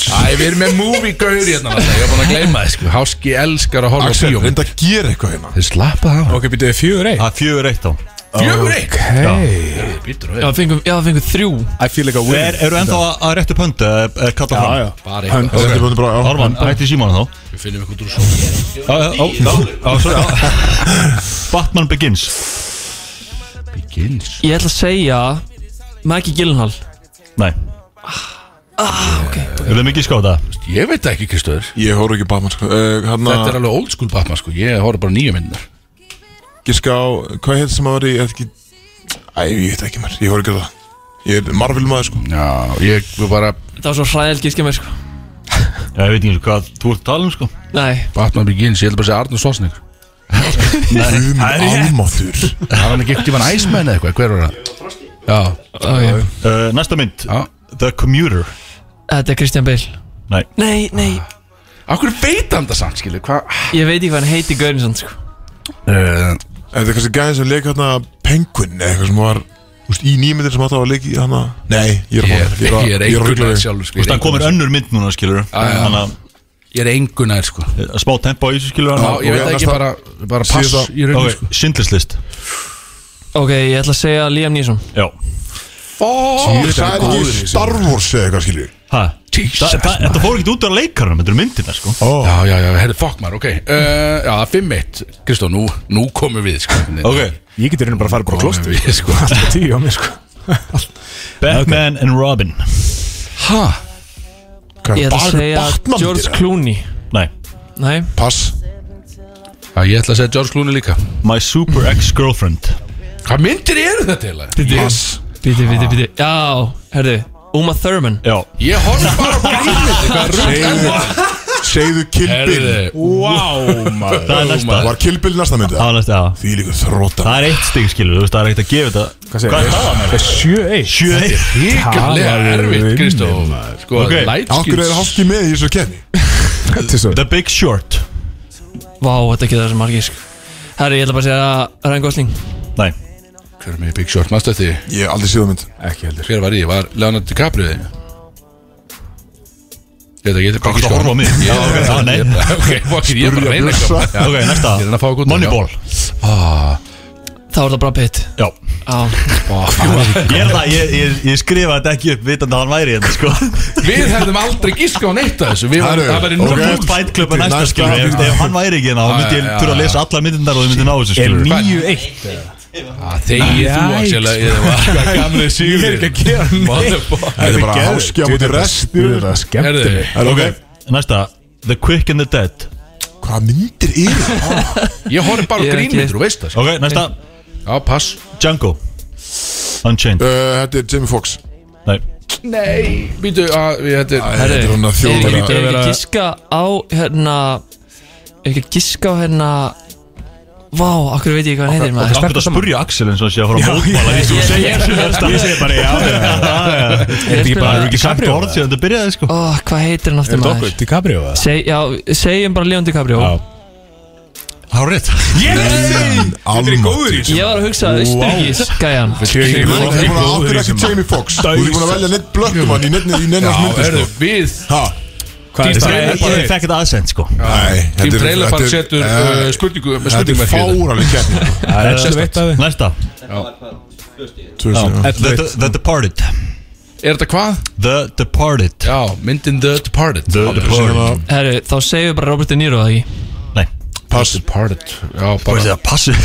[SPEAKER 5] Æ, við erum með movie gaur hérna náttúrulega, Ég var búin að gleyma þið, sko Háski elskar að horfa á
[SPEAKER 1] Axel,
[SPEAKER 5] bíó
[SPEAKER 1] reynda að gera eitthvað hérna
[SPEAKER 5] Þið slappa það
[SPEAKER 2] Ok, býttu við fjögur eitt
[SPEAKER 3] það er fjögur eitt á
[SPEAKER 5] Fjögur eitt
[SPEAKER 2] Hei
[SPEAKER 5] Býtur við
[SPEAKER 11] Já, það fengum, já, það fengum þrjú
[SPEAKER 2] I feel like a
[SPEAKER 3] er,
[SPEAKER 2] winner
[SPEAKER 3] eru ennþá að réttu pöntu eða eða kalla fram?
[SPEAKER 2] já
[SPEAKER 5] Bara
[SPEAKER 2] Hann-
[SPEAKER 5] eitthvað,
[SPEAKER 1] Þetta er bara bara, já
[SPEAKER 3] Ármann, hætti símónu þá
[SPEAKER 5] við finnum eitthvað úr svo
[SPEAKER 3] Já, já, já, [laughs] já, já, sorry, já. Batman Begins
[SPEAKER 5] Begins
[SPEAKER 11] Ég ætla að segja Maggie Gyllenhaal
[SPEAKER 3] Nei Ah, ok Er það mikið skáta?
[SPEAKER 5] Ég veit það ekki, Kristóður
[SPEAKER 1] Ég horf ekki Batman sko Hanna,
[SPEAKER 5] Þetta er alveg old school Batman, sko Ég horf bara nýja myndar
[SPEAKER 1] giska á, hvað heit sem að var í, eða ekki Æ, ég veit ekki mér, ég horf ekki á það Ég er Marvel maður sko
[SPEAKER 5] Já, ég var bara
[SPEAKER 11] Það var svo hræðil gíska mér sko
[SPEAKER 3] Já, ég veit ekki eins og hvað þú ert að tala um sko
[SPEAKER 11] Nei,
[SPEAKER 5] Batman Begins, ég held bara að segja Arnur Svarsningur
[SPEAKER 1] Guð minn almáþur
[SPEAKER 5] Var hann ekki ekkert í mann Iceman eða eitthvað, hver var það? Já,
[SPEAKER 11] ok
[SPEAKER 3] uh, Næsta mynd
[SPEAKER 5] Já.
[SPEAKER 3] The Commuter
[SPEAKER 11] Þetta er Christian Bale
[SPEAKER 3] Nei
[SPEAKER 11] Nei, nei
[SPEAKER 5] af hverju veit hann það samt, skilju, hvað?
[SPEAKER 11] Ég veit ekki hvað hann heiti Gaurinsson sko
[SPEAKER 5] Uh,
[SPEAKER 1] Þetta er kannski gæðin sem leik hérna Penguin eða eitthvað sem var úst, í nýmyndir sem átt á að leik í hana Nei, ég er að fá-
[SPEAKER 5] Ég er
[SPEAKER 1] að rugla
[SPEAKER 5] engunar
[SPEAKER 1] þig.
[SPEAKER 5] sjálfur
[SPEAKER 3] Þú veist, það komir önnur mynd núna, skilur Þannig að eh,
[SPEAKER 5] Ég er engunar, sko
[SPEAKER 3] Smá tempo í þessu, skilur
[SPEAKER 5] Já, ég veit ekki bara Bara pass í rauninni, sko
[SPEAKER 3] Sindlislist
[SPEAKER 11] Ok, ég ætla að segja Liam Neeson
[SPEAKER 3] Já
[SPEAKER 1] Jú, Það er ekki Star Wars eða eitthvað skilju
[SPEAKER 3] Hæ? Þetta fór ekki út á leikarunum, þetta eru myndirna, sko
[SPEAKER 1] oh.
[SPEAKER 5] Já, já, já, herri, fuck maður, ok uh, Já, 5-1, Kristó, nú, nú komum við, sko
[SPEAKER 2] Ég getur einu bara að fara bara á
[SPEAKER 5] Komum
[SPEAKER 2] klostur
[SPEAKER 5] við, sko
[SPEAKER 2] Alltaf tíu á mér sko
[SPEAKER 3] Batman and Robin
[SPEAKER 5] [laughs] Ha,
[SPEAKER 11] Ég ætla að segja
[SPEAKER 1] Batman
[SPEAKER 11] George
[SPEAKER 1] dýra?
[SPEAKER 11] Clooney
[SPEAKER 3] Nei
[SPEAKER 11] Nei,
[SPEAKER 1] Pass
[SPEAKER 5] já, ég ætla að segja George Clooney líka
[SPEAKER 3] My super ex-girlfriend
[SPEAKER 5] Hvað myndir eru þetta, eiginlega?
[SPEAKER 1] Pass
[SPEAKER 11] bíti, bíti, bíti Já, herðu, Uma Thurman
[SPEAKER 3] Já
[SPEAKER 5] Ég horf bara á grínviti, hvað
[SPEAKER 1] Segðu Segðu Kill Bill
[SPEAKER 5] Herðu,
[SPEAKER 2] Wow maður
[SPEAKER 3] Það er næsta
[SPEAKER 1] Var Kill Bill næsta myndið?
[SPEAKER 3] Það er næsta, já
[SPEAKER 1] Því líka þróta
[SPEAKER 3] Það er eitt stig, skilur, þú veist, það er ekkert að gefa þetta
[SPEAKER 2] Hvað segir
[SPEAKER 3] Hvað er það, maður?
[SPEAKER 2] Sjö eitt
[SPEAKER 3] Sjö eitt
[SPEAKER 5] híkarlega
[SPEAKER 2] Talaðu
[SPEAKER 5] erfitt,
[SPEAKER 2] við
[SPEAKER 5] Kristó
[SPEAKER 2] mig,
[SPEAKER 5] Sko,
[SPEAKER 3] Ok.
[SPEAKER 1] Akkur er
[SPEAKER 5] lightskins
[SPEAKER 1] háski með í þessu kefni
[SPEAKER 2] Þetta er svo
[SPEAKER 3] The Big Short
[SPEAKER 11] Vá, þetta getur þessi margir sko. Herri, ég ætla bara að segja Ryan Gosling
[SPEAKER 3] Nei
[SPEAKER 5] Hver er með í Big Short, maður stöð því
[SPEAKER 1] Ég hef aldrei séð það mynd
[SPEAKER 2] Ekki heldur
[SPEAKER 5] Hver var ég, var Leonardo DiCaprio þig? Þetta getur
[SPEAKER 3] Hvað er að horfa á mig? Já, ok, já, nei
[SPEAKER 5] Ok, fuck, it, ég er bara að reyna að koma
[SPEAKER 3] Ok, næsta
[SPEAKER 5] Ég er að fá að góta
[SPEAKER 3] Moneyball
[SPEAKER 11] Þá er það Brad Pitt
[SPEAKER 3] Já
[SPEAKER 11] Já,
[SPEAKER 3] Ég er það, ég, ég, ég skrifa þetta ekki upp vitandi að hann væri hérna, sko
[SPEAKER 5] Við hefðum aldrei gíska á neitt af þessu Við
[SPEAKER 1] Herru,
[SPEAKER 5] varum, það væri
[SPEAKER 1] ok.
[SPEAKER 5] núna
[SPEAKER 3] Þú ert Fight Club er næsta,
[SPEAKER 1] Næsta.
[SPEAKER 3] skilur Ef ef hann væri ekki hérna, þá myndi ég
[SPEAKER 5] Já, já,
[SPEAKER 3] þurfa að lesa allar myndindar og þið myndi ná þessu,
[SPEAKER 2] Er
[SPEAKER 3] skilur
[SPEAKER 2] níu eitt
[SPEAKER 5] Þegið þú,
[SPEAKER 2] Jæks.
[SPEAKER 5] Axel Hvað gamli
[SPEAKER 2] Ég er
[SPEAKER 5] sigur
[SPEAKER 2] ekki að gera neitt
[SPEAKER 1] Þetta er bara háski á múti rest
[SPEAKER 2] Þetta er að skemmta
[SPEAKER 5] Herðu,
[SPEAKER 1] Er ok
[SPEAKER 3] Næsta The Quick and the Dead
[SPEAKER 1] Hvað myndir eru það?
[SPEAKER 5] ég horf bara á
[SPEAKER 11] Ég er
[SPEAKER 5] grínmyndir,
[SPEAKER 11] ekki-
[SPEAKER 5] þú veist það sko.
[SPEAKER 3] Ok, næsta
[SPEAKER 5] Já, pass
[SPEAKER 3] Django Unchained
[SPEAKER 1] Uh, Þetta er Jamie Foxx
[SPEAKER 3] Nei
[SPEAKER 5] Nei Býtu, að við þetta er
[SPEAKER 1] Þetta er hann að
[SPEAKER 11] Ég er
[SPEAKER 1] þjóðverða
[SPEAKER 11] ekki- ég er ekki að giska á hérna Ég er ekki að giska á hérna Vá, akkur veit ég hvað hann heitir maður
[SPEAKER 3] Akkur þetta spurja Axel eins og hann sé að fara að mótmála því sem þú segir Ég segir bara já
[SPEAKER 11] Ég er
[SPEAKER 2] ekki bara-
[SPEAKER 11] ekki bara
[SPEAKER 3] Það er ekki sagt orð síðan þetta byrjaði sko
[SPEAKER 11] Ó, hvað heitir hann aftur
[SPEAKER 2] Er þetta okkur?
[SPEAKER 11] maður?
[SPEAKER 2] DiCaprio eða?
[SPEAKER 11] Seg, já, segjum bara Leon DiCaprio
[SPEAKER 2] Já.
[SPEAKER 3] Hárið
[SPEAKER 1] Almatur
[SPEAKER 11] Ég var að hugsa Sturgis gæjan
[SPEAKER 1] Þú
[SPEAKER 2] Ég
[SPEAKER 1] er búin að áttur ekki Jamie Foxx Þú er búin að velja neitt blökkum hann í neitt í neitt
[SPEAKER 5] Já,
[SPEAKER 1] myndir
[SPEAKER 5] herðu,
[SPEAKER 1] sko.
[SPEAKER 5] við
[SPEAKER 1] Ha?
[SPEAKER 2] Hvað er
[SPEAKER 3] Ég
[SPEAKER 2] þetta?
[SPEAKER 3] ég fekk þetta aðsend sko
[SPEAKER 1] Nei,
[SPEAKER 5] Tím
[SPEAKER 1] þetta er-
[SPEAKER 5] Trailerfall
[SPEAKER 1] þetta er-
[SPEAKER 5] setur
[SPEAKER 1] eh,
[SPEAKER 5] uh, spurningu með
[SPEAKER 1] Þetta
[SPEAKER 5] spurningum
[SPEAKER 1] er fáraleg kefni
[SPEAKER 2] Það er ellefu eitt af þið
[SPEAKER 3] Næsta
[SPEAKER 1] Tvö
[SPEAKER 3] The, the, the Departed
[SPEAKER 5] Er þetta hvað?
[SPEAKER 3] The Departed
[SPEAKER 5] Já, myndin The Departed
[SPEAKER 3] The Departed
[SPEAKER 11] Herru, þá segjum við bara Robert De Niro það ekki
[SPEAKER 3] Nei
[SPEAKER 1] Pass
[SPEAKER 5] Departed Já,
[SPEAKER 3] Hvað er
[SPEAKER 5] bara
[SPEAKER 3] þetta? Passu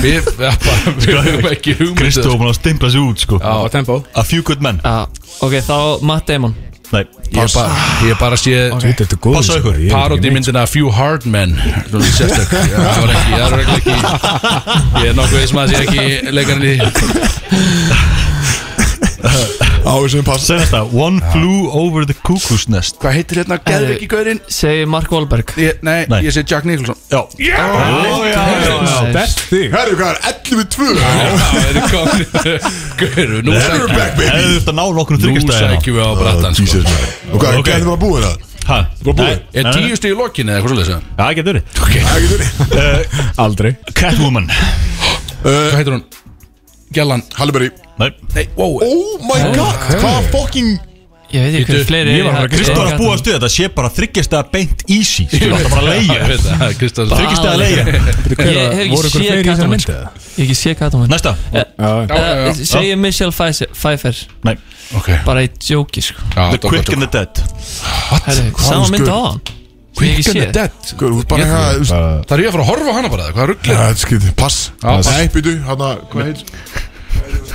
[SPEAKER 5] Við, já, bara, við höfum ekki hugmynd
[SPEAKER 3] Kristó búin að stimpla sig út sko
[SPEAKER 5] Já, tempo
[SPEAKER 3] A Few Good Men
[SPEAKER 11] Já, ok, þá Matt Damon
[SPEAKER 3] Nei
[SPEAKER 5] Ég er bara, ég er bara að sé
[SPEAKER 2] Þetta er góð
[SPEAKER 3] Passa ykkur.
[SPEAKER 5] Parodi myndina Few Hard Men Nú er sérstök Já, Það var ekki, það var ekki Ég er nokkuð sem að sé ekki leikarinn í
[SPEAKER 1] Á þessum pass
[SPEAKER 3] Segð þetta One Flew Over the Cuckoo's Nest
[SPEAKER 5] Hvað heitir hérna? Geðviki gaurinn?
[SPEAKER 11] Segjum Mark Wahlberg
[SPEAKER 5] Ég- Nei,
[SPEAKER 3] Nei.
[SPEAKER 5] ég sé Jack Nicholson
[SPEAKER 3] Já Já, já, já
[SPEAKER 2] Best þig
[SPEAKER 1] Herru, hvað er 11-2?
[SPEAKER 5] Það er komið Gauru, nú
[SPEAKER 1] We're
[SPEAKER 5] sækjum
[SPEAKER 1] back,
[SPEAKER 3] Hefðu
[SPEAKER 1] baby
[SPEAKER 3] þurft að ná nokkrum
[SPEAKER 5] Nú
[SPEAKER 3] þryggjastæðina
[SPEAKER 5] sækjum við á brattan sko
[SPEAKER 1] Jesus, man. Og hvað, hvað
[SPEAKER 3] Ok.
[SPEAKER 1] er þetta bara búið það?
[SPEAKER 3] Hæ?
[SPEAKER 1] Bara búið.
[SPEAKER 5] Er tíu stíð í lokinni eða eitthvað svolítið sem?
[SPEAKER 3] Já, getur verið
[SPEAKER 1] Það er ekki þurri
[SPEAKER 2] Aldrei
[SPEAKER 3] Catwoman
[SPEAKER 5] Hvað heitir hún? Gjallan
[SPEAKER 1] Halliberry
[SPEAKER 3] Nei
[SPEAKER 5] Nei, wow
[SPEAKER 1] Oh my god, hvað fucking
[SPEAKER 11] Ég veit ekki
[SPEAKER 5] Bíddu,
[SPEAKER 11] hver fleiri
[SPEAKER 2] ég var bara að
[SPEAKER 11] eru-
[SPEAKER 2] giska.
[SPEAKER 3] Kristof var
[SPEAKER 11] eru-
[SPEAKER 3] að búast við þetta sé bara þryggjastæða beint easy Skilur þetta bara
[SPEAKER 5] [laughs]
[SPEAKER 3] leigja
[SPEAKER 5] Kristall
[SPEAKER 3] Þryggjastæða leigja
[SPEAKER 5] [laughs]
[SPEAKER 2] Eh,
[SPEAKER 11] Ég hef ekki
[SPEAKER 2] ykkur
[SPEAKER 11] séð
[SPEAKER 2] fleiri í þessari
[SPEAKER 11] Katamann
[SPEAKER 2] mynd
[SPEAKER 11] sko.
[SPEAKER 2] eða?
[SPEAKER 11] Ég hef ekki séð Katamann
[SPEAKER 3] Næsta
[SPEAKER 2] Já,
[SPEAKER 11] Segjum Michelle Pfizer- Pfeiffer
[SPEAKER 3] Nei
[SPEAKER 5] Ok
[SPEAKER 11] Bara í jóki sko
[SPEAKER 5] Já,
[SPEAKER 3] The
[SPEAKER 5] dogg,
[SPEAKER 3] Quick
[SPEAKER 5] dogg.
[SPEAKER 3] and the Dead
[SPEAKER 11] Herru, sama
[SPEAKER 1] hún
[SPEAKER 11] mynd
[SPEAKER 1] skur-
[SPEAKER 11] á hann
[SPEAKER 5] Quick and the
[SPEAKER 11] séð.
[SPEAKER 5] Dead
[SPEAKER 1] Guður, þú ert bara eitthvað þú veist-
[SPEAKER 2] bara-
[SPEAKER 5] Það er ég að fara að horfa á hana bara eða? Hvað
[SPEAKER 1] Já,
[SPEAKER 5] rugglir?
[SPEAKER 1] Þetta er skrítið, pass
[SPEAKER 5] pass.
[SPEAKER 1] Nei, býtu, hann að, hvað heit?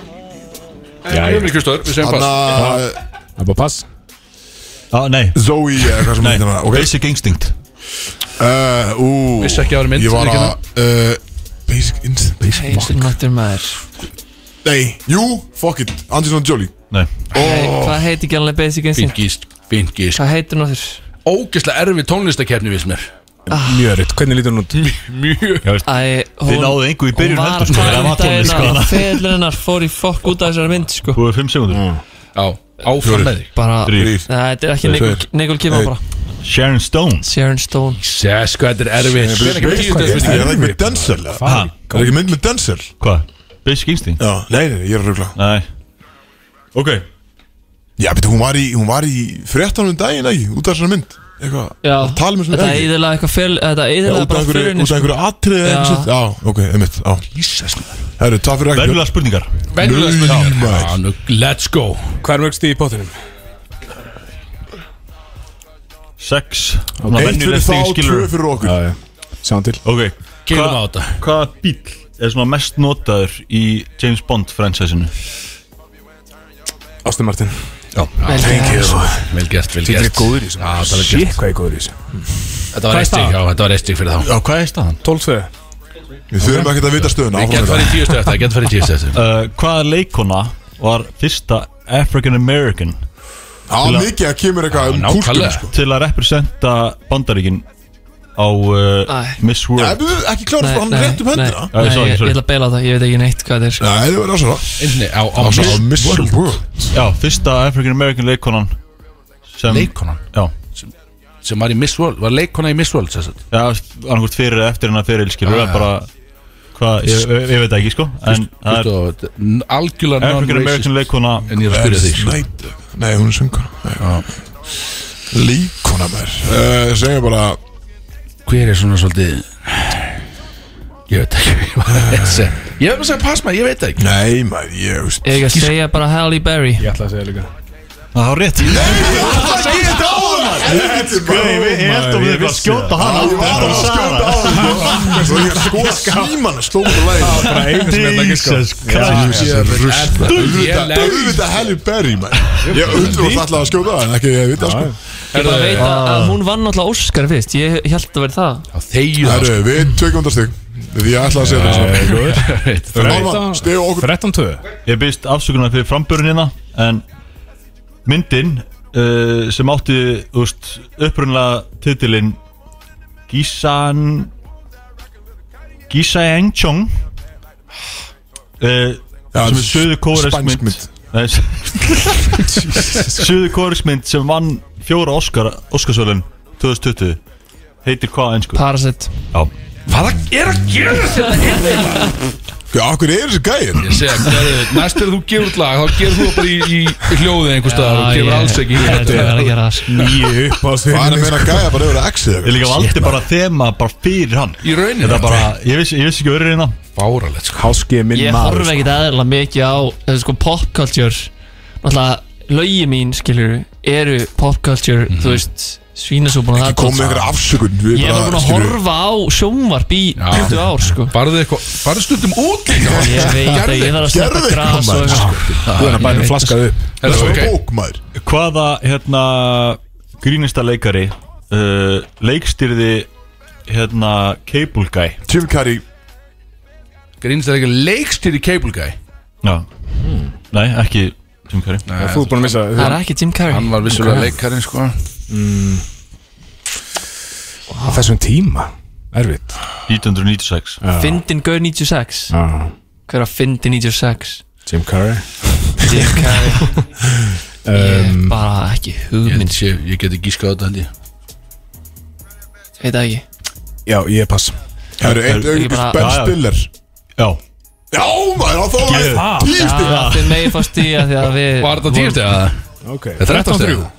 [SPEAKER 5] Við höfum í Kristall Við segjum
[SPEAKER 1] Hann
[SPEAKER 5] bara
[SPEAKER 1] að
[SPEAKER 2] Það er bara pass
[SPEAKER 3] Já, Ah, nei
[SPEAKER 1] Zoe, eða hvað sem
[SPEAKER 3] Nei
[SPEAKER 1] heitir hana Ok,
[SPEAKER 3] Basic Instinct
[SPEAKER 1] Uh, ú,
[SPEAKER 5] Vissi ekki að það væri mynd,
[SPEAKER 1] Ég var
[SPEAKER 5] ekki
[SPEAKER 1] að uh, Basic Instinct Basic
[SPEAKER 11] Heimstu náttúr maður
[SPEAKER 1] Nei, jú, fuck it Angelina Jolie
[SPEAKER 3] Nei
[SPEAKER 11] Hey,
[SPEAKER 1] Oh.
[SPEAKER 11] Hvað heitir gælanlega Basic Instinct?
[SPEAKER 5] Fingist Fingist
[SPEAKER 11] Hvað heitir náttúr?
[SPEAKER 5] Ógeðslega erfi tónlistakefni við sem er
[SPEAKER 2] Mjög erfitt Hvernig lítur hún út?
[SPEAKER 5] Mjög
[SPEAKER 11] Æ, hún
[SPEAKER 3] Þið náðu engu í byrjun
[SPEAKER 11] Hún var
[SPEAKER 3] heldur sko Það var
[SPEAKER 11] farin
[SPEAKER 3] tónlist
[SPEAKER 11] daginn
[SPEAKER 3] sko
[SPEAKER 11] að Feðlinn hérna. hennar fór í fokk út af þessari mynd sko
[SPEAKER 3] Þú er 5 sekundur
[SPEAKER 1] Mm.
[SPEAKER 5] Já Áfram með þig
[SPEAKER 11] Bara,
[SPEAKER 3] Þrýr
[SPEAKER 11] Nei, þetta er ekki Nicole- Nicole Kidman
[SPEAKER 1] Nei.
[SPEAKER 11] bara
[SPEAKER 3] Sharon Stone
[SPEAKER 11] Sharon Stone
[SPEAKER 5] Sess, hvað þetta er erfitt
[SPEAKER 1] Hver er ekki með tíu dansspurningin? Er það ekki með Denzel?
[SPEAKER 3] Ha?
[SPEAKER 1] Er það ekki mynd með Denzel?
[SPEAKER 3] Hvað? Basic Instinct?
[SPEAKER 1] Já, nei, nei, ég er að ruggla
[SPEAKER 3] Nei Ok
[SPEAKER 1] Já, betur, hún var í, hún var í 13. daginn, ekki, út af þessari mynd Eitthvað,
[SPEAKER 11] Já,
[SPEAKER 1] að tala með svona
[SPEAKER 11] þetta eðilega eitthvað fel, þetta
[SPEAKER 1] Já,
[SPEAKER 11] eðilega
[SPEAKER 1] út
[SPEAKER 11] bara sko.
[SPEAKER 1] af einhverju,
[SPEAKER 11] fyrir
[SPEAKER 1] út af einhverju atrið eða
[SPEAKER 11] Já.
[SPEAKER 1] eitthvað sitt. Já, ok, einmitt, já
[SPEAKER 5] Jesus maður.
[SPEAKER 1] Herru, takk fyrir ekki
[SPEAKER 3] Verðulega spurningar
[SPEAKER 5] Venjulega
[SPEAKER 1] Nei,
[SPEAKER 5] spurning.
[SPEAKER 1] maður.
[SPEAKER 5] Já, nú, Let's go
[SPEAKER 2] Hvað er mörgst í pottinum?
[SPEAKER 3] 6
[SPEAKER 1] Eitt fyrir þá, tvö fyrir okkur
[SPEAKER 2] já Sjáum til
[SPEAKER 3] Ok
[SPEAKER 5] Kegum á
[SPEAKER 3] Hva-
[SPEAKER 5] þetta
[SPEAKER 3] Hvaða bíl er svona mest notaður í James Bond fransæsinu?
[SPEAKER 2] Aston Martin
[SPEAKER 5] Vel gert, vel
[SPEAKER 2] Þetta er
[SPEAKER 5] gert
[SPEAKER 2] góður í þessu
[SPEAKER 5] Já, þetta var vel
[SPEAKER 2] Shit
[SPEAKER 5] gert.
[SPEAKER 2] hvað ég er góður í þessu
[SPEAKER 5] Þetta var estig, já, þetta var estig fyrir þá
[SPEAKER 3] Já, hvað er staðan?
[SPEAKER 2] 12-2
[SPEAKER 1] Við þurfum ekki að vita stöðuna áfram
[SPEAKER 5] Gætt
[SPEAKER 1] með það.
[SPEAKER 5] farið í tíu stöð eftir, gætt farið í tíu stöð eftir
[SPEAKER 3] Uh, hvaða leikona var fyrsta African American
[SPEAKER 1] Já, mikið að kemur eitthvað um kúltum
[SPEAKER 5] Nákvæmlega
[SPEAKER 1] sko.
[SPEAKER 3] til að representa bandaríkin á uh,
[SPEAKER 11] Æ.
[SPEAKER 3] Miss
[SPEAKER 1] Já,
[SPEAKER 3] World?
[SPEAKER 1] við höfum ekki klára frá hann rétt um hendina
[SPEAKER 3] Já,
[SPEAKER 11] Nei,
[SPEAKER 3] sorry,
[SPEAKER 11] ég, ég
[SPEAKER 3] sorry.
[SPEAKER 11] ætla að beila á það, ég veit ekki neitt hvað þetta er sko.
[SPEAKER 1] Nei, það var ásara
[SPEAKER 5] Einu sinni, á- á
[SPEAKER 1] Ásara,
[SPEAKER 5] Miss
[SPEAKER 1] Miss
[SPEAKER 5] World.
[SPEAKER 1] World
[SPEAKER 3] Já, fyrsta African American leikonan sem,
[SPEAKER 5] Leikkonan
[SPEAKER 3] Já,
[SPEAKER 5] sem var í Miss World var leikkona í Miss World sem sagt.
[SPEAKER 3] já annarkvort fyrir eða eftir hennar fyrir skilur ah, bara, hvað, ég, ég, ég veit það ekki sko en
[SPEAKER 5] Þú
[SPEAKER 3] það er
[SPEAKER 5] veist, og n- algjörlega
[SPEAKER 3] African
[SPEAKER 5] non-racist
[SPEAKER 3] American leikona
[SPEAKER 5] en ég er að spyrja þig sko.
[SPEAKER 1] Snæd Nei, hún er söngur Líkona mér Segja Eh, bara
[SPEAKER 5] hver er svona svolítið ég veit ekki ég var [laughs] að lesa. ég hef að segja pass maður, ég veit það ekki
[SPEAKER 1] Nei, maður, ég veist
[SPEAKER 11] Ég ekki að segja bara Halle Berry
[SPEAKER 2] Ég ætla að segja líka
[SPEAKER 3] Það er rétt Ég
[SPEAKER 1] Ég
[SPEAKER 3] ég held að við erum að skjóta hann
[SPEAKER 1] Ég var að skjóta á hann Svo ég sko síman Slóður lægir
[SPEAKER 2] Bara einu sem þetta ekki sko
[SPEAKER 3] Jesus Christ
[SPEAKER 1] Auðvitað, auðvitað Halle Berry, maður Ég undur og alltaf að skjóta það En ekki að vita, sko
[SPEAKER 11] Ég bara veit að, að hún vann alltaf Oscar fyrst Ég held að vera það
[SPEAKER 5] þegju sko. það
[SPEAKER 1] Herru, við tökum undar stygg Því ég ætla að segja þetta
[SPEAKER 5] sko.
[SPEAKER 1] Norman, stegu okkur
[SPEAKER 2] 13-2
[SPEAKER 3] Ég byrst afsökunar fyrir frambörunina En myndin uh, sem átti úst, upprunlega titilin Gisan Gisaeng Chong uh,
[SPEAKER 1] Já,
[SPEAKER 3] sem er söðu
[SPEAKER 1] spænsk mynd.
[SPEAKER 3] kóresmynd
[SPEAKER 1] [laughs]
[SPEAKER 3] söðu kóresmynd sem vann fjóra Óskar Óskarsvölin 2020 heitir hvað einsku?
[SPEAKER 11] Parasite
[SPEAKER 5] hvað er að gera þetta
[SPEAKER 1] Akkur er þessi gæðin?
[SPEAKER 5] ég segja, hverju, næst er þú gefur út lag þá gefur þú það bara í, í hljóðið einhver staðar og gefur alls ekki í
[SPEAKER 11] Ég held að vera
[SPEAKER 5] þetta.
[SPEAKER 11] að gera það sko.
[SPEAKER 2] Nýju upp á
[SPEAKER 1] Hvað er að
[SPEAKER 2] sviðinu
[SPEAKER 1] meina gæða bara yfir að exið
[SPEAKER 3] sko. Ég
[SPEAKER 1] eitthvað?
[SPEAKER 3] líka valdi bara þema bara fyrir hann
[SPEAKER 5] í rauninni
[SPEAKER 3] Þetta er bara, ég vissi, ég vissi ekki verið hérna
[SPEAKER 5] fáralegt sko.
[SPEAKER 2] Háski er minn
[SPEAKER 11] Ég
[SPEAKER 2] maður
[SPEAKER 11] horf
[SPEAKER 2] sko.
[SPEAKER 11] ekkert aðeins mikið á eh, sko, pop culture Náttúrulega lögi mín skilur eru pop culture Þú veist, svínasúpan og það
[SPEAKER 1] Ekki komið einhverja afsökun Við
[SPEAKER 11] Ég var búin
[SPEAKER 1] bara,
[SPEAKER 11] að
[SPEAKER 1] skilju
[SPEAKER 11] horfa á sjónvarp í 20 ár sko
[SPEAKER 5] farðu eitthvað, farðu stundum út líka.
[SPEAKER 11] Ég veit að ég þarf að
[SPEAKER 1] gerðu Sko,
[SPEAKER 11] sleppa
[SPEAKER 1] eitthvað,
[SPEAKER 11] gras og
[SPEAKER 1] maður.
[SPEAKER 11] eitthvað
[SPEAKER 2] Þú er að bæna flaskað upp
[SPEAKER 5] Er það
[SPEAKER 1] Það er
[SPEAKER 5] um ok?
[SPEAKER 1] bók maður
[SPEAKER 3] Hvaða, hérna, grínista leikari uh, leikstýrði, hérna, Cable Guy
[SPEAKER 1] Jim Carrey
[SPEAKER 5] Grínst er ekki leikstýri Cable Guy
[SPEAKER 3] Já Nei, ekki Jim Carrey
[SPEAKER 2] Þú er búin að missa
[SPEAKER 11] Það er ekki Jim Carrey
[SPEAKER 5] Hann var vissulega leikarinn sko
[SPEAKER 2] Á þessum tíma Erfitt
[SPEAKER 3] 1996
[SPEAKER 11] Fyndin Gaur 96
[SPEAKER 2] Já.
[SPEAKER 11] Hver að fyndi 96
[SPEAKER 2] Jim Carrey
[SPEAKER 11] Jim Carrey [laughs] Ég hef bara ekki hugmynd sko.
[SPEAKER 5] Mynd sé, ég geti gískað á þetta held ég
[SPEAKER 11] Veit það ekki
[SPEAKER 2] Já, ég pass
[SPEAKER 1] Það eru einn auðvitað
[SPEAKER 11] bara-
[SPEAKER 1] Ben
[SPEAKER 3] Já, já.
[SPEAKER 1] Stiller
[SPEAKER 3] Já
[SPEAKER 1] Já maður, þá var
[SPEAKER 3] Gerðu
[SPEAKER 11] Ah,
[SPEAKER 3] það.
[SPEAKER 1] það tíu stíl
[SPEAKER 11] Já, Þið megi fast í að því að við
[SPEAKER 5] Var þetta tíu steg?
[SPEAKER 2] Ok
[SPEAKER 5] Þetta er 13 steg Var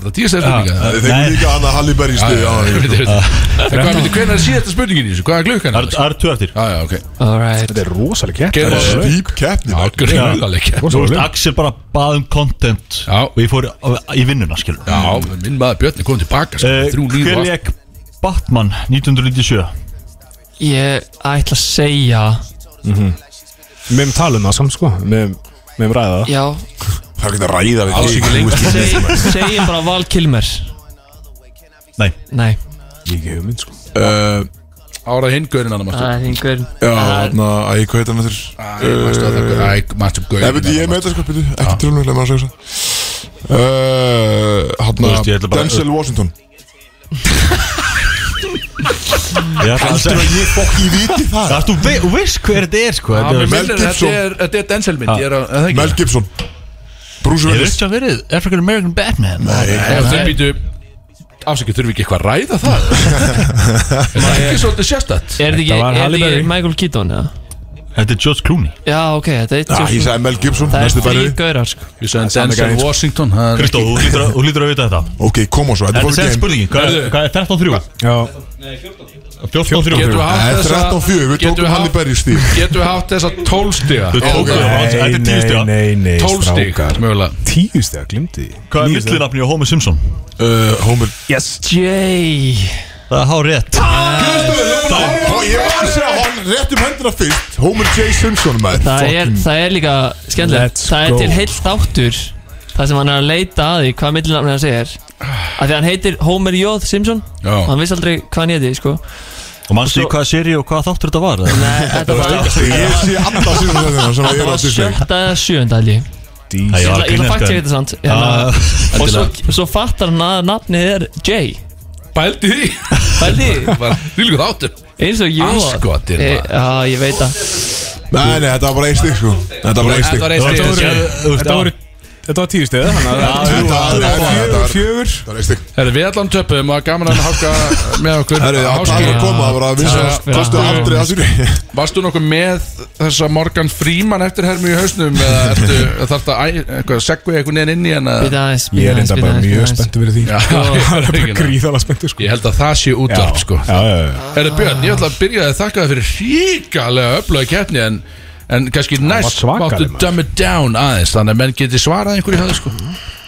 [SPEAKER 5] þetta tíu steg spurninga?
[SPEAKER 1] Þeir eru líka annað Halle Berry
[SPEAKER 5] Ah,
[SPEAKER 1] stíl
[SPEAKER 5] Hvernig er síðasta spurningin í þessu? Hvað er klukkan?
[SPEAKER 3] Það er- það eru tvö eftir
[SPEAKER 5] Já, já, ok
[SPEAKER 11] Alright
[SPEAKER 2] Þetta er rosalega kett
[SPEAKER 5] Gerðu það.
[SPEAKER 1] Svíp keppni
[SPEAKER 5] Já,
[SPEAKER 1] maður
[SPEAKER 5] grunnaleg
[SPEAKER 3] Þú veist, Axel bara bað um content
[SPEAKER 5] Já.
[SPEAKER 3] Og ég fór í- í vinnuna, skilur
[SPEAKER 5] Já, minn maður Björn er komið tilbaka sko, Þrjú líf
[SPEAKER 3] Hver
[SPEAKER 5] og allt
[SPEAKER 3] leik Batman 1997
[SPEAKER 11] Ég ætla að segja
[SPEAKER 2] Við hefum talað um það samt sko Við hefum- við hefum ræðað það
[SPEAKER 11] Já
[SPEAKER 1] Það er ekki að ræða við
[SPEAKER 5] Alls ekki lengur.
[SPEAKER 1] lengur
[SPEAKER 11] seg- Segjum bara Val Kilmer
[SPEAKER 3] Nei
[SPEAKER 11] Nei
[SPEAKER 2] Ég ekki hugmynd sko
[SPEAKER 5] Árað hinn gaurinn hann að
[SPEAKER 11] Það er einhver
[SPEAKER 1] Já, þarna, æ, hvað heitir hann þurr?
[SPEAKER 5] maður Æ, maður
[SPEAKER 1] Nei, veit,
[SPEAKER 5] gaurinn
[SPEAKER 1] ég með þetta sko, byrju, ekki trjónum, leið maður að segja þess
[SPEAKER 3] Þú
[SPEAKER 1] Hanna,
[SPEAKER 3] veist, ég ætla bara-
[SPEAKER 1] hérna, Denzel Washington
[SPEAKER 3] Ég ætla að segja
[SPEAKER 1] Ég fokk í viti það
[SPEAKER 3] Það er þú veist hver þetta er, sko Þetta er-
[SPEAKER 1] Mel Gibson.
[SPEAKER 5] Ah, Þetta er Denzel mynd Ég er að, að það
[SPEAKER 1] Mel Gibson Bruce
[SPEAKER 3] Ég
[SPEAKER 1] Willis
[SPEAKER 3] veist að verið African American Batman
[SPEAKER 1] Nei,
[SPEAKER 5] ekki Þau Eh, býtu afsækju þurfi ekki eitthvað að ræða
[SPEAKER 1] [laughs]
[SPEAKER 5] það Er það ekki svolítið sérstætt
[SPEAKER 11] Er þetta ekki, er þetta ekki Michael Keaton eða?
[SPEAKER 3] Þetta er George Clooney
[SPEAKER 11] Já, ok, þetta er
[SPEAKER 1] Já, ég sagði Mel Gibson,
[SPEAKER 11] Það
[SPEAKER 1] næstu
[SPEAKER 11] er
[SPEAKER 1] bæri.
[SPEAKER 11] þrý gaurar sko
[SPEAKER 5] Ég sagði
[SPEAKER 1] Sami
[SPEAKER 5] Denzel
[SPEAKER 1] gæinn.
[SPEAKER 5] Washington það er
[SPEAKER 3] Kristó,
[SPEAKER 5] ekki-
[SPEAKER 3] þú lítur að- þú lítur að vita þetta
[SPEAKER 1] Ok, kom og svo, þetta
[SPEAKER 3] Þetta
[SPEAKER 1] fór
[SPEAKER 3] er segð
[SPEAKER 1] ekki heim
[SPEAKER 3] spurningi, hvað er- hvað er 13-3?
[SPEAKER 2] Já,
[SPEAKER 3] 14-3
[SPEAKER 5] Getum
[SPEAKER 1] Það er 13-4, við
[SPEAKER 5] við haft þessa
[SPEAKER 3] Þetta
[SPEAKER 5] getum
[SPEAKER 1] tókum
[SPEAKER 5] haft-
[SPEAKER 1] Halli Berry stíl
[SPEAKER 5] Getum við haft þessa 12 stiga
[SPEAKER 3] er 12 stiga, þetta
[SPEAKER 2] Nei,
[SPEAKER 3] er 10
[SPEAKER 2] nei,
[SPEAKER 3] stiga
[SPEAKER 2] nei, nei,
[SPEAKER 5] 12 stiga
[SPEAKER 2] strákar
[SPEAKER 5] mögulega
[SPEAKER 2] Tíu stiga, glimti því
[SPEAKER 3] Hvað er millinafni á Homer Simpson?
[SPEAKER 1] Uh, Homer
[SPEAKER 2] Yes
[SPEAKER 11] Jay
[SPEAKER 3] Það er hár rétt
[SPEAKER 1] Og ég var að segja hann rétt um höndina fyrst Homer J. Simpson maður
[SPEAKER 11] Það er,
[SPEAKER 1] Fucking-
[SPEAKER 11] það er líka skemmtilegt
[SPEAKER 2] Let's
[SPEAKER 11] Það er
[SPEAKER 2] go.
[SPEAKER 11] til heilt áttur Það sem hann er að leita að því hvað millinafni hann segir Af því að hann heitir Homer Jóð Simpson
[SPEAKER 5] Já.
[SPEAKER 11] og hann vissi aldrei hvað hann heiti sko.
[SPEAKER 3] Og mannstu í hvaða séri og hvaða þáttur þetta var? eða?
[SPEAKER 11] Nei, þetta var,
[SPEAKER 1] Ég sé alla síðan þetta sem ég
[SPEAKER 11] þetta
[SPEAKER 1] er
[SPEAKER 11] var
[SPEAKER 1] að disney
[SPEAKER 11] sjönda eða sjöunda held ég
[SPEAKER 3] Nei,
[SPEAKER 11] Ég
[SPEAKER 3] var
[SPEAKER 11] ætla
[SPEAKER 3] að
[SPEAKER 11] ég ætla að
[SPEAKER 3] grínast,
[SPEAKER 11] fakta
[SPEAKER 3] en-
[SPEAKER 11] þetta samt hérna, Og svo, svo fattar hann að nafnið er Jay
[SPEAKER 5] Bældi því
[SPEAKER 11] Bæði
[SPEAKER 5] Bara Þvílíku þáttur
[SPEAKER 11] Eins og Jóð
[SPEAKER 5] Andskotir, maður.
[SPEAKER 11] Já, ég veit að
[SPEAKER 1] Nei, nei, þetta var bara einstig sko Þetta var einstig
[SPEAKER 5] Þetta var eitt
[SPEAKER 3] Þetta
[SPEAKER 5] stig
[SPEAKER 3] voru-
[SPEAKER 2] Þetta voru Þetta var tíu stiga Þannig að
[SPEAKER 1] Þetta
[SPEAKER 2] Fjögur,
[SPEAKER 1] var
[SPEAKER 2] fjögur
[SPEAKER 1] Þetta var einstig
[SPEAKER 5] Herri, við allan töpum og gaman að hálka með okkur
[SPEAKER 1] Herri, það
[SPEAKER 5] Háski,
[SPEAKER 1] var að koma, það var að vinsa
[SPEAKER 11] Takk
[SPEAKER 1] Kostu
[SPEAKER 11] fyrir.
[SPEAKER 1] aldrei að sýri
[SPEAKER 5] Varstu nokkuð með þessa Morgan Freeman eftir hermi í hausnum eða ertu, þarf það að æ- eitthvað, segja eitthvað neðan inn í hana
[SPEAKER 11] Býta aðeins
[SPEAKER 2] Ég
[SPEAKER 11] býta
[SPEAKER 2] er
[SPEAKER 11] aðeins,
[SPEAKER 2] enda
[SPEAKER 11] býta
[SPEAKER 2] bara mjög spenntu
[SPEAKER 11] aðeins, býta aðeins.
[SPEAKER 2] fyrir því [laughs]
[SPEAKER 5] Já,
[SPEAKER 2] Ég er bara
[SPEAKER 5] ekki ná.
[SPEAKER 2] gríðalega spenntu sko
[SPEAKER 5] Ég held að það sé útvarp sko
[SPEAKER 2] Já, já, já
[SPEAKER 5] Herri Björn, ég ætla að byrja að þakka það fyrir ríkalega öflöga keppni en, en kannski næst
[SPEAKER 2] svakaleg,
[SPEAKER 5] máttu
[SPEAKER 2] maður.
[SPEAKER 5] dumb it down aðeins þannig að menn geti svarað einhverju það sko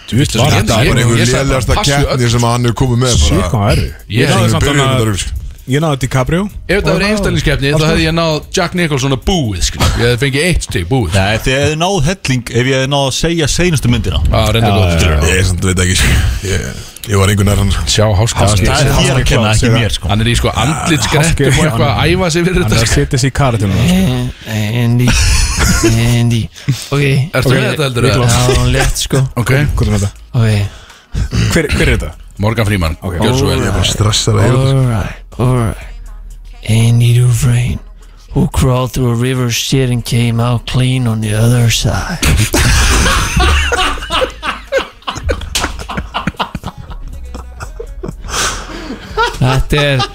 [SPEAKER 2] Djúvill
[SPEAKER 5] var
[SPEAKER 2] var
[SPEAKER 5] þetta
[SPEAKER 1] Það
[SPEAKER 2] þetta
[SPEAKER 1] var
[SPEAKER 5] Ég-
[SPEAKER 1] einhver
[SPEAKER 5] ég sagði bara,
[SPEAKER 1] lélegasta
[SPEAKER 5] passu
[SPEAKER 1] keppni sem hann hefur komið með
[SPEAKER 2] Svík
[SPEAKER 1] bara
[SPEAKER 2] hvað erðu
[SPEAKER 5] Ég-
[SPEAKER 2] Ég náði samt
[SPEAKER 1] Byrjun þetta
[SPEAKER 2] þannig
[SPEAKER 1] rugl
[SPEAKER 2] Ég náði þetta í Cabrio
[SPEAKER 5] Ef þetta verið einstaklingskeppni þá hefði ég náð Jack Nicholson að búið sko Ég hefði fengið eitt stig búið
[SPEAKER 3] Nei, því að ég hefði náð helling ef ég hefði náð að segja seinustu myndina
[SPEAKER 5] Það reyndi góð
[SPEAKER 1] Ég er samt veit ekki sko. Ég ég var einhvern nær hann sko.
[SPEAKER 5] Sjá háskast
[SPEAKER 3] Það er
[SPEAKER 2] Hann
[SPEAKER 3] þér
[SPEAKER 2] er
[SPEAKER 3] að
[SPEAKER 2] klár,
[SPEAKER 3] kenna, ekki
[SPEAKER 2] segðu
[SPEAKER 3] mér sko
[SPEAKER 5] Hann er í sko andlitsgreppum
[SPEAKER 2] Háski-
[SPEAKER 5] og eitthvað að æfa sig
[SPEAKER 2] Hann er
[SPEAKER 5] fyrir þetta
[SPEAKER 2] að
[SPEAKER 5] sko.
[SPEAKER 2] setja sig í karatunum
[SPEAKER 11] Eh, Andy Eh, Andy Ok
[SPEAKER 5] Ertu
[SPEAKER 11] Ok,
[SPEAKER 5] með þetta heldur
[SPEAKER 11] Já,
[SPEAKER 5] eða?
[SPEAKER 11] hún létt sko
[SPEAKER 5] Ok,
[SPEAKER 2] Hvað er þetta?
[SPEAKER 11] Ok
[SPEAKER 5] Mm.
[SPEAKER 2] Hver, hver er þetta?
[SPEAKER 5] Morgan Freeman Gjörðu svo vel.
[SPEAKER 1] Ég er bara stressað að heyra
[SPEAKER 11] Alright, alright Andy Dufresne Who crawled through a river of shit and came out clean on the other side Þetta er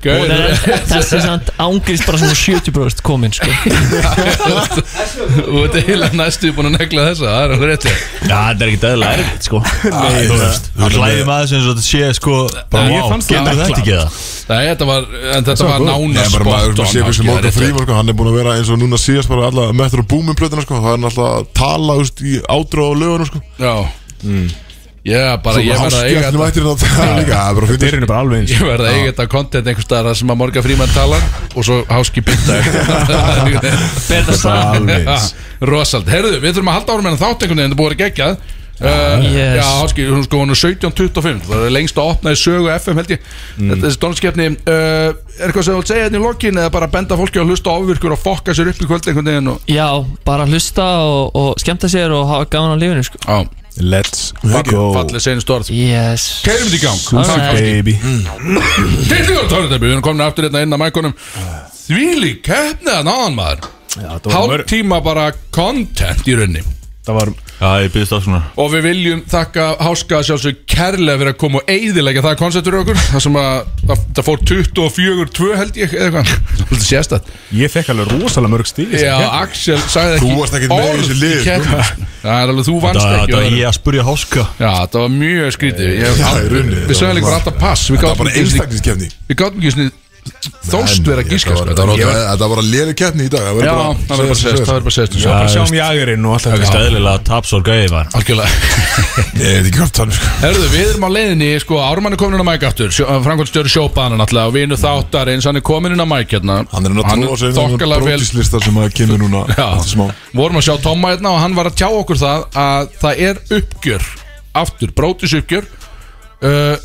[SPEAKER 5] Gaur,
[SPEAKER 11] Þetta er- Þessi samt ángrist bara svona 70% komin sko
[SPEAKER 5] Þú ert eiginlega næstu búin að negla þessa Það er alveg rétti
[SPEAKER 3] Já, þetta er ekki dæðilega erfitt sko [laughs] Nei, þú veist Það hlæði maður sem þetta sé sko
[SPEAKER 5] Nei,
[SPEAKER 3] Bara,
[SPEAKER 5] ég
[SPEAKER 3] vá,
[SPEAKER 5] fannst það
[SPEAKER 3] getur þetta
[SPEAKER 5] negla.
[SPEAKER 3] ekki það?
[SPEAKER 5] Nei, þetta var, en þetta var
[SPEAKER 1] Nei,
[SPEAKER 5] nána
[SPEAKER 1] bara maður sem sé hversu morgun
[SPEAKER 5] frí
[SPEAKER 1] frívar Hann er búin að vera eins og núna síðast bara alla Metro Boomin plötuna sko Það er hann alltaf að tala úst, í ádra og lögunum sko
[SPEAKER 5] Já Já, bara ég verð að eiga
[SPEAKER 1] Háskjallin
[SPEAKER 5] þetta
[SPEAKER 1] mættir hann Það er líka það er bara fyrir
[SPEAKER 2] Dyrinn er bara alveg eins
[SPEAKER 5] Ég verð að eiga þetta content einhvers staðar þar sem að Morgan Freeman talar og svo háski bytta
[SPEAKER 11] Ber það saman
[SPEAKER 2] Alveg eins
[SPEAKER 5] [laughs] Rosald, herðu, við þurfum að halda árum en þátt einhvern veginn, þetta er búið að gegja Uh,
[SPEAKER 11] Yes.
[SPEAKER 5] Já, áskil, hún sko hún er 17.25 Það er lengst að opna í sögu FM held ég Þetta er stónskeppni uh, Er eitthvað sem þú vilt segja hérna í lokin eða bara benda fólki að hlusta á ofvirkur og fokka sér upp í kvöld einhvern veginn og
[SPEAKER 11] Já, bara hlusta og, og skemmta sér og hafa gaman á lífinu sko
[SPEAKER 5] á,
[SPEAKER 2] Let's go
[SPEAKER 5] fallið senast orð
[SPEAKER 11] Yes
[SPEAKER 5] Keirum þetta í gang
[SPEAKER 11] Alright.
[SPEAKER 5] Takk áskil
[SPEAKER 2] Baby
[SPEAKER 5] Tiltingur tónlistarbi, við erum komin aftur hérna inn að mækunum Þvíli keppnið að náðan maður Hálf tíma bara content í rauninni
[SPEAKER 2] Það var
[SPEAKER 3] Já, ég byrðist það svona
[SPEAKER 5] Og við viljum þakka Háska sjálfsög kærlega fyrir að koma og eyðilegja það konceptur okkur Það sem að það það fór 24-2 held ég
[SPEAKER 1] [laughs]
[SPEAKER 5] eða eitthvað Svolítið sérstætt
[SPEAKER 2] Ég fekk alveg rosalega mörg stíð
[SPEAKER 5] Já, Axel sagði
[SPEAKER 1] Þú
[SPEAKER 5] ekki
[SPEAKER 1] varst ekkert með í þessu
[SPEAKER 5] orð
[SPEAKER 1] liði, sko.
[SPEAKER 5] í keppni. Það er alveg, þú vannst
[SPEAKER 3] Það
[SPEAKER 5] ekki
[SPEAKER 3] það er
[SPEAKER 5] var-
[SPEAKER 3] ég að spurja háska
[SPEAKER 5] Já, það var mjög skrítið ég,
[SPEAKER 1] Já, í rauninni.
[SPEAKER 5] Við sögum líka bara alltaf pass Við
[SPEAKER 1] Þetta var bara
[SPEAKER 5] gátum ekki einu sinni-
[SPEAKER 1] einstaklingskeppni
[SPEAKER 5] við gátum ekki svona þóst vera að gíska sko.
[SPEAKER 1] Þetta var-
[SPEAKER 5] Ég var-
[SPEAKER 1] þetta var bara léleg keppni í dag Það
[SPEAKER 5] Já,
[SPEAKER 1] verður bara-
[SPEAKER 5] það verður bara sérst Það verður bara sérst
[SPEAKER 2] Svo bara sjáum jágurinn og allt
[SPEAKER 3] Það er
[SPEAKER 2] þetta
[SPEAKER 3] stæðilega tapsór gæði var
[SPEAKER 5] Algjörlega
[SPEAKER 1] Nei, þetta er ekki hvort þannig sko
[SPEAKER 5] [laughs] Herðu, við erum á leiðinni, sko, Ármann er komin inn á mæk aftur eh, Frankvöldstjóri sjópaðan náttúrulega og vinur þáttar eins hann er komin inn á mæk hérna
[SPEAKER 1] Hann er
[SPEAKER 5] Hann
[SPEAKER 1] náttúrulega sér
[SPEAKER 5] þokkalega vel
[SPEAKER 1] Brókislista sem að kemur núna eftir smá.
[SPEAKER 5] Já, vorum að sjá Tomma hérna og hann var að tjá okkur það að það er uppgjör aftur, brótis uppgjör uh,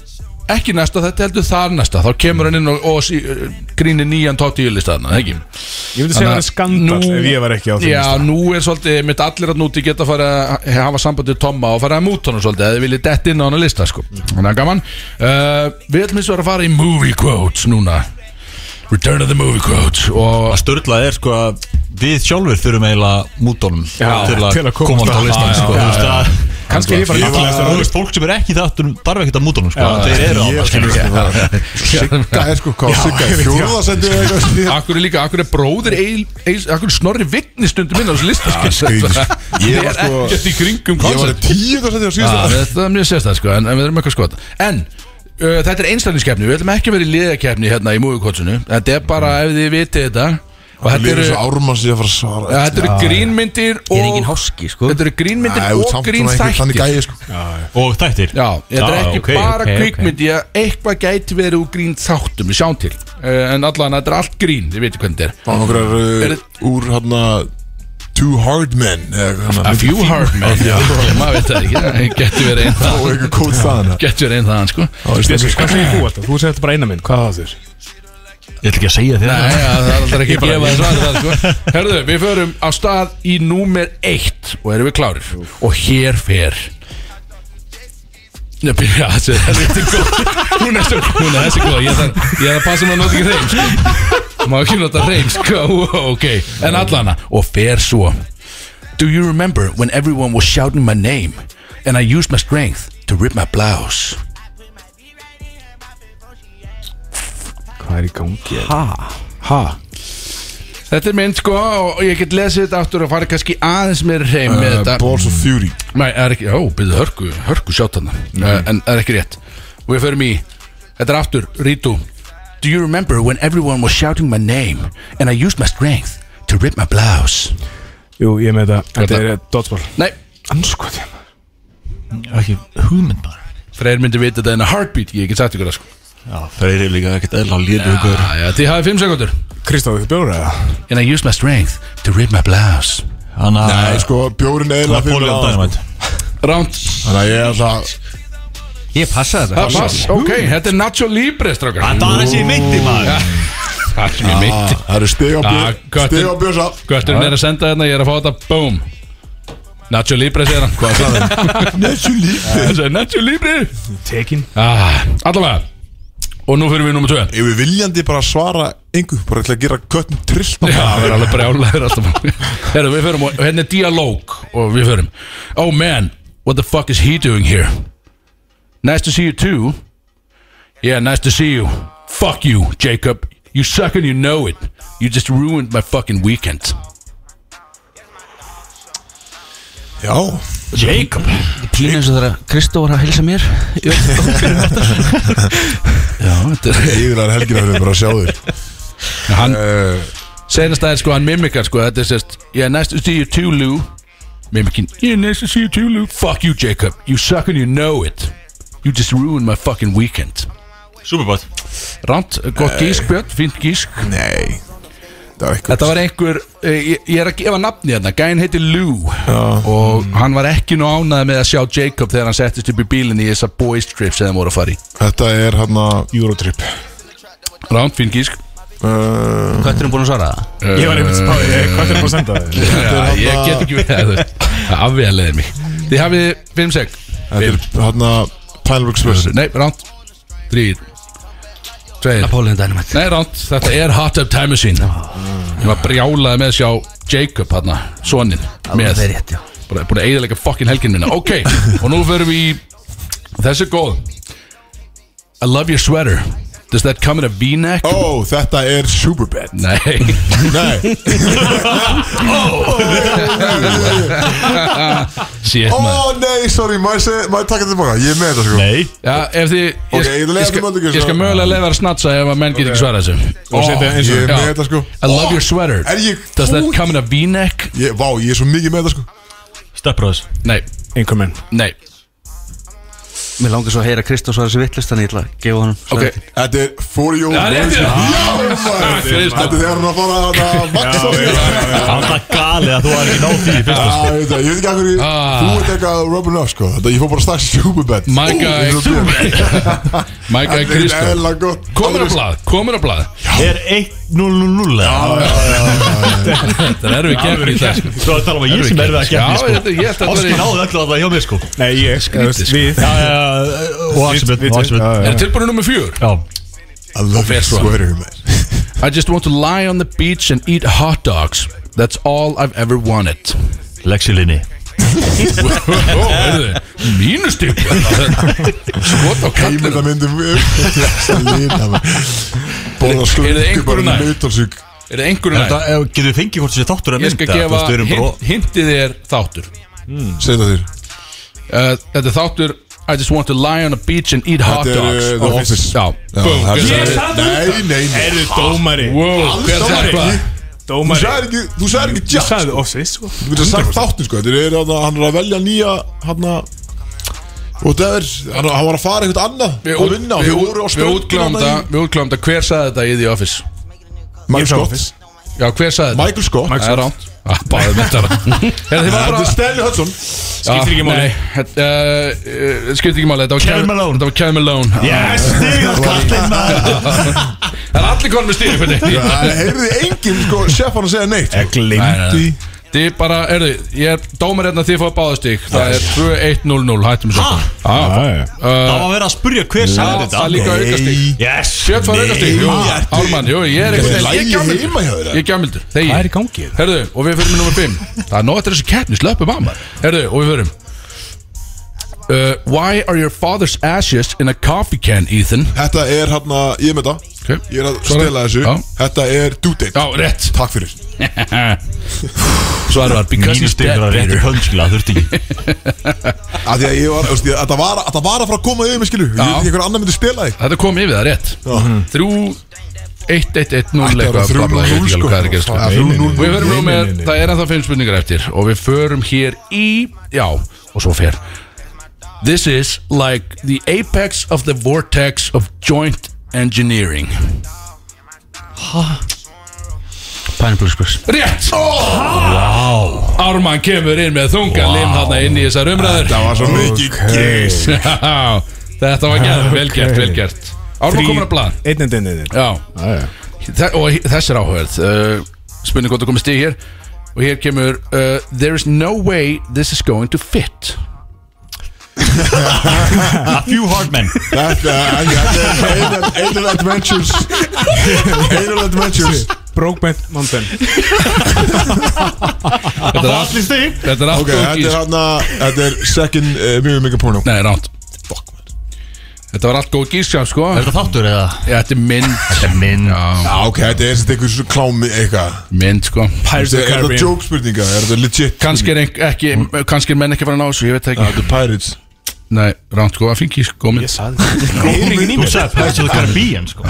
[SPEAKER 5] ekki næsta þetta heldur þar næsta þá kemur hann inn og, og sí, uh, grínir nýjan tótt í listaðna, ekki?
[SPEAKER 2] Ég myndi segja að það er skandal
[SPEAKER 5] Nú-
[SPEAKER 2] ef ég var ekki á því
[SPEAKER 5] Já, nú er svolítið, mitt allir að núti geta að fara að hafa sambandi við Tomma og fara að múta honum svolítið eða viljið dett inn á hann að lista sko Þannig að gaman uh, Við ætlum eins og að fara í movie quotes núna Return of the movie quotes og
[SPEAKER 3] Að störla er sko að við sjálfur þurfum eiginlega mútonum
[SPEAKER 2] Já,
[SPEAKER 3] til að komast á listan
[SPEAKER 2] Já,
[SPEAKER 3] sko
[SPEAKER 2] já,
[SPEAKER 3] Þú veist að
[SPEAKER 5] Kannski er ég bara
[SPEAKER 3] Ég ætla að það er fólk sem er ekki í þáttunum þarf ekkert að múta honum sko Þeir eru á
[SPEAKER 1] Ég skil ekki hvað Sigga er sko hvað Sigga er fjórðasendur
[SPEAKER 5] Akkur er líka, akkur er bróðir Egil- Egils- Akkur er snorri vittni stundum inn á þessu lista
[SPEAKER 1] Já, skrýtið, sko.
[SPEAKER 5] [laughs]
[SPEAKER 1] Ég var sko-
[SPEAKER 5] Ekkert í kringum
[SPEAKER 1] Ég var
[SPEAKER 5] koncept.
[SPEAKER 1] tíundasendur á
[SPEAKER 5] Já,
[SPEAKER 1] síðustu
[SPEAKER 5] Þetta er mjög sérstæð sko, en, en við erum eitthvað skot En uh, þetta er einstaklingskeppni, við ætlum ekki að vera í liðakeppni hérna í múikotsinu Þetta er bara ef þið vitið þetta Og þetta
[SPEAKER 1] Lýður
[SPEAKER 5] eru,
[SPEAKER 1] þessu ármann sem ég að fara að
[SPEAKER 5] ja,
[SPEAKER 1] svara
[SPEAKER 5] þetta eru grínmyndir
[SPEAKER 4] Ég er engin
[SPEAKER 5] og
[SPEAKER 4] háski, sko
[SPEAKER 5] Þetta eru grínmyndir
[SPEAKER 1] Æ, þú ert
[SPEAKER 5] og
[SPEAKER 1] samt svona einhver þannig
[SPEAKER 5] grínþættir
[SPEAKER 1] gæi sko
[SPEAKER 3] Og þættir
[SPEAKER 5] Já, þetta er
[SPEAKER 3] Já,
[SPEAKER 5] ekki
[SPEAKER 3] ok,
[SPEAKER 5] bara
[SPEAKER 3] ok, ok.
[SPEAKER 5] kvikmyndi okay. Eitthvað gæti verið úr grín þáttum Við sjáum til, uh, en allan þetta er allt grín Þið veitir hvernig þetta er
[SPEAKER 1] Það var nokkrar
[SPEAKER 5] Er-
[SPEAKER 1] uh, úr hérna Two Hard Men eða
[SPEAKER 5] A
[SPEAKER 1] eitthvað
[SPEAKER 5] few hard men Já, maður veit það ekki Getur verið einn
[SPEAKER 1] Og
[SPEAKER 5] það
[SPEAKER 1] einhver kóð staðina
[SPEAKER 5] Getur verið einn það sko
[SPEAKER 2] Bjössi, hvað segir þú alltaf? Þú segir þetta bara eina minn, hvað það þurr?
[SPEAKER 3] Ég ætla ekki að segja þér
[SPEAKER 5] Nei,
[SPEAKER 3] það.
[SPEAKER 5] ja, það er alltaf ekki að gefa þess að það sko Herðu, við förum á stað í númer eitt Og erum við klárir Og hér fer Nei, byrja, þessi Þetta er góð Hún er svo Hún er þessi góð Ég þarf ég þarf að passa maður að nota ekki reym sko Má ekki nota reym sko Ó, Ok, en allana Og fer svo Do you remember when everyone was shouting my name And I used my strength to rip my blouse
[SPEAKER 2] Hvað er í gangi? hérna?
[SPEAKER 5] Ha? Þetta er mynd sko og ég get lesið þetta aftur og farið kannski aðeins meir hreim með
[SPEAKER 2] Uh,
[SPEAKER 5] þetta
[SPEAKER 1] Eh, Balls of Fury
[SPEAKER 5] Nei, það er ekki, ó, byrðu hörku, hörku sjátt hana En það er ekki rétt Og við förum í, þetta er aftur, Rítu Do you remember when everyone was shouting my name And I used my strength to rip my blouse
[SPEAKER 2] Jú, ég er með þetta, þetta er dodgeball
[SPEAKER 5] Nei,
[SPEAKER 2] Anskot ég maður
[SPEAKER 3] Ég hef Ekki hugmynd bara
[SPEAKER 5] Freyr myndi vita þetta in a heartbeat, ég get sagt ykkur það sko
[SPEAKER 3] Já, Freyri er líka ekkert eðla lýðugur
[SPEAKER 5] Jæja, þið hafið fimm sekundur
[SPEAKER 2] Kristóf, þetta bjóður eða?
[SPEAKER 5] And I used my strength to rip my blouse
[SPEAKER 3] Þannig
[SPEAKER 1] Nei
[SPEAKER 3] að
[SPEAKER 1] sko, bjórin eðla fyrir
[SPEAKER 3] Napoleon
[SPEAKER 1] aðan, sko.
[SPEAKER 3] Dynamite
[SPEAKER 5] Ránt
[SPEAKER 1] Þannig að ég er alltaf
[SPEAKER 4] Ég passa þetta
[SPEAKER 5] Pass, ok, þetta er Nacho Libre strákar
[SPEAKER 3] Það var þessi myndi maður
[SPEAKER 5] Það er mjög mynd
[SPEAKER 1] Ah, Það eru stig á
[SPEAKER 5] Ah,
[SPEAKER 1] björn
[SPEAKER 5] köttur.
[SPEAKER 1] Stig á björnsa
[SPEAKER 5] Götturinn er að senda hérna, ég er að fá þetta, boom Nacho Libre segir hann Hvað sagði hann? [laughs]
[SPEAKER 1] Nessu lífi
[SPEAKER 5] Hann segir Nacho Libre
[SPEAKER 2] Tekin
[SPEAKER 5] ah, Allavega Og nú fyrir við nummer 2
[SPEAKER 1] Ef við viljandi bara svara engu Bara ætla að gera köttin trillt
[SPEAKER 5] Já, það er alveg brjálæður alltaf Herru, við förum og hérna er dialóg Og við förum Oh man, what the fuck is he doing here? Nice to see you too Yeah, nice to see you Fuck you, Jacob You suck and you know it You just ruined my fucking weekend
[SPEAKER 1] Já
[SPEAKER 3] Jacob
[SPEAKER 4] Pínu eins og þegar Kristófur að hilsa mér
[SPEAKER 5] [laughs] Já, þetta er
[SPEAKER 1] Íðurlegar helgina fyrir bara að sjá þér
[SPEAKER 5] Hann
[SPEAKER 1] Eh,
[SPEAKER 5] Senast að er sko hann mimikar sko Þetta er sérst Yeah, nice to see you too, Lou Mimikin Yeah, nice to see you too, Lou Fuck you, Jacob You suck and you know it You just ruined my fucking weekend
[SPEAKER 3] Superbot
[SPEAKER 5] Rant, gott gísk, Björn, fínt gísk
[SPEAKER 1] Nei Það var eitthvað
[SPEAKER 5] Þetta var einhver, eh, ég, ég er að gefa nafni hérna Gæinn heiti Lou Og hann var ekki nú ánæði með að sjá Jacob Þegar hann settist upp í bílinni í þessa boys trip Sem þeim voru að fara í
[SPEAKER 1] Þetta er hérna
[SPEAKER 2] Eurotrip
[SPEAKER 5] Rant, fínt gísk
[SPEAKER 1] uh,
[SPEAKER 4] Kötturinn búin að svara það
[SPEAKER 2] Ég var einmitt spáð, eh, hvað er það að senda þér?
[SPEAKER 5] Já, Ég get ekki við það Það afvegaleiði mig Þið hafið fimm sek
[SPEAKER 1] Þetta er hérna Pineworks Versus
[SPEAKER 5] Nei, ránt Þrýr Tveir
[SPEAKER 4] Napoleon Dynamite
[SPEAKER 5] Nei, ránt Þetta er Hot Tub Time Machine Ég var brjálaði með að sjá Jacob hérna Sonin
[SPEAKER 4] Það
[SPEAKER 5] Með
[SPEAKER 4] er rétt, já
[SPEAKER 5] Bara búin að eigðalega fokkin helgin minna Ok Og nú förum við í Þessi er góð I love your sweater Does that come in a v-neck?
[SPEAKER 1] Ó, þetta er Superbad
[SPEAKER 5] Nei [laughs]
[SPEAKER 1] Nei
[SPEAKER 5] Sétt
[SPEAKER 1] Ó,
[SPEAKER 5] maður
[SPEAKER 1] nei, sorry, maður seg- maður taka þetta tilbaka Ég er með þetta sko
[SPEAKER 3] Nei
[SPEAKER 5] Já, ef þið ég-
[SPEAKER 1] Ok, ég ætla að leiða
[SPEAKER 5] ég skal-
[SPEAKER 1] þetta málið ekki,
[SPEAKER 5] Ég skal
[SPEAKER 1] svo.
[SPEAKER 5] mögulega leiða að snatsa ef að menn get ekki svarað þessu
[SPEAKER 1] Ó, Ég er
[SPEAKER 5] Já.
[SPEAKER 1] með þetta sko
[SPEAKER 5] I love your sweater
[SPEAKER 1] Er ég
[SPEAKER 5] Does that come in a v-neck?
[SPEAKER 1] Ég, vá, ég er svo mikið með þetta sko
[SPEAKER 3] Stepbrothers
[SPEAKER 5] Nei,
[SPEAKER 2] Einhver menn
[SPEAKER 5] nei
[SPEAKER 4] Mér langar svo að heyra Kristóf svara sér vittlust Þannig ég ætla að gefa honum
[SPEAKER 5] Ok,
[SPEAKER 4] svarið.
[SPEAKER 1] Þetta er For Your
[SPEAKER 5] Það er rétt,
[SPEAKER 1] Version.
[SPEAKER 5] já. sko.
[SPEAKER 1] Já, maður
[SPEAKER 5] Kristján.
[SPEAKER 1] Þetta er þegar hann að fara að- að vaksa sig
[SPEAKER 3] Það er galið að þú er ekki nátt í fyrsta
[SPEAKER 1] Já, ég veit það, ég veit ekki af hverju
[SPEAKER 5] Ah.
[SPEAKER 1] Þú ert eitthvað að rubbing off sko Þetta, ég fór bara strax Superbad
[SPEAKER 5] Mæka Mæka
[SPEAKER 1] [laughs] Þetta er
[SPEAKER 5] Kristó
[SPEAKER 1] eðla gott
[SPEAKER 5] Komur á blað, komur á blað
[SPEAKER 3] Er 1-0-0-0
[SPEAKER 5] Það erum við kemur í dag
[SPEAKER 3] Þú var að tala um að ég sem erfið að
[SPEAKER 5] Já,
[SPEAKER 3] gefni
[SPEAKER 5] þetta- ég ætla
[SPEAKER 3] sko
[SPEAKER 5] að
[SPEAKER 3] Óski
[SPEAKER 5] vera í-
[SPEAKER 3] náðu öllu að það hjá mér sko
[SPEAKER 2] Nei, ég Skrítið Við
[SPEAKER 3] Já, já, já, og Axelbjörn og Axelbjörn
[SPEAKER 5] Er tilbúinu nummer fjör?
[SPEAKER 3] Já,
[SPEAKER 1] I love you,
[SPEAKER 5] Version.
[SPEAKER 1] sweater man
[SPEAKER 5] I just want to lie on the beach and eat hot dogs That's all I've ever wanted
[SPEAKER 3] Lexilini
[SPEAKER 5] Ó, heyrðu, Mínustík Skot á kallinu
[SPEAKER 1] Heimildamyndum [laughs] Lína Borða
[SPEAKER 5] Er þið
[SPEAKER 1] skundu
[SPEAKER 5] einhverju
[SPEAKER 1] bara
[SPEAKER 5] nær?
[SPEAKER 1] með nautalsug
[SPEAKER 5] Er það einhverju
[SPEAKER 3] Þetta,
[SPEAKER 5] næ?
[SPEAKER 3] ef- Getum við fengið hvort þessi þáttur að
[SPEAKER 5] Ég
[SPEAKER 3] mynda
[SPEAKER 5] skal gefa
[SPEAKER 3] Þú veist, við
[SPEAKER 1] um
[SPEAKER 3] erum bara
[SPEAKER 5] hint- hintið er þáttur
[SPEAKER 1] Segð það þér
[SPEAKER 5] Uh, Þetta er þáttur I just want to lie on a beach and eat hot
[SPEAKER 1] Þetta er
[SPEAKER 5] dogs
[SPEAKER 1] uh, The Office
[SPEAKER 5] Já, Bú,
[SPEAKER 1] það er-
[SPEAKER 5] hver
[SPEAKER 2] Ég
[SPEAKER 5] sagði-
[SPEAKER 2] sagði
[SPEAKER 1] Nei, nei, nei
[SPEAKER 2] Erðu dómari
[SPEAKER 5] Wow, hver
[SPEAKER 1] Alls
[SPEAKER 5] sagði
[SPEAKER 1] ekki.
[SPEAKER 5] hvað?
[SPEAKER 1] Þú
[SPEAKER 2] Dómari
[SPEAKER 1] sagði ekki, þú sagði ekki
[SPEAKER 2] Ég
[SPEAKER 1] Jack
[SPEAKER 2] sagði office sko.
[SPEAKER 1] Þú getur sagt þáttin sko Þetta er að hann er að velja nýja Hann að Og það er Hann hann var að fara eitthvað annað
[SPEAKER 5] Við
[SPEAKER 1] Að vinna og
[SPEAKER 5] við-
[SPEAKER 1] Þau voru á
[SPEAKER 5] við
[SPEAKER 1] spöngin
[SPEAKER 5] útkljáum
[SPEAKER 1] þarna
[SPEAKER 5] það- við útkljáum það Hver sagði þetta í The Office?
[SPEAKER 1] í- Michael
[SPEAKER 2] Ég sagði
[SPEAKER 1] Scott
[SPEAKER 2] office
[SPEAKER 5] Já, hver sagði þetta?
[SPEAKER 1] Michael Scott
[SPEAKER 5] Það er Ah, ránt
[SPEAKER 1] [laughs]
[SPEAKER 5] Báðið mitt er ránt Þetta var
[SPEAKER 1] Þetta
[SPEAKER 5] bara
[SPEAKER 1] er Stanley [laughs] Hudson
[SPEAKER 5] Skiptir
[SPEAKER 2] ekki máli.
[SPEAKER 5] uh, Skiptir ekki máli Þetta var
[SPEAKER 3] Kevin
[SPEAKER 5] Kevin
[SPEAKER 3] Malone.
[SPEAKER 5] Þetta var Kevin Malone
[SPEAKER 2] Yes, stig á kallinn maður
[SPEAKER 5] Það er allir konum með stýri fyrir
[SPEAKER 1] Það heyrði enginn sko Sjef hann að segja neitt
[SPEAKER 2] Ég
[SPEAKER 1] Eh.
[SPEAKER 2] glimti
[SPEAKER 5] Þið bara, erðu, ég er dómar hérna að þið fóðu báðastík Það er 2-1-0-0, hættum við Ah. Uh, svo
[SPEAKER 3] Það var verið að spurja hver sagði
[SPEAKER 5] Það er
[SPEAKER 3] þetta
[SPEAKER 5] líka aukastík
[SPEAKER 3] Yes
[SPEAKER 5] Björn fór aukastík, jú, Ármann, jú, ég er
[SPEAKER 1] Það er
[SPEAKER 5] eitthvað Ég er
[SPEAKER 1] lægi
[SPEAKER 5] gjamildur,
[SPEAKER 1] heima hjá þér
[SPEAKER 5] ég er gjamildur Þegi,
[SPEAKER 2] Hvað er í gangi?
[SPEAKER 5] herðu, og við fyrir með nummer 5 Það er nóg eftir þessu keppni, slöpum að maður Herðu, og við fyrir Uh, why are your father's ashes in a coffee can, Ethan?
[SPEAKER 1] Þetta er hann að, ég er með það
[SPEAKER 5] Ok.
[SPEAKER 1] Ég er að
[SPEAKER 5] Svaraðu.
[SPEAKER 1] stela þessu
[SPEAKER 5] Já.
[SPEAKER 1] Þetta er due date
[SPEAKER 5] Já, rétt [laughs]
[SPEAKER 1] Takk fyrir
[SPEAKER 5] Svarið var because he's
[SPEAKER 3] Mínustig
[SPEAKER 5] dead
[SPEAKER 3] fyrir að
[SPEAKER 5] Peter.
[SPEAKER 3] réttu pönskla Þurfti
[SPEAKER 5] [laughs]
[SPEAKER 3] ekki
[SPEAKER 1] Af því að ég var, þú veist, ég- þetta var, þetta var að fara að koma yfir mig skilu Ég
[SPEAKER 5] Já.
[SPEAKER 1] veit ekki einhver annar myndi stela þig
[SPEAKER 5] Þetta kom yfir það, rétt Þrjú 1-1-1-0
[SPEAKER 1] Þetta var
[SPEAKER 5] eitthvað bla, bla, ég veit
[SPEAKER 1] 3-0
[SPEAKER 5] ekki
[SPEAKER 1] sko Ja, 3-0.
[SPEAKER 5] alveg hvað er að gerast, sko. Og Við förum nú
[SPEAKER 2] Nei,
[SPEAKER 5] með,
[SPEAKER 2] nei, nei, nei.
[SPEAKER 5] það er ennþá fimm spurningar eftir Og við förum hér í Já, og svo fer This is like the apex of the vortex of joint engineering
[SPEAKER 4] Pineapple Express
[SPEAKER 5] Rétt! Vá Ármann kemur inn með þungan lim þarna inn í þessar umræður
[SPEAKER 1] Það
[SPEAKER 5] [laughs]
[SPEAKER 1] var svo mikið gís
[SPEAKER 5] Já, Þetta var gæð, vel gert, vel gert Ármann komur að blað
[SPEAKER 2] Einn en einn
[SPEAKER 5] Já Þe Og þess er áhverð uh, Spurning gott að komast í hér Og hér kemur uh, There is no way this is going to fit
[SPEAKER 3] A few hard men
[SPEAKER 1] Þetta þetta er Anal Adventures Anal Adventures
[SPEAKER 2] Brokeback Mountain
[SPEAKER 5] Þetta er allt
[SPEAKER 3] stig
[SPEAKER 5] Þetta er allt
[SPEAKER 1] Ok, þetta er
[SPEAKER 5] góð gís
[SPEAKER 1] hann að, þetta er second eh, mjög mikið porno
[SPEAKER 5] Nei, ránt Þetta var allt góð gís sjá, sko
[SPEAKER 3] Er þetta þáttur eða?
[SPEAKER 5] Já, Þetta er mynd
[SPEAKER 3] Þetta er minn
[SPEAKER 5] Já,
[SPEAKER 1] Já, ok, þetta er eitthvað svona klámi eitthvað
[SPEAKER 5] mynd, sko
[SPEAKER 1] Er
[SPEAKER 2] Pirates of the
[SPEAKER 1] þetta
[SPEAKER 2] Caribbean
[SPEAKER 1] joke spurninga, er þetta legit
[SPEAKER 5] Kanski er, einhver- ekki, kannski er menn ekki farin á þessu, ég veit það
[SPEAKER 1] Já,
[SPEAKER 5] ekki
[SPEAKER 1] Þetta er Pirates
[SPEAKER 5] Nei, ránt sko, að fengi sko mynd
[SPEAKER 2] Ég sagði
[SPEAKER 3] Þú sagði Pirates of the Caribbean sko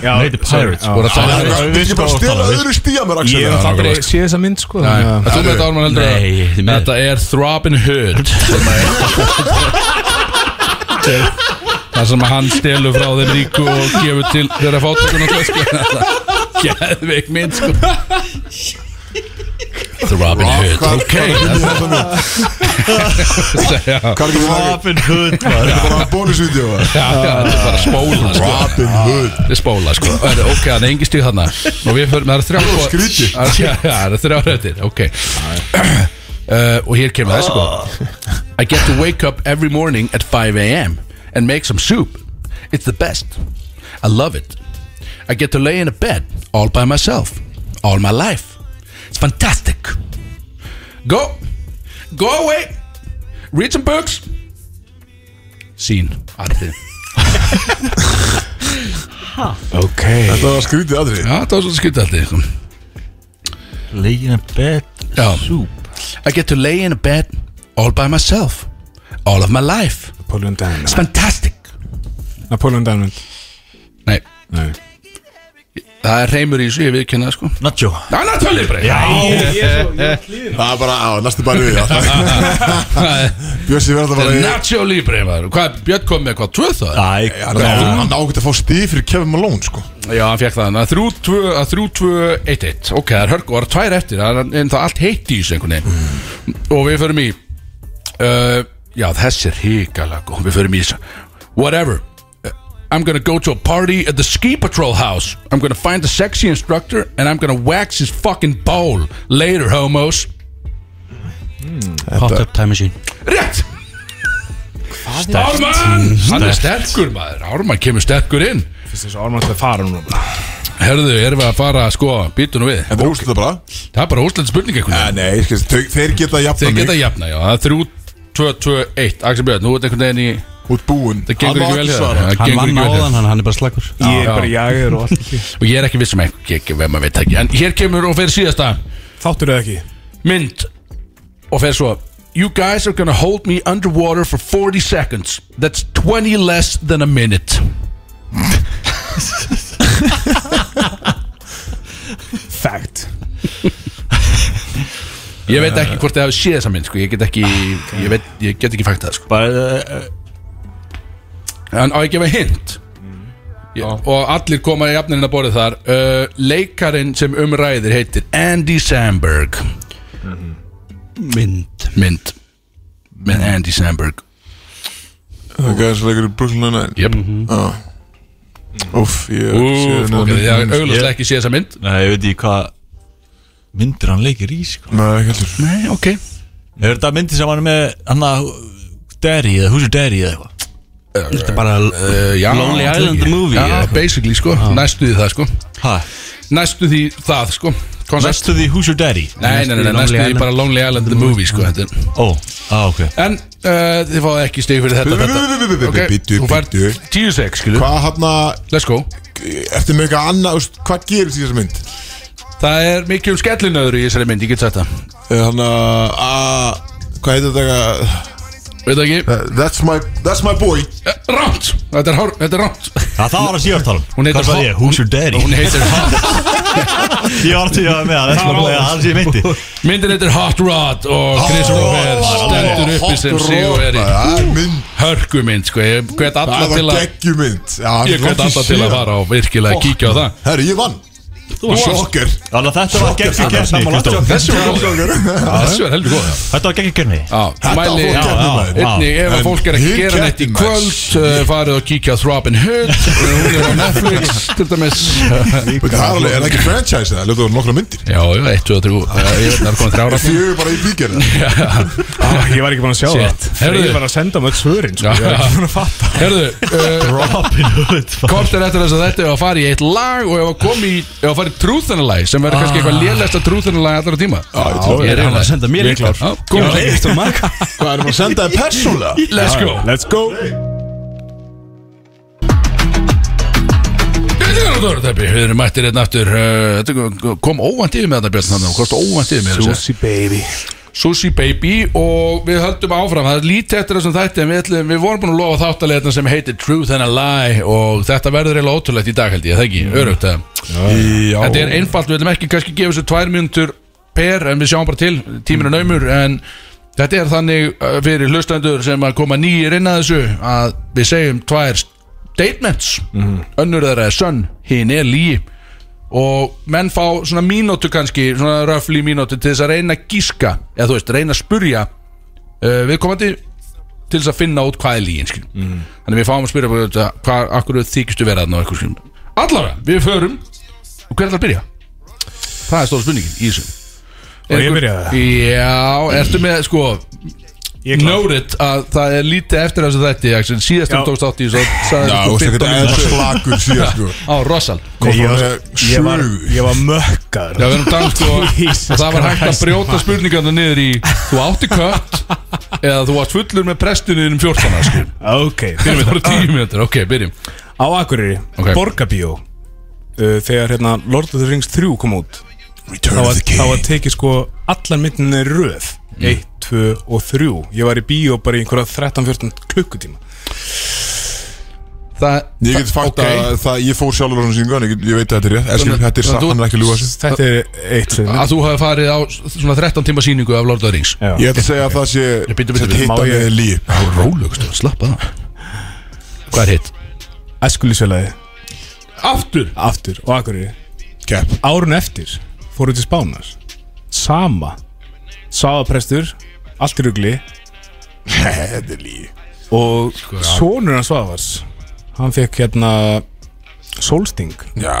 [SPEAKER 2] Já,
[SPEAKER 3] Nei, þetta er Pirates
[SPEAKER 2] sorry,
[SPEAKER 3] sko
[SPEAKER 5] Voru að tala- um-
[SPEAKER 3] Já, já,
[SPEAKER 1] Þetta
[SPEAKER 3] við
[SPEAKER 1] er
[SPEAKER 3] sko
[SPEAKER 1] bara að stela
[SPEAKER 3] ástæðan, við-
[SPEAKER 1] öðru stíja mér
[SPEAKER 2] Ég
[SPEAKER 1] Axel
[SPEAKER 2] hef
[SPEAKER 1] Já,
[SPEAKER 2] aldrei séð þessa mynd sko
[SPEAKER 5] Nei,
[SPEAKER 2] þannig að-
[SPEAKER 5] Þú veit Ármann heldur
[SPEAKER 4] Nei,
[SPEAKER 5] að-
[SPEAKER 4] því miður.
[SPEAKER 5] Þetta er Throbbing Hood sem að- Það sem að hann stelur frá þeim ríku og gefur til þeirra fátökun og [laughs] sko. Geðveik mynd sko Throbbing Hood
[SPEAKER 1] Hvað-
[SPEAKER 5] Ok
[SPEAKER 1] hvað-
[SPEAKER 5] Já,
[SPEAKER 1] Hvað er ekki það?
[SPEAKER 3] Robin Hood
[SPEAKER 1] Þetta
[SPEAKER 3] maður.
[SPEAKER 1] er bara [laughs] bónusvídeó
[SPEAKER 5] já, já, þetta er bara spóla sko
[SPEAKER 1] Robin Hood
[SPEAKER 5] Þetta er spóla sko Það er- Ok, það er engi stíð þarna Og við förum, það er þrjá
[SPEAKER 1] var skrítið.
[SPEAKER 5] Það er- já, já, það er þrjá röttir, ok [clears throat] uh, Og hér kemur það sko I get to wake up every morning at 5 a.m. and make some soup. It's the best. I love it. I get to lay in a bed all by myself, all my life. It's fantastic. Go, go away, read some books. Sýn, atrið.
[SPEAKER 2] Ok
[SPEAKER 1] Þetta var skrítið aðri
[SPEAKER 5] Já, það var svolítið skiptið allt í þessum.
[SPEAKER 3] Legin að bet
[SPEAKER 5] Já. I get to lay in a bed all by myself, all of my life.
[SPEAKER 2] Napoleon
[SPEAKER 5] It's
[SPEAKER 2] Diamond
[SPEAKER 5] fantastic.
[SPEAKER 2] Napoleon Diamond
[SPEAKER 5] Nei,
[SPEAKER 2] Nei
[SPEAKER 5] það er reymur í þessu, ég viðkynna það sko.
[SPEAKER 3] Nacho
[SPEAKER 5] Það er náttúrulega breyð. Já,
[SPEAKER 1] Það er bara, á, næstu bara
[SPEAKER 5] [laughs]
[SPEAKER 1] við Bjössi verður að
[SPEAKER 5] Þetta er
[SPEAKER 1] bara
[SPEAKER 5] Nacho Libre maður Hvað, Björn kom með hvað, tvö það?
[SPEAKER 3] Æ,
[SPEAKER 1] Hann á- hann ágætt að fá stíð fyrir Kevin Malone sko
[SPEAKER 5] Já, hann fekk það hann Þrjú, tvö, að þrjú, tvö, eitt, eitt Ok, það er hörku, það er tvær eftir það er- En það er allt heitt í þessu einhvern veginn Og við förum í uh, Já, þessi er hikalega góð Við förum í þessu Whatever Uh, I'm gonna go to a party at the ski patrol house I'm gonna find a sexy instructor And I'm gonna wax his fucking bowl Later, homos
[SPEAKER 4] Hot Up Time Machine
[SPEAKER 5] Rétt Ármann Hann er sterkur maður Ármann kemur sterkur inn
[SPEAKER 2] Fyrst þessu ármann til að fara núna bara
[SPEAKER 5] Herðu, erum við að fara að sko Býtu nú við
[SPEAKER 1] Þetta er úrslita bara
[SPEAKER 5] Það er bara úrslita spurning eitthvað
[SPEAKER 1] Ja, nei, skil, þau, þeir geta jafna
[SPEAKER 5] Þeir geta jafna, já Það er 3, 2, 2, 1 Axel Björn, nú er einhvern veginn í
[SPEAKER 1] Út búinn
[SPEAKER 5] Það gengur
[SPEAKER 1] Hann má
[SPEAKER 5] ekki vel
[SPEAKER 1] ekki
[SPEAKER 5] hér
[SPEAKER 1] svara.
[SPEAKER 5] Það
[SPEAKER 4] Hann
[SPEAKER 5] gengur
[SPEAKER 4] vann
[SPEAKER 5] ekki vel hér.
[SPEAKER 4] áðan, hann, hann er bara slagur
[SPEAKER 2] Ég er
[SPEAKER 5] Já.
[SPEAKER 2] bara jager og allt ekki
[SPEAKER 5] Og ég er ekki viss um ekki, ekki Vem að veit ekki En hér kemur og fer síðasta
[SPEAKER 2] Þáttur eða ekki
[SPEAKER 5] mynd og fer svo You guys are gonna hold me underwater for 40 seconds That's 20 less than a minute
[SPEAKER 2] Fact
[SPEAKER 5] Ég veit ekki hvort þið hafi séð þessa mynd sko. ég, get ekki, ég, veit, ég get ekki fægt það sko.
[SPEAKER 3] Ah, Bara, eh,
[SPEAKER 5] En á að gefa hint
[SPEAKER 3] Mm.
[SPEAKER 5] ég, Og allir koma í jafninina borðið þar uh, Leikarin sem umræðir heitir Andy Samberg
[SPEAKER 4] Mhm. Mynd
[SPEAKER 5] Mynd Með
[SPEAKER 4] Mm.
[SPEAKER 5] Andy Samberg
[SPEAKER 1] Það gæði svo leikur í Brooklyn Nine-Nine
[SPEAKER 5] yep.
[SPEAKER 4] Mhm.
[SPEAKER 1] Úff, ég
[SPEAKER 5] Úf,
[SPEAKER 1] sé
[SPEAKER 5] ok,
[SPEAKER 1] henni-
[SPEAKER 5] þið hafi auglustlega ekki séð þessa mynd
[SPEAKER 3] Nei, ég veit ekki hvað myndir hann leikir í sko.
[SPEAKER 1] Nei, ekki heldur
[SPEAKER 5] Nei,
[SPEAKER 4] Eh,
[SPEAKER 5] ok
[SPEAKER 3] Er þetta myndir sem hann er með hann að Derry eða Who's your Derry eða eitthvað
[SPEAKER 5] Eh,
[SPEAKER 4] Þetta er bara
[SPEAKER 5] uh, já,
[SPEAKER 4] Lonely
[SPEAKER 5] ekki.
[SPEAKER 4] Island the movie, Ah.
[SPEAKER 5] Já,
[SPEAKER 4] eða
[SPEAKER 5] basically sko, næstu því það sko
[SPEAKER 3] Hæ?
[SPEAKER 5] Næstu því það sko Concept
[SPEAKER 3] Næstu því Who's your Derry?
[SPEAKER 5] Nei, nei, nei, nei,
[SPEAKER 4] Lonely
[SPEAKER 5] næstu því
[SPEAKER 4] Island.
[SPEAKER 5] bara Lonely Island the movie sko þetta er-
[SPEAKER 3] Ó, á Oh, ah, ok
[SPEAKER 5] En uh, þið fáið ekki stig fyrir þetta,
[SPEAKER 1] Bíddu, bíddu, bíddu,
[SPEAKER 5] þetta.
[SPEAKER 1] bíddu, bíddu,
[SPEAKER 5] þú fær
[SPEAKER 1] bíddu.
[SPEAKER 5] 10 seg skilu
[SPEAKER 1] Hvað hann að
[SPEAKER 5] Let's go
[SPEAKER 1] Eftir með eitthvað annað þú veist, Hvað gerist í þessar mynd?
[SPEAKER 5] Það er mikið um skellinöður í þessari mynd, ég get sagt það
[SPEAKER 1] Eh, Hann að að- Hvað heitir þetta eitthvað?
[SPEAKER 5] Veit það ekki?
[SPEAKER 1] Uh, That's my, that's my boy
[SPEAKER 5] Eh, Rámt! Þetta er hár, þetta er rámt
[SPEAKER 3] Það, það var að síðast tala um
[SPEAKER 5] Hún heitir
[SPEAKER 3] Hvað sagði ég?
[SPEAKER 5] Ho-
[SPEAKER 3] Who's your daddy?
[SPEAKER 5] Hún heitir Hot
[SPEAKER 3] Ég var til að hafa með það Það var að hann sé myndi
[SPEAKER 5] Myndin heitir Hot Rod og Kristoffer stendur uppi sem sigur er í
[SPEAKER 1] Það er mynd
[SPEAKER 5] hörkumynd sko, ég hvet alla
[SPEAKER 1] Það
[SPEAKER 5] til
[SPEAKER 1] var
[SPEAKER 5] að
[SPEAKER 1] geggjumynd
[SPEAKER 5] Ég hvet alla til að fara og virkilega kíkja á það
[SPEAKER 1] Herru, ég vann Sjokker
[SPEAKER 3] Þannig að þetta var gegn í gerni
[SPEAKER 5] Þessi var góð
[SPEAKER 1] Sjokker
[SPEAKER 5] Þessi var heldur góð
[SPEAKER 3] Þetta var gegn í gerni
[SPEAKER 5] Já,
[SPEAKER 1] Þetta
[SPEAKER 5] mæli
[SPEAKER 1] fór
[SPEAKER 5] já,
[SPEAKER 1] keppni,
[SPEAKER 5] já,
[SPEAKER 1] maður.
[SPEAKER 5] einnig ef að
[SPEAKER 1] En
[SPEAKER 5] fólk er ekki að
[SPEAKER 1] hin
[SPEAKER 5] gera neitt í
[SPEAKER 1] keppnin,
[SPEAKER 5] kvöld uh, farið og kíkja á Robin Hood hún er á Netflix til dæmis
[SPEAKER 1] Veitu, Það er alveg, er það ekki franchise það? Ljóta voru nokkra myndir
[SPEAKER 5] Já, já, 1, 2, 3 eh, Ég veit það er komið þrjára
[SPEAKER 1] Fjögur bara í bíkjörða
[SPEAKER 2] ah, Ég var ekki búin að sjá
[SPEAKER 5] Shit.
[SPEAKER 2] það Freyr
[SPEAKER 5] Heyrðu.
[SPEAKER 2] var að senda mig öll svörin sko.
[SPEAKER 5] Já.
[SPEAKER 2] Ég var ekki búin að fatta
[SPEAKER 5] Herðu, uh,
[SPEAKER 3] Robin Hood
[SPEAKER 5] komst er eftir þess að þetta er að fara í eitt lag og ef að komi í, ef að fara í trúþanalag sem verður kannski eitthvað lélæsta trúþanalag allra tíma
[SPEAKER 1] Hvað
[SPEAKER 5] Ég er
[SPEAKER 4] Hann var
[SPEAKER 5] eiginlega-
[SPEAKER 4] að senda mér
[SPEAKER 5] Ég er klár Já,
[SPEAKER 4] Ég
[SPEAKER 5] Góð,
[SPEAKER 4] leist og maka
[SPEAKER 1] er maður að senda þið persónulega?
[SPEAKER 5] let's go
[SPEAKER 2] Let's go
[SPEAKER 5] Við erum mættir einn aftur uh, Þetta kom óvænt yfir með þetta Björn Þannig kosti óvænt yfir með þetta
[SPEAKER 2] Susi baby
[SPEAKER 5] Sushi Baby og við höldum áfram það er lítið eftir þessum þætti en við, ætlum, við vorum búin að lofa þáttalegna sem heitir Truth and a Lie og þetta verður eiginlega ótrúlegt í dag held ég, það ekki, örugt að
[SPEAKER 1] Já
[SPEAKER 5] þetta er einfalt, við ætlum ekki kannski að gefa þessu tvær mínútur per en við sjáum bara til, tíminu naumur en þetta er þannig uh, fyrir hlustendur sem að koma nýjir inn að þessu að við segjum tvær statements önnur þeirra er sönn, hinn er lí og menn fá svona mínútu kannski, svona röfli mínútu til þess að reyna að gíska, eða þú veist, reyna að spurja uh, viðkomandi til þess að finna út hvað er líin mm. þannig við fáum að spyrja bara, auðvitað, hvað, akkur þykistu vera þarna og eitthvað skilur. allavega, við förum og hver er að byrja? það er stóra spurningin í þessu
[SPEAKER 2] Og
[SPEAKER 5] Er
[SPEAKER 2] ég
[SPEAKER 5] einhver-
[SPEAKER 2] byrja það?
[SPEAKER 5] já, ertu með sko
[SPEAKER 2] Ég er klár.
[SPEAKER 5] nórið að það er lítið eftir þessu þætti Axel. síðast um
[SPEAKER 2] Já.
[SPEAKER 5] tókst átt í þessu
[SPEAKER 1] Já,
[SPEAKER 5] sagði
[SPEAKER 1] þú veist
[SPEAKER 5] sko
[SPEAKER 1] ekki
[SPEAKER 5] 15
[SPEAKER 1] eða
[SPEAKER 5] mínútur
[SPEAKER 1] slagur síðan sko
[SPEAKER 5] á Rosal
[SPEAKER 1] Kom
[SPEAKER 2] Nei, ég
[SPEAKER 1] frá
[SPEAKER 2] var-
[SPEAKER 1] með
[SPEAKER 2] Ég var,
[SPEAKER 1] sög
[SPEAKER 2] ég var mökkar
[SPEAKER 5] Já, við erum dæmt sko að
[SPEAKER 2] [laughs] Jesus
[SPEAKER 5] það var hægt að
[SPEAKER 2] Christ,
[SPEAKER 5] brjóta
[SPEAKER 2] maður.
[SPEAKER 5] spurningarna niður í þú átti kött eða þú varst fullur með prestinu innum 14 ára, sko.
[SPEAKER 2] Ah, Ok, [laughs]
[SPEAKER 5] Fyrir það voru 10 mínútur, ok, byrjum
[SPEAKER 2] Á Akureyri,
[SPEAKER 5] Ok.
[SPEAKER 2] Borgabíó uh, Þegar hérna Lord of the Rings 3 kom út
[SPEAKER 1] Return
[SPEAKER 2] Þá
[SPEAKER 1] of
[SPEAKER 2] var,
[SPEAKER 1] the
[SPEAKER 2] þá var
[SPEAKER 1] King
[SPEAKER 2] tekið sko allar myndinni röð 1, 2 og 3 Ég var í bíó bara í einhverja 13-14 klukkutíma
[SPEAKER 5] Það
[SPEAKER 1] Ég get fakt að það, ég fór sjálfur á svona síningu en ég, get- ég veit að þetta er rétt Eskil,
[SPEAKER 5] Þannig-
[SPEAKER 1] þetta er
[SPEAKER 5] þannig
[SPEAKER 1] satt,
[SPEAKER 5] þú-
[SPEAKER 1] hann er ekki að ljúga sér
[SPEAKER 2] Þetta er eitt sem
[SPEAKER 5] að þú hafi farið á svona 13 tíma síningu af Lord of the Rings
[SPEAKER 1] Ég ætla að segja að það sé
[SPEAKER 5] bíddu, bíddu,
[SPEAKER 1] þetta
[SPEAKER 5] bíddu,
[SPEAKER 1] hitt
[SPEAKER 5] má
[SPEAKER 1] að
[SPEAKER 2] ég-
[SPEAKER 1] með lí
[SPEAKER 5] Það var rólegust að slappa það Hvað er hitt?
[SPEAKER 2] Æskulísfélagi
[SPEAKER 5] Aftur
[SPEAKER 2] aftur og Akureyri
[SPEAKER 1] Kepp
[SPEAKER 2] Árun eftir fóru til Spánar Sama Sáðaprestur, allt í rugli
[SPEAKER 1] Þetta er lí
[SPEAKER 2] Og sonur hans Svavars Hann fekk hérna Solsting
[SPEAKER 1] Já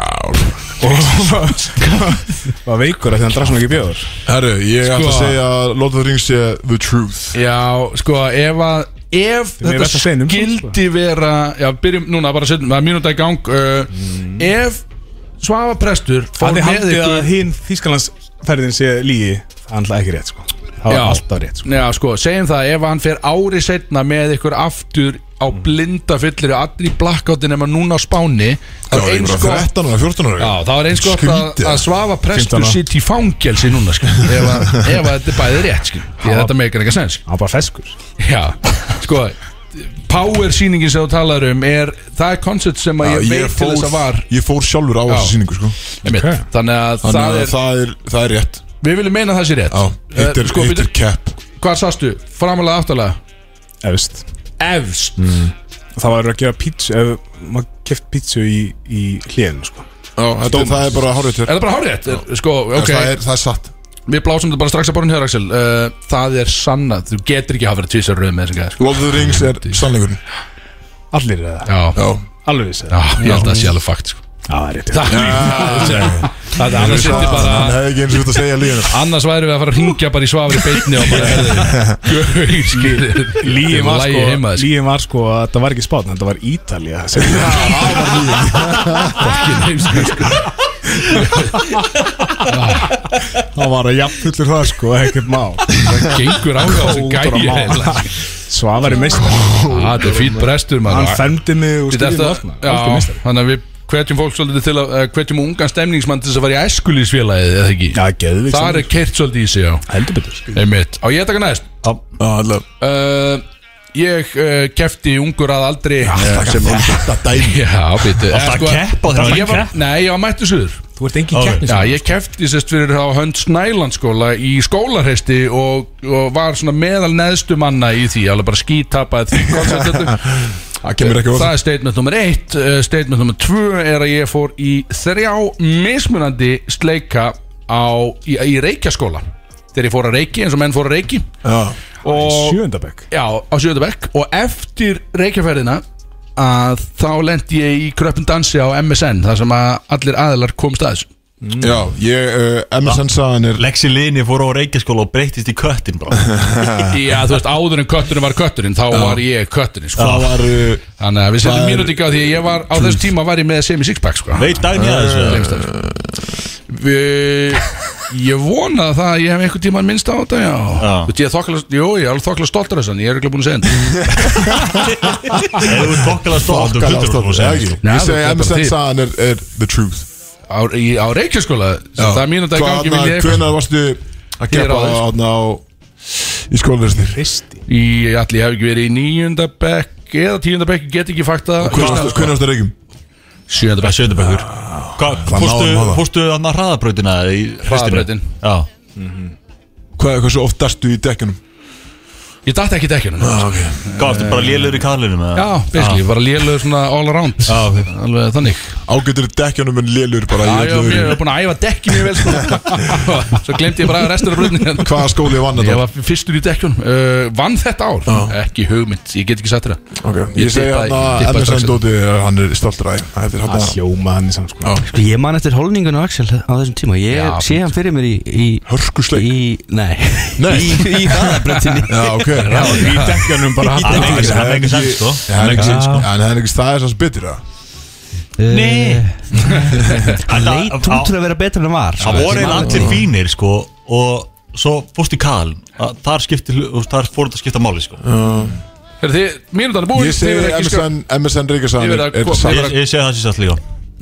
[SPEAKER 2] Var veikur að því hann drakk svona ekki bjóður
[SPEAKER 1] Herru, ég ætla að
[SPEAKER 5] Sko-
[SPEAKER 1] segja að Lord of the Rings sé the truth
[SPEAKER 5] Já, sko, ef að Ef
[SPEAKER 2] Þið megið verða
[SPEAKER 5] þetta
[SPEAKER 2] að segja um svo,
[SPEAKER 5] skildi vera Já, byrjum núna, bara setjum, það er mínúta í gang uh, Ef Svafa prestur fór
[SPEAKER 2] Það er
[SPEAKER 5] með
[SPEAKER 2] haldið
[SPEAKER 5] ykkur
[SPEAKER 2] að hinn Þýskalandsferðin sé lígi Það er alltaf ekki rétt sko Það var
[SPEAKER 5] Já.
[SPEAKER 2] alltaf rétt sko
[SPEAKER 5] Já, sko, segjum það, ef hann fer ári setna með ykkur aftur á
[SPEAKER 2] Mm.
[SPEAKER 5] blinda fyllir og allir í blackoutin nema núna á Spáni
[SPEAKER 1] Það var einhver 13 eða 14 ára
[SPEAKER 5] Já, það var eins gott að,
[SPEAKER 1] Skrítið.
[SPEAKER 5] að svafa prestur
[SPEAKER 2] 15 ára.
[SPEAKER 5] sitt í fangelsi núna sko, ef, [laughs] að, ef að þetta er bæði rétt sko, því að þetta meikir eitthvað sens sko.
[SPEAKER 2] Það var bara feskur
[SPEAKER 5] Já, sko Power sýningin sem þú talar um er, það er koncept sem að
[SPEAKER 1] Já,
[SPEAKER 5] ég veit
[SPEAKER 1] ég
[SPEAKER 5] til
[SPEAKER 1] fór-
[SPEAKER 5] þess að var
[SPEAKER 1] Ég fór sjálfur á
[SPEAKER 5] Já.
[SPEAKER 1] þessu síningu sko
[SPEAKER 5] einmitt,
[SPEAKER 2] Ok.
[SPEAKER 5] þannig að
[SPEAKER 1] Þannig
[SPEAKER 5] það
[SPEAKER 1] að
[SPEAKER 5] er,
[SPEAKER 1] það er, það er rétt
[SPEAKER 5] við viljum meina að það sé rétt
[SPEAKER 1] Já, hitt
[SPEAKER 5] Eh,
[SPEAKER 1] er,
[SPEAKER 5] sko,
[SPEAKER 1] hitt er
[SPEAKER 5] byrju-
[SPEAKER 1] cap
[SPEAKER 5] Hvað sástu? Framalega aftalega?
[SPEAKER 2] Efst
[SPEAKER 5] Efst
[SPEAKER 2] Það var að gera pítsu Ef maður keft pítsu í, í hliðinu sko
[SPEAKER 1] Já, þetta, það er bara hárið
[SPEAKER 5] Er
[SPEAKER 1] þér
[SPEAKER 5] það bara hárétt? Er- Sko, ok,
[SPEAKER 1] Það er, það er satt
[SPEAKER 5] við blásum þetta bara strax að borðin hér, Axel uh, Það er sannað, þú getur ekki hafa verið tvísar röð með þessum sko. gæðar
[SPEAKER 1] Lord of the Rings er sannleikurinn
[SPEAKER 2] Allir er það
[SPEAKER 5] Já,
[SPEAKER 1] Já,
[SPEAKER 2] Alveg vissi
[SPEAKER 5] já,
[SPEAKER 2] það
[SPEAKER 5] ég held að það sé alveg fakt sko.
[SPEAKER 2] Já, það er rétt
[SPEAKER 5] Það Það er annars
[SPEAKER 1] Það-
[SPEAKER 5] þetta bara
[SPEAKER 1] Hann hefði ekki eins og þetta að segja líðan
[SPEAKER 5] Annars væri við að fara að ringja bara í svafri beitni og bara [laughs] herði
[SPEAKER 2] Lígin var, sko,
[SPEAKER 5] heimaði
[SPEAKER 2] lígin var sko að það var ekki spátn Þetta var Ítalía sem- Það var að jafnfullur það sko Ekkert
[SPEAKER 5] [laughs]
[SPEAKER 2] má
[SPEAKER 5] Það gengur á þessu gæi eiginlega.
[SPEAKER 2] Svavari meist
[SPEAKER 5] Það er fýt brestur maður
[SPEAKER 2] Hann fermdi mig og
[SPEAKER 5] Þetta er
[SPEAKER 2] stýði
[SPEAKER 5] það- Já,
[SPEAKER 2] maður
[SPEAKER 5] Þannig að við hvetjum fólk svolítið til að eh, hvetjum ungan stemningsmann til þess að fara í æskulísfélagið eða ekki
[SPEAKER 2] Já, geðviks
[SPEAKER 5] Það er keirt svolítið í sig á
[SPEAKER 2] heldur betur
[SPEAKER 5] Einmitt Á ég að taka næst
[SPEAKER 1] Já, allavega
[SPEAKER 5] uh, Ég uh, kefti í ungur að aldrei
[SPEAKER 1] Alltaf sem hún Þetta dæmi
[SPEAKER 5] [laughs] Já, býttu
[SPEAKER 3] Alltaf að keppa, þetta var
[SPEAKER 5] Ég var-
[SPEAKER 3] kepp.
[SPEAKER 5] Nei, ég var mættu suður
[SPEAKER 2] Þú ert engin keppni
[SPEAKER 5] Já, ég kefti sérst fyrir á hönd Snælandskóla í skólarhesti og, og var svona meðal neðstu manna í því, alveg bara
[SPEAKER 1] [laughs]
[SPEAKER 5] skítapaði því koncept þetta.
[SPEAKER 1] Það kemur ekki á
[SPEAKER 5] Það
[SPEAKER 1] það
[SPEAKER 5] er statement nummer eitt Eh, Statement nummer tvö er að ég fór í þrjá mismunandi sleika á, í, í reykjaskóla þegar ég fór að reiki eins og menn fór að reiki
[SPEAKER 1] Já,
[SPEAKER 5] og,
[SPEAKER 2] Sjöndabökk
[SPEAKER 5] já, á sjöðabekk og eftir reykjaferðina að þá lendi ég í kröppum dansi á MSN þar sem að allir aðilar komst að þessu
[SPEAKER 1] já ég, uh, MSN sagan er
[SPEAKER 3] Lexi Lini fór á Reykjaskóla og breyttist í köttin bara
[SPEAKER 5] [laughs] Já, þú veist, áður en kötturinn var kötturinn þá var ég kötturinn, sko
[SPEAKER 1] Það var uh,
[SPEAKER 5] Þannig að við setjum
[SPEAKER 1] Það er-
[SPEAKER 5] mínúti ekki á því að ég var á þessu tíma var ég með semi sixpack, sko
[SPEAKER 3] Veit dæmi að þessu
[SPEAKER 5] Gleymst það, sko. Við- Ég vona það að ég hef einhvern tíma minnst á þetta, já
[SPEAKER 3] Já.
[SPEAKER 5] Þú veist, ég er þokkala, jú, ég er alveg þokkala stoltur þessan Ég er ekki búin að segja þetta
[SPEAKER 3] Ef þú ert þokkala stóð Þú
[SPEAKER 1] Okkar
[SPEAKER 3] hundur
[SPEAKER 1] ástofn
[SPEAKER 3] og segja
[SPEAKER 1] Ég
[SPEAKER 5] Nei, það
[SPEAKER 1] segi
[SPEAKER 5] er bara
[SPEAKER 1] MSN
[SPEAKER 5] þið.
[SPEAKER 1] sagan er, er the truth
[SPEAKER 5] Á, í- á reykjaskóla,
[SPEAKER 1] Já.
[SPEAKER 5] það er mínúti að gangi vil ég eitthvað
[SPEAKER 1] Hvenar varstu að
[SPEAKER 5] Hér
[SPEAKER 1] keppa
[SPEAKER 5] áður, sko.
[SPEAKER 1] þarna á Í skólaristir
[SPEAKER 2] Kristi
[SPEAKER 5] Í, allir, ég hef ekki verið í níunda bekk eða tíunda bekk, ég get ekki fakt að
[SPEAKER 1] Hvernig varstu að um? reykjum?
[SPEAKER 5] Sjönda bekk
[SPEAKER 3] Sjöndabækur
[SPEAKER 4] um
[SPEAKER 1] Hvað náðum
[SPEAKER 3] Fórstu
[SPEAKER 1] það?
[SPEAKER 3] Fórstu hann að hraðabrautina í hraustinu?
[SPEAKER 5] Hraðabrautin.
[SPEAKER 3] Já
[SPEAKER 1] Hvað, hversu oft dastu í dekkunum?
[SPEAKER 5] Ég datt ekki dekkjunum
[SPEAKER 3] Hvað varstu bara lélegur í kaðlinum eða?
[SPEAKER 5] Já, basically, ég var að lélega svona all around
[SPEAKER 3] Já, ok.
[SPEAKER 5] Alveg þannig
[SPEAKER 1] Ágætur í dekkunum en lélur bara í
[SPEAKER 5] Já, já,
[SPEAKER 1] öllu
[SPEAKER 5] ég
[SPEAKER 1] öðru.
[SPEAKER 5] hef búin að æfa dekki mjög vel sko. [laughs] Svo glemti ég bara að restur af bröðningu
[SPEAKER 1] Hvaða skóli vann
[SPEAKER 5] Ég
[SPEAKER 1] þetta?
[SPEAKER 5] var fyrstur í dekkjunum uh, Vann þetta ár? Ekki hugmynd, ég get ekki sagt þér það
[SPEAKER 1] Ok,
[SPEAKER 5] Ég
[SPEAKER 1] ég segi
[SPEAKER 5] tippaði-
[SPEAKER 1] hann að
[SPEAKER 5] ég tippaði strax
[SPEAKER 1] MSN Dóti Hann er stoltur að Það er
[SPEAKER 2] Það
[SPEAKER 1] hann
[SPEAKER 2] hljóma hann í saman sko
[SPEAKER 4] Sko, ég man eftir holningun á Axel á þessum tíma Ég sé hann fyrir mér í, í
[SPEAKER 1] Hörkusleik.
[SPEAKER 4] Í, nei
[SPEAKER 1] Nei.
[SPEAKER 4] Í, í hraðabröndinni
[SPEAKER 1] Já, ok
[SPEAKER 2] Í dekkjanum bara
[SPEAKER 3] Það er ekki- það er ekki sann sko
[SPEAKER 1] Það er ekki sinn sko En það er ekki staðis hans betur það
[SPEAKER 4] Nei Hann
[SPEAKER 3] Þetta-
[SPEAKER 4] leit út til að vera betur en hann var sko.
[SPEAKER 3] Það voru einn allir fínir sko Og svo fórst í kal Þar skipti hlu- og Þar fór þetta að skipta máli sko
[SPEAKER 5] Herðu þið, mínútan er búin
[SPEAKER 1] Ég segi
[SPEAKER 5] verið ekki
[SPEAKER 1] MSN, MSN
[SPEAKER 5] Ég
[SPEAKER 1] Ríkarsson
[SPEAKER 5] verð að
[SPEAKER 1] er
[SPEAKER 5] koma-
[SPEAKER 1] satt
[SPEAKER 5] Ég-
[SPEAKER 3] Ég ég segi það sem sagt líka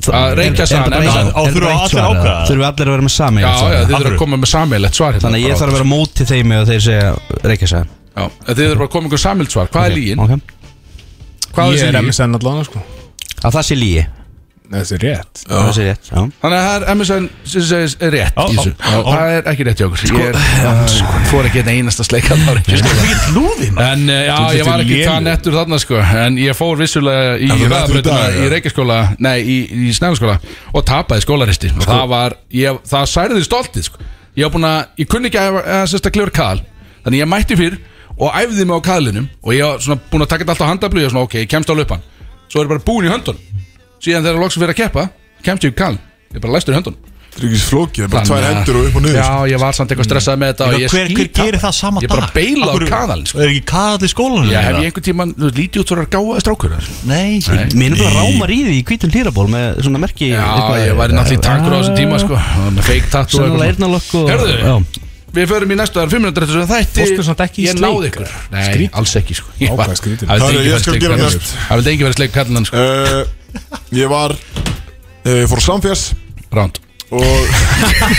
[SPEAKER 5] að reykja saman
[SPEAKER 4] Er
[SPEAKER 5] Já,
[SPEAKER 4] þetta
[SPEAKER 3] á- þurfa allir að ákveða?
[SPEAKER 4] Þurfum allir að vera með sami
[SPEAKER 5] já, þið
[SPEAKER 4] Þannig
[SPEAKER 5] þurfum að koma með sammeilegt svar hérna.
[SPEAKER 4] að ég þarf að vera á móti þeim eða þeir segja reykja sæðan
[SPEAKER 5] Já, Þið þurfum bara að koma með sammeilegt svar Hvað er lígin?
[SPEAKER 4] okay.
[SPEAKER 5] Hvað
[SPEAKER 2] Ég
[SPEAKER 5] er
[SPEAKER 2] er
[SPEAKER 5] þessi lígin?
[SPEAKER 2] MSN allan sko
[SPEAKER 4] Að það sé lígi
[SPEAKER 2] Það er rétt
[SPEAKER 4] Það sé rétt já.
[SPEAKER 5] Þannig að það er MSN sem segis er rétt
[SPEAKER 3] Já,
[SPEAKER 5] í þessu
[SPEAKER 3] já, já.
[SPEAKER 5] Það er ekki rétt hjá okkur Ég er- fór ekki einn einasta sleika Það var ekki
[SPEAKER 3] Lúði
[SPEAKER 5] En uh, já,
[SPEAKER 2] Þú ert
[SPEAKER 5] ég var ekki
[SPEAKER 2] lélegur.
[SPEAKER 5] það nettur þarna sko En ég fór vissulega í
[SPEAKER 1] þú nettur í dag,
[SPEAKER 5] ræðabröðuna
[SPEAKER 1] já.
[SPEAKER 5] í reykjaskóla Nei, í, í snæðaskóla Og tapaði skólaristi Og það var, ég, það særði stoltið sko Ég var búin að, ég kunni ekki að, að sérst að kljóra kal Þannig ég mætti fyrr og æfði mig á kalinum Og ég var svona búin að taka þetta allt á handablu Ég var svona, ok, ég kemst á löpan Svo er ég bara búin í höndun Síðan þegar loksin fyrir að keppa, kemst ég í kalin Ég bara læstur í höndun
[SPEAKER 1] Það er ekki svo flókið, það er bara tvær
[SPEAKER 5] Þannig að-
[SPEAKER 1] hendur og upp og niður
[SPEAKER 5] Já, ég var samt eitthvað stressað með þetta og ég
[SPEAKER 3] hver, hver
[SPEAKER 5] skítapaði.
[SPEAKER 3] gerir það sama
[SPEAKER 5] Ég bara
[SPEAKER 3] dag?
[SPEAKER 5] beila á
[SPEAKER 3] Af hverju-
[SPEAKER 5] kaðal, sko.
[SPEAKER 3] Er ekki kaðal í skólanum?
[SPEAKER 5] Já, hef
[SPEAKER 3] eða?
[SPEAKER 5] ég einhvern tíman, þú veist, lítið út fyrir að gáða strákur þar
[SPEAKER 3] Nei,
[SPEAKER 4] Mér er bara rámar í því í hvítum hlýraból með svona merki
[SPEAKER 5] Já,
[SPEAKER 4] eitthvað-
[SPEAKER 5] ég væri náttúrulega í tankur á þessum tíma, sko og Með fake tattoo og
[SPEAKER 4] Sennilega
[SPEAKER 5] eitthvað
[SPEAKER 4] eirnalokk og
[SPEAKER 5] Herðu.
[SPEAKER 4] Já.
[SPEAKER 5] Við förum í næstu, það er 5 minútur eftir þessu þætti
[SPEAKER 2] Fórstu samt ekki í
[SPEAKER 5] Ég
[SPEAKER 2] sleik,
[SPEAKER 5] náði ykkur Nei,
[SPEAKER 2] Skrít.
[SPEAKER 5] alls ekki, sko Ég
[SPEAKER 2] Á,
[SPEAKER 5] var-
[SPEAKER 2] hvað skrítið.
[SPEAKER 5] Það
[SPEAKER 1] Herðu,
[SPEAKER 5] vildi
[SPEAKER 1] ég
[SPEAKER 5] enginn vera
[SPEAKER 1] skal
[SPEAKER 5] sleik
[SPEAKER 1] gera
[SPEAKER 5] karlinn,
[SPEAKER 1] næst.
[SPEAKER 5] sko. Það vildi enginn vera sleik kallan, sko
[SPEAKER 1] Eh, Ég var eh, Ég fór á samfélags
[SPEAKER 5] Ránd
[SPEAKER 1] og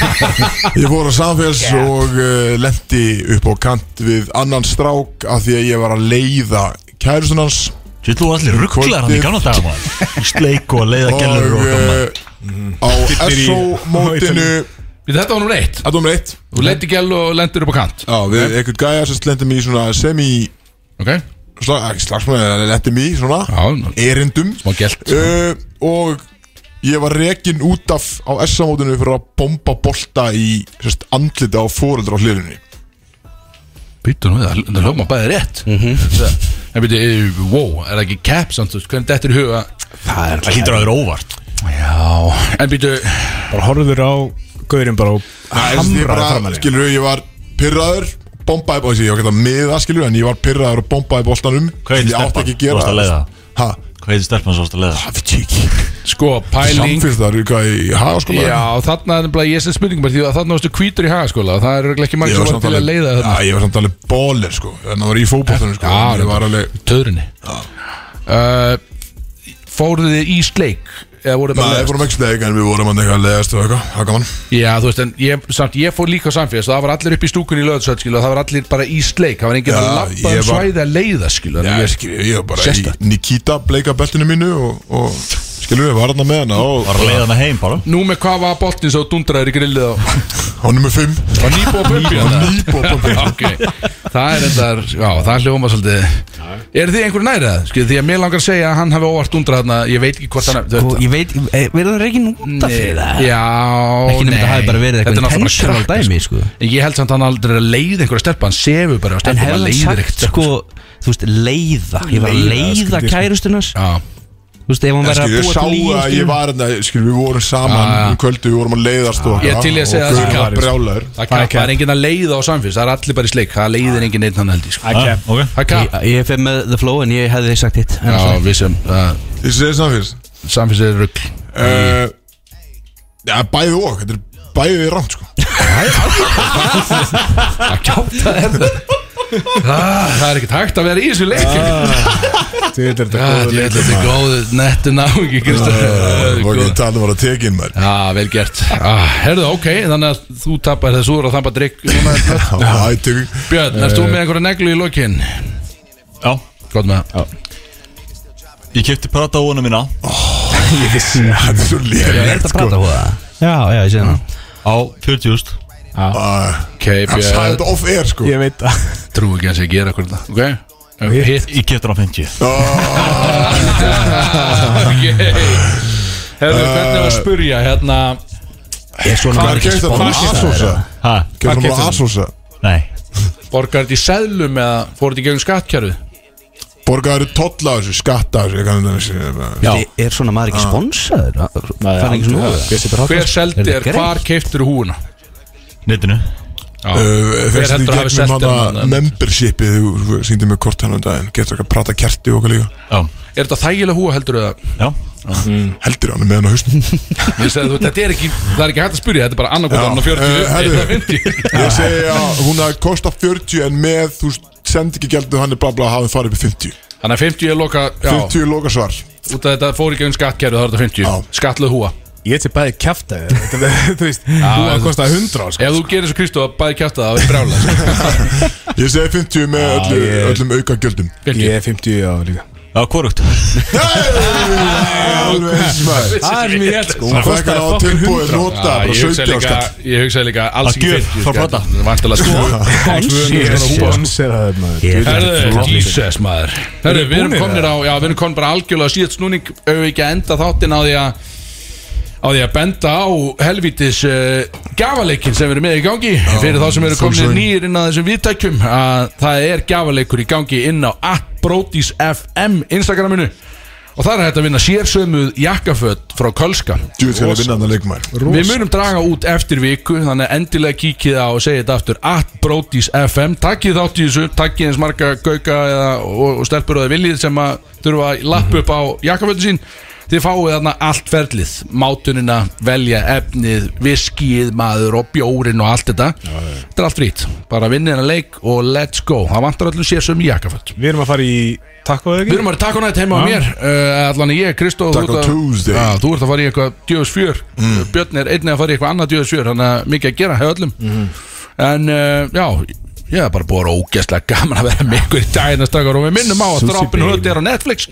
[SPEAKER 1] [laughs] ég fór á samfélags og uh, lendi upp á kant við annan strák af því að ég var að leiða kærustun hans
[SPEAKER 3] Þú veit, þú var allir rugglar hann í
[SPEAKER 1] Kvöldið.
[SPEAKER 3] gamla daga maður Í Sleik og að leiða
[SPEAKER 1] og
[SPEAKER 3] gælur og gaman Mhm.
[SPEAKER 1] eh, á SO-mótinu
[SPEAKER 5] Þetta var nummer eitt
[SPEAKER 1] Þetta var mér eitt
[SPEAKER 5] Þú lendi gæl og lendir upp á kant
[SPEAKER 1] Já, við einhvern gæja sem lendum í svona semi
[SPEAKER 5] Ok?
[SPEAKER 1] slag, slagsmæði, lendum í svona
[SPEAKER 5] Já,
[SPEAKER 1] erindum
[SPEAKER 5] smá gælt
[SPEAKER 1] uh, og ég var rekin út af á S-mótinu fyrir að bomba bolta í sérst, andlita á fóreldra á hliðinni
[SPEAKER 5] Býttu nú, það það hljóma bæði rétt Það- En býttu, eh, wow, er það ekki cap samt, þú veist, hvernig þetta er í huga
[SPEAKER 4] Það er
[SPEAKER 3] Það hlýtur að vera óvart
[SPEAKER 5] Já En býttu,
[SPEAKER 2] Bara horfður á Gaurinn bara og
[SPEAKER 1] Hamraði
[SPEAKER 2] hamraði fram
[SPEAKER 1] bara,
[SPEAKER 2] henni
[SPEAKER 1] skilur ég var pyrraður bombaði bolta, ég var ekki að miða skilur en ég var pyrraður og bombaði boltanum
[SPEAKER 3] Hvað heitir
[SPEAKER 1] Ég átti
[SPEAKER 3] stelpan?
[SPEAKER 1] ekki að gera
[SPEAKER 3] Þú varst að leiða?
[SPEAKER 1] Ha,
[SPEAKER 3] Hvað heitir stelpan svo að leiða?
[SPEAKER 1] það veit ég ekki
[SPEAKER 5] sko, pæling
[SPEAKER 1] Samfélstar, hvað í hagaskóla
[SPEAKER 5] Já, þarna er nefnilega ég sem spurningum er því að þarna varstu hvítur í hagaskóla og það er örugglega ekki
[SPEAKER 1] Ég
[SPEAKER 5] margir
[SPEAKER 1] var
[SPEAKER 5] sem var
[SPEAKER 1] samt
[SPEAKER 5] til að
[SPEAKER 1] alveg,
[SPEAKER 5] leiða
[SPEAKER 1] já,
[SPEAKER 5] þarna
[SPEAKER 1] ég var samt alveg bólir sko En það var í fótboltanum sko
[SPEAKER 5] Já,
[SPEAKER 1] Ég var alveg
[SPEAKER 5] Töðrunni uh, Fóruðu þið í sleik eða voru
[SPEAKER 1] Nei,
[SPEAKER 5] bara
[SPEAKER 1] við
[SPEAKER 5] leiðast?
[SPEAKER 1] fórum ekki sleik En við vorum hann eitthvað að leiðast og eitthvað Það var gaman
[SPEAKER 5] Já, þú veist, en ég, samt, ég fór líka á samfélags það var allir upp í stúkunni í löðsöld, skilu og það var allir bara í sleik, það var enginn
[SPEAKER 1] Já,
[SPEAKER 5] að lappa
[SPEAKER 1] ég var-
[SPEAKER 5] um svæði að leiða,
[SPEAKER 1] Já,
[SPEAKER 5] skilu þannig
[SPEAKER 1] ég,
[SPEAKER 5] að-
[SPEAKER 1] skil, ég var bara
[SPEAKER 5] Sérstakt.
[SPEAKER 1] í Nikita bleika beltinu mínu og, og skilur við, var hann með hana og
[SPEAKER 3] Bara að leiða hana heim bara
[SPEAKER 5] Nú með hvað var botnin svo dundraður í grillið og
[SPEAKER 1] hann er með fimm
[SPEAKER 5] var
[SPEAKER 4] [laughs]
[SPEAKER 5] nýbúið að bubbi
[SPEAKER 1] og nýbúið að pumpi.
[SPEAKER 5] okay. Það er endar, já, það hljóma svolítið Er þið einhver nærið? Skil, því að mér langar að segja að hann hafi óvart undrað þarna, ég veit ekki hvort hann
[SPEAKER 4] Og Sko, ég veit, eh, verður það ekki núta fyrir það?
[SPEAKER 5] Já,
[SPEAKER 4] Ekki nefnir það hafi bara verið
[SPEAKER 5] Þetta er
[SPEAKER 4] eitthvað
[SPEAKER 5] náttúrulega bara
[SPEAKER 4] intentional
[SPEAKER 5] krakki,
[SPEAKER 4] dæmi, sko
[SPEAKER 5] En Ég held samt að hann aldrei er að leiða einhverja stelpa Hann sefur bara á
[SPEAKER 4] En
[SPEAKER 5] stelpa
[SPEAKER 4] hefði hann sagt, sko, þú veist, leiða Ég var að leiða kærustunars
[SPEAKER 5] Já,
[SPEAKER 4] Þú veist, ef hann verið að
[SPEAKER 1] Skilur, ég
[SPEAKER 4] búa
[SPEAKER 1] sá
[SPEAKER 4] til í
[SPEAKER 1] að ég var hérna, skilur við vorum saman
[SPEAKER 5] Já, já.
[SPEAKER 1] um kvöldu, við vorum að leiðast og
[SPEAKER 5] Ég er til í að segja
[SPEAKER 1] það og
[SPEAKER 5] það sem
[SPEAKER 1] Guðrún var
[SPEAKER 5] kappar.
[SPEAKER 1] brjálæður
[SPEAKER 5] það er, er enginn að leiða á samfélst Það er allir bara í sleik, það leiðir enginn einn hann held ég, sko.
[SPEAKER 3] Ah, ok.
[SPEAKER 5] Það er kapp
[SPEAKER 4] Ég- Ég fyrir með The Flow en ég hefði sagt hitt
[SPEAKER 5] Já, við sem uh,
[SPEAKER 1] Ég segi samfélst
[SPEAKER 5] Samfélst er rugg
[SPEAKER 1] uh, Já, bæði og, þetta er bæði rangt sko
[SPEAKER 5] Það er ekkert hægt að vera í þessu leik Ah,
[SPEAKER 2] Þú veit, er þetta góður
[SPEAKER 5] Þetta
[SPEAKER 2] leikur
[SPEAKER 5] er góðu nettu náungi Kristján
[SPEAKER 1] Og ekki tala um að teka inn [laughs] maður
[SPEAKER 5] Já, vel gert ah, Herðu, ok, þannig að þú tapar þessu úr og þamba drikk núna er blött.
[SPEAKER 1] Já, það er tökum [laughs]
[SPEAKER 5] Björn, erst þú með einhverja neglu í lokin?
[SPEAKER 3] Já,
[SPEAKER 5] Gótt með það
[SPEAKER 3] ég kefti prata á hana mína
[SPEAKER 2] Ég vissi
[SPEAKER 1] Þetta er svo
[SPEAKER 4] Er
[SPEAKER 1] lélegt
[SPEAKER 4] þetta Mm.
[SPEAKER 1] sko
[SPEAKER 4] prata á það? Já, já, ég sé það
[SPEAKER 3] Á 40.000
[SPEAKER 1] Ah,
[SPEAKER 5] Ok,
[SPEAKER 1] Hann sagði
[SPEAKER 5] Björn,
[SPEAKER 1] þetta off-air sko
[SPEAKER 2] Ég veit að
[SPEAKER 5] trú ekki að sé að gera okkur þetta Ok, hitt
[SPEAKER 3] Ég kefti hana á 50
[SPEAKER 5] Ok Herðu, hvernig var að spurja hérna
[SPEAKER 4] Ég svona
[SPEAKER 1] Hvað er gæst þetta? Asósa?
[SPEAKER 3] Ha,
[SPEAKER 1] Gæst
[SPEAKER 5] keypti
[SPEAKER 1] þetta
[SPEAKER 5] hann?
[SPEAKER 1] Asósa?
[SPEAKER 3] nei
[SPEAKER 5] Borgar þetta í seðlum eða fór þetta í gegn skattkjörðu?
[SPEAKER 1] Borgaður tolla á þessu, skatta á þessu, ég kannu þetta
[SPEAKER 4] Já. Er svona maður
[SPEAKER 2] Ah.
[SPEAKER 4] ekki sponsaður? Það er ekki svona
[SPEAKER 5] Hver seldi
[SPEAKER 4] Er
[SPEAKER 5] er,
[SPEAKER 4] þetta
[SPEAKER 5] hvar keiftur húuna?
[SPEAKER 3] Netinu
[SPEAKER 5] Uh,
[SPEAKER 1] Fyrst í
[SPEAKER 5] heldur að hafi
[SPEAKER 1] gegnum
[SPEAKER 5] selt þér
[SPEAKER 1] hana
[SPEAKER 5] hann?
[SPEAKER 1] membershipið þú síndi mig kort hann um daginn getur ekki að prata kerti og okkar líka
[SPEAKER 3] Já,
[SPEAKER 5] Er þetta þægilega húa heldur það?
[SPEAKER 3] já
[SPEAKER 1] heldur hann með hann á hausnum
[SPEAKER 5] Ég segi þú, þetta er ekki, það er ekki hægt að spyrja, þetta er bara
[SPEAKER 1] Já,
[SPEAKER 5] annarkvöldan á
[SPEAKER 1] eh,
[SPEAKER 5] 40
[SPEAKER 1] herðu.
[SPEAKER 5] eða 50
[SPEAKER 1] ég segi að hún hafi kostað 40 en með þú sendi ekki gældið hann er bla bla hafið farið upp í 50
[SPEAKER 5] Þannig að 50 er loka, já,
[SPEAKER 1] 50 er lokasvar
[SPEAKER 5] út af þetta fór í gegn skattkerfið þá er þetta 50
[SPEAKER 1] Já.
[SPEAKER 5] Skattlöð húa
[SPEAKER 2] Ég til bæði kæft [laughs] að þér Þú veist,
[SPEAKER 4] Ah,
[SPEAKER 2] þú að kosta 100 sko.
[SPEAKER 5] Ef þú gerir svo Kristó að bæði kjáta það, það er brjála
[SPEAKER 1] ég segi 50 með öllu,
[SPEAKER 2] ég-
[SPEAKER 1] öllum auka gjöldum
[SPEAKER 2] Ég er 50 á líka
[SPEAKER 3] Já, hvorugt
[SPEAKER 1] alveg eins maður
[SPEAKER 2] Það er mjög hér sko
[SPEAKER 1] hún fækkar á tilbúið nota bara
[SPEAKER 5] Ég hugsaði
[SPEAKER 1] 70
[SPEAKER 5] líka,
[SPEAKER 1] skall
[SPEAKER 5] ég hugsaði líka
[SPEAKER 3] Að
[SPEAKER 5] alls ekki
[SPEAKER 3] gjöf
[SPEAKER 5] 50 skatt.
[SPEAKER 3] frá Prada.
[SPEAKER 5] Það er Vantalega sko
[SPEAKER 2] Sponseraður maður
[SPEAKER 4] Ég er
[SPEAKER 5] Herðu, Jesus maður Herðu, við erum
[SPEAKER 2] búnir,
[SPEAKER 5] komin á, já, við erum komin bara algjörlega síðan snúning Ef við ekki að enda þáttinn á því að á því að benda á helvítis uh, gafaleikin sem eru með í gangi fyrir þá sem eru komin
[SPEAKER 1] sjálfsögðu.
[SPEAKER 5] nýjir inn að þessum viðtækjum að það er gafaleikur í gangi inn á atbrotis.fm Instagraminu og það er hægt að vinna sérsömuð jakkaföt frá Kölska
[SPEAKER 1] Djúið skal ég vinna hann að leikmaður
[SPEAKER 5] Við munum draga út eftir viku þannig að endilega kíkið á og segja þetta aftur at Brodís FM, takkið þátt í þessu takkið eins marga gauka eða, og, og stelpur og það viljið sem að þurfa að lappa upp á jakkafötu sín þið fáið þarna allt ferlið mátunina, velja efnið, viskið maður og bjórin og allt þetta þetta er allt frýtt, bara vinnið hennar leik og let's go, það vantar allir sér sem jakkaföt
[SPEAKER 2] Við erum að fara í takkóðu
[SPEAKER 5] Við
[SPEAKER 2] ekki?
[SPEAKER 5] erum að taka nætt heima á
[SPEAKER 2] Já.
[SPEAKER 5] mér uh, Allan ég, Kristó þú
[SPEAKER 1] Taco
[SPEAKER 5] ert að-
[SPEAKER 1] Tuesday.
[SPEAKER 5] Já, Þú ert að fara í eitthvað djöðs fjör Eh, Björn er einnig að fara í eitthvað annað djöðs fjör Þannig að mikið að gera hefur öllum En uh, já, ég er bara búið að vera ógeðslega gaman að vera með ykkur í daginn að stakar Og við minnum á að
[SPEAKER 2] Sushi
[SPEAKER 5] drápin
[SPEAKER 2] baby.
[SPEAKER 5] hlut er á [laughs] Netflix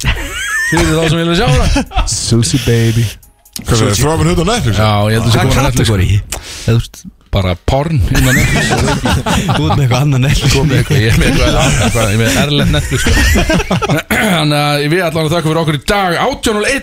[SPEAKER 5] Fyrir þá sem vilja sjá það
[SPEAKER 2] Susie baby
[SPEAKER 1] Hvað er það? Þráfinn hund á Netflix?
[SPEAKER 5] Já, ég heldur
[SPEAKER 4] Hvað
[SPEAKER 5] sem
[SPEAKER 4] er
[SPEAKER 5] komin á Netflix
[SPEAKER 4] kategóri? Eða þú veist,
[SPEAKER 5] sko. Bara porn innan Netflix [laughs]
[SPEAKER 4] Þú ert með eitthvað annað nefn
[SPEAKER 5] Ég er með eitthvað [clears throat] annað, bara, ég er með erlend Netflix sko. Þannig að við allan að þakka fyrir okkur í dag 18.01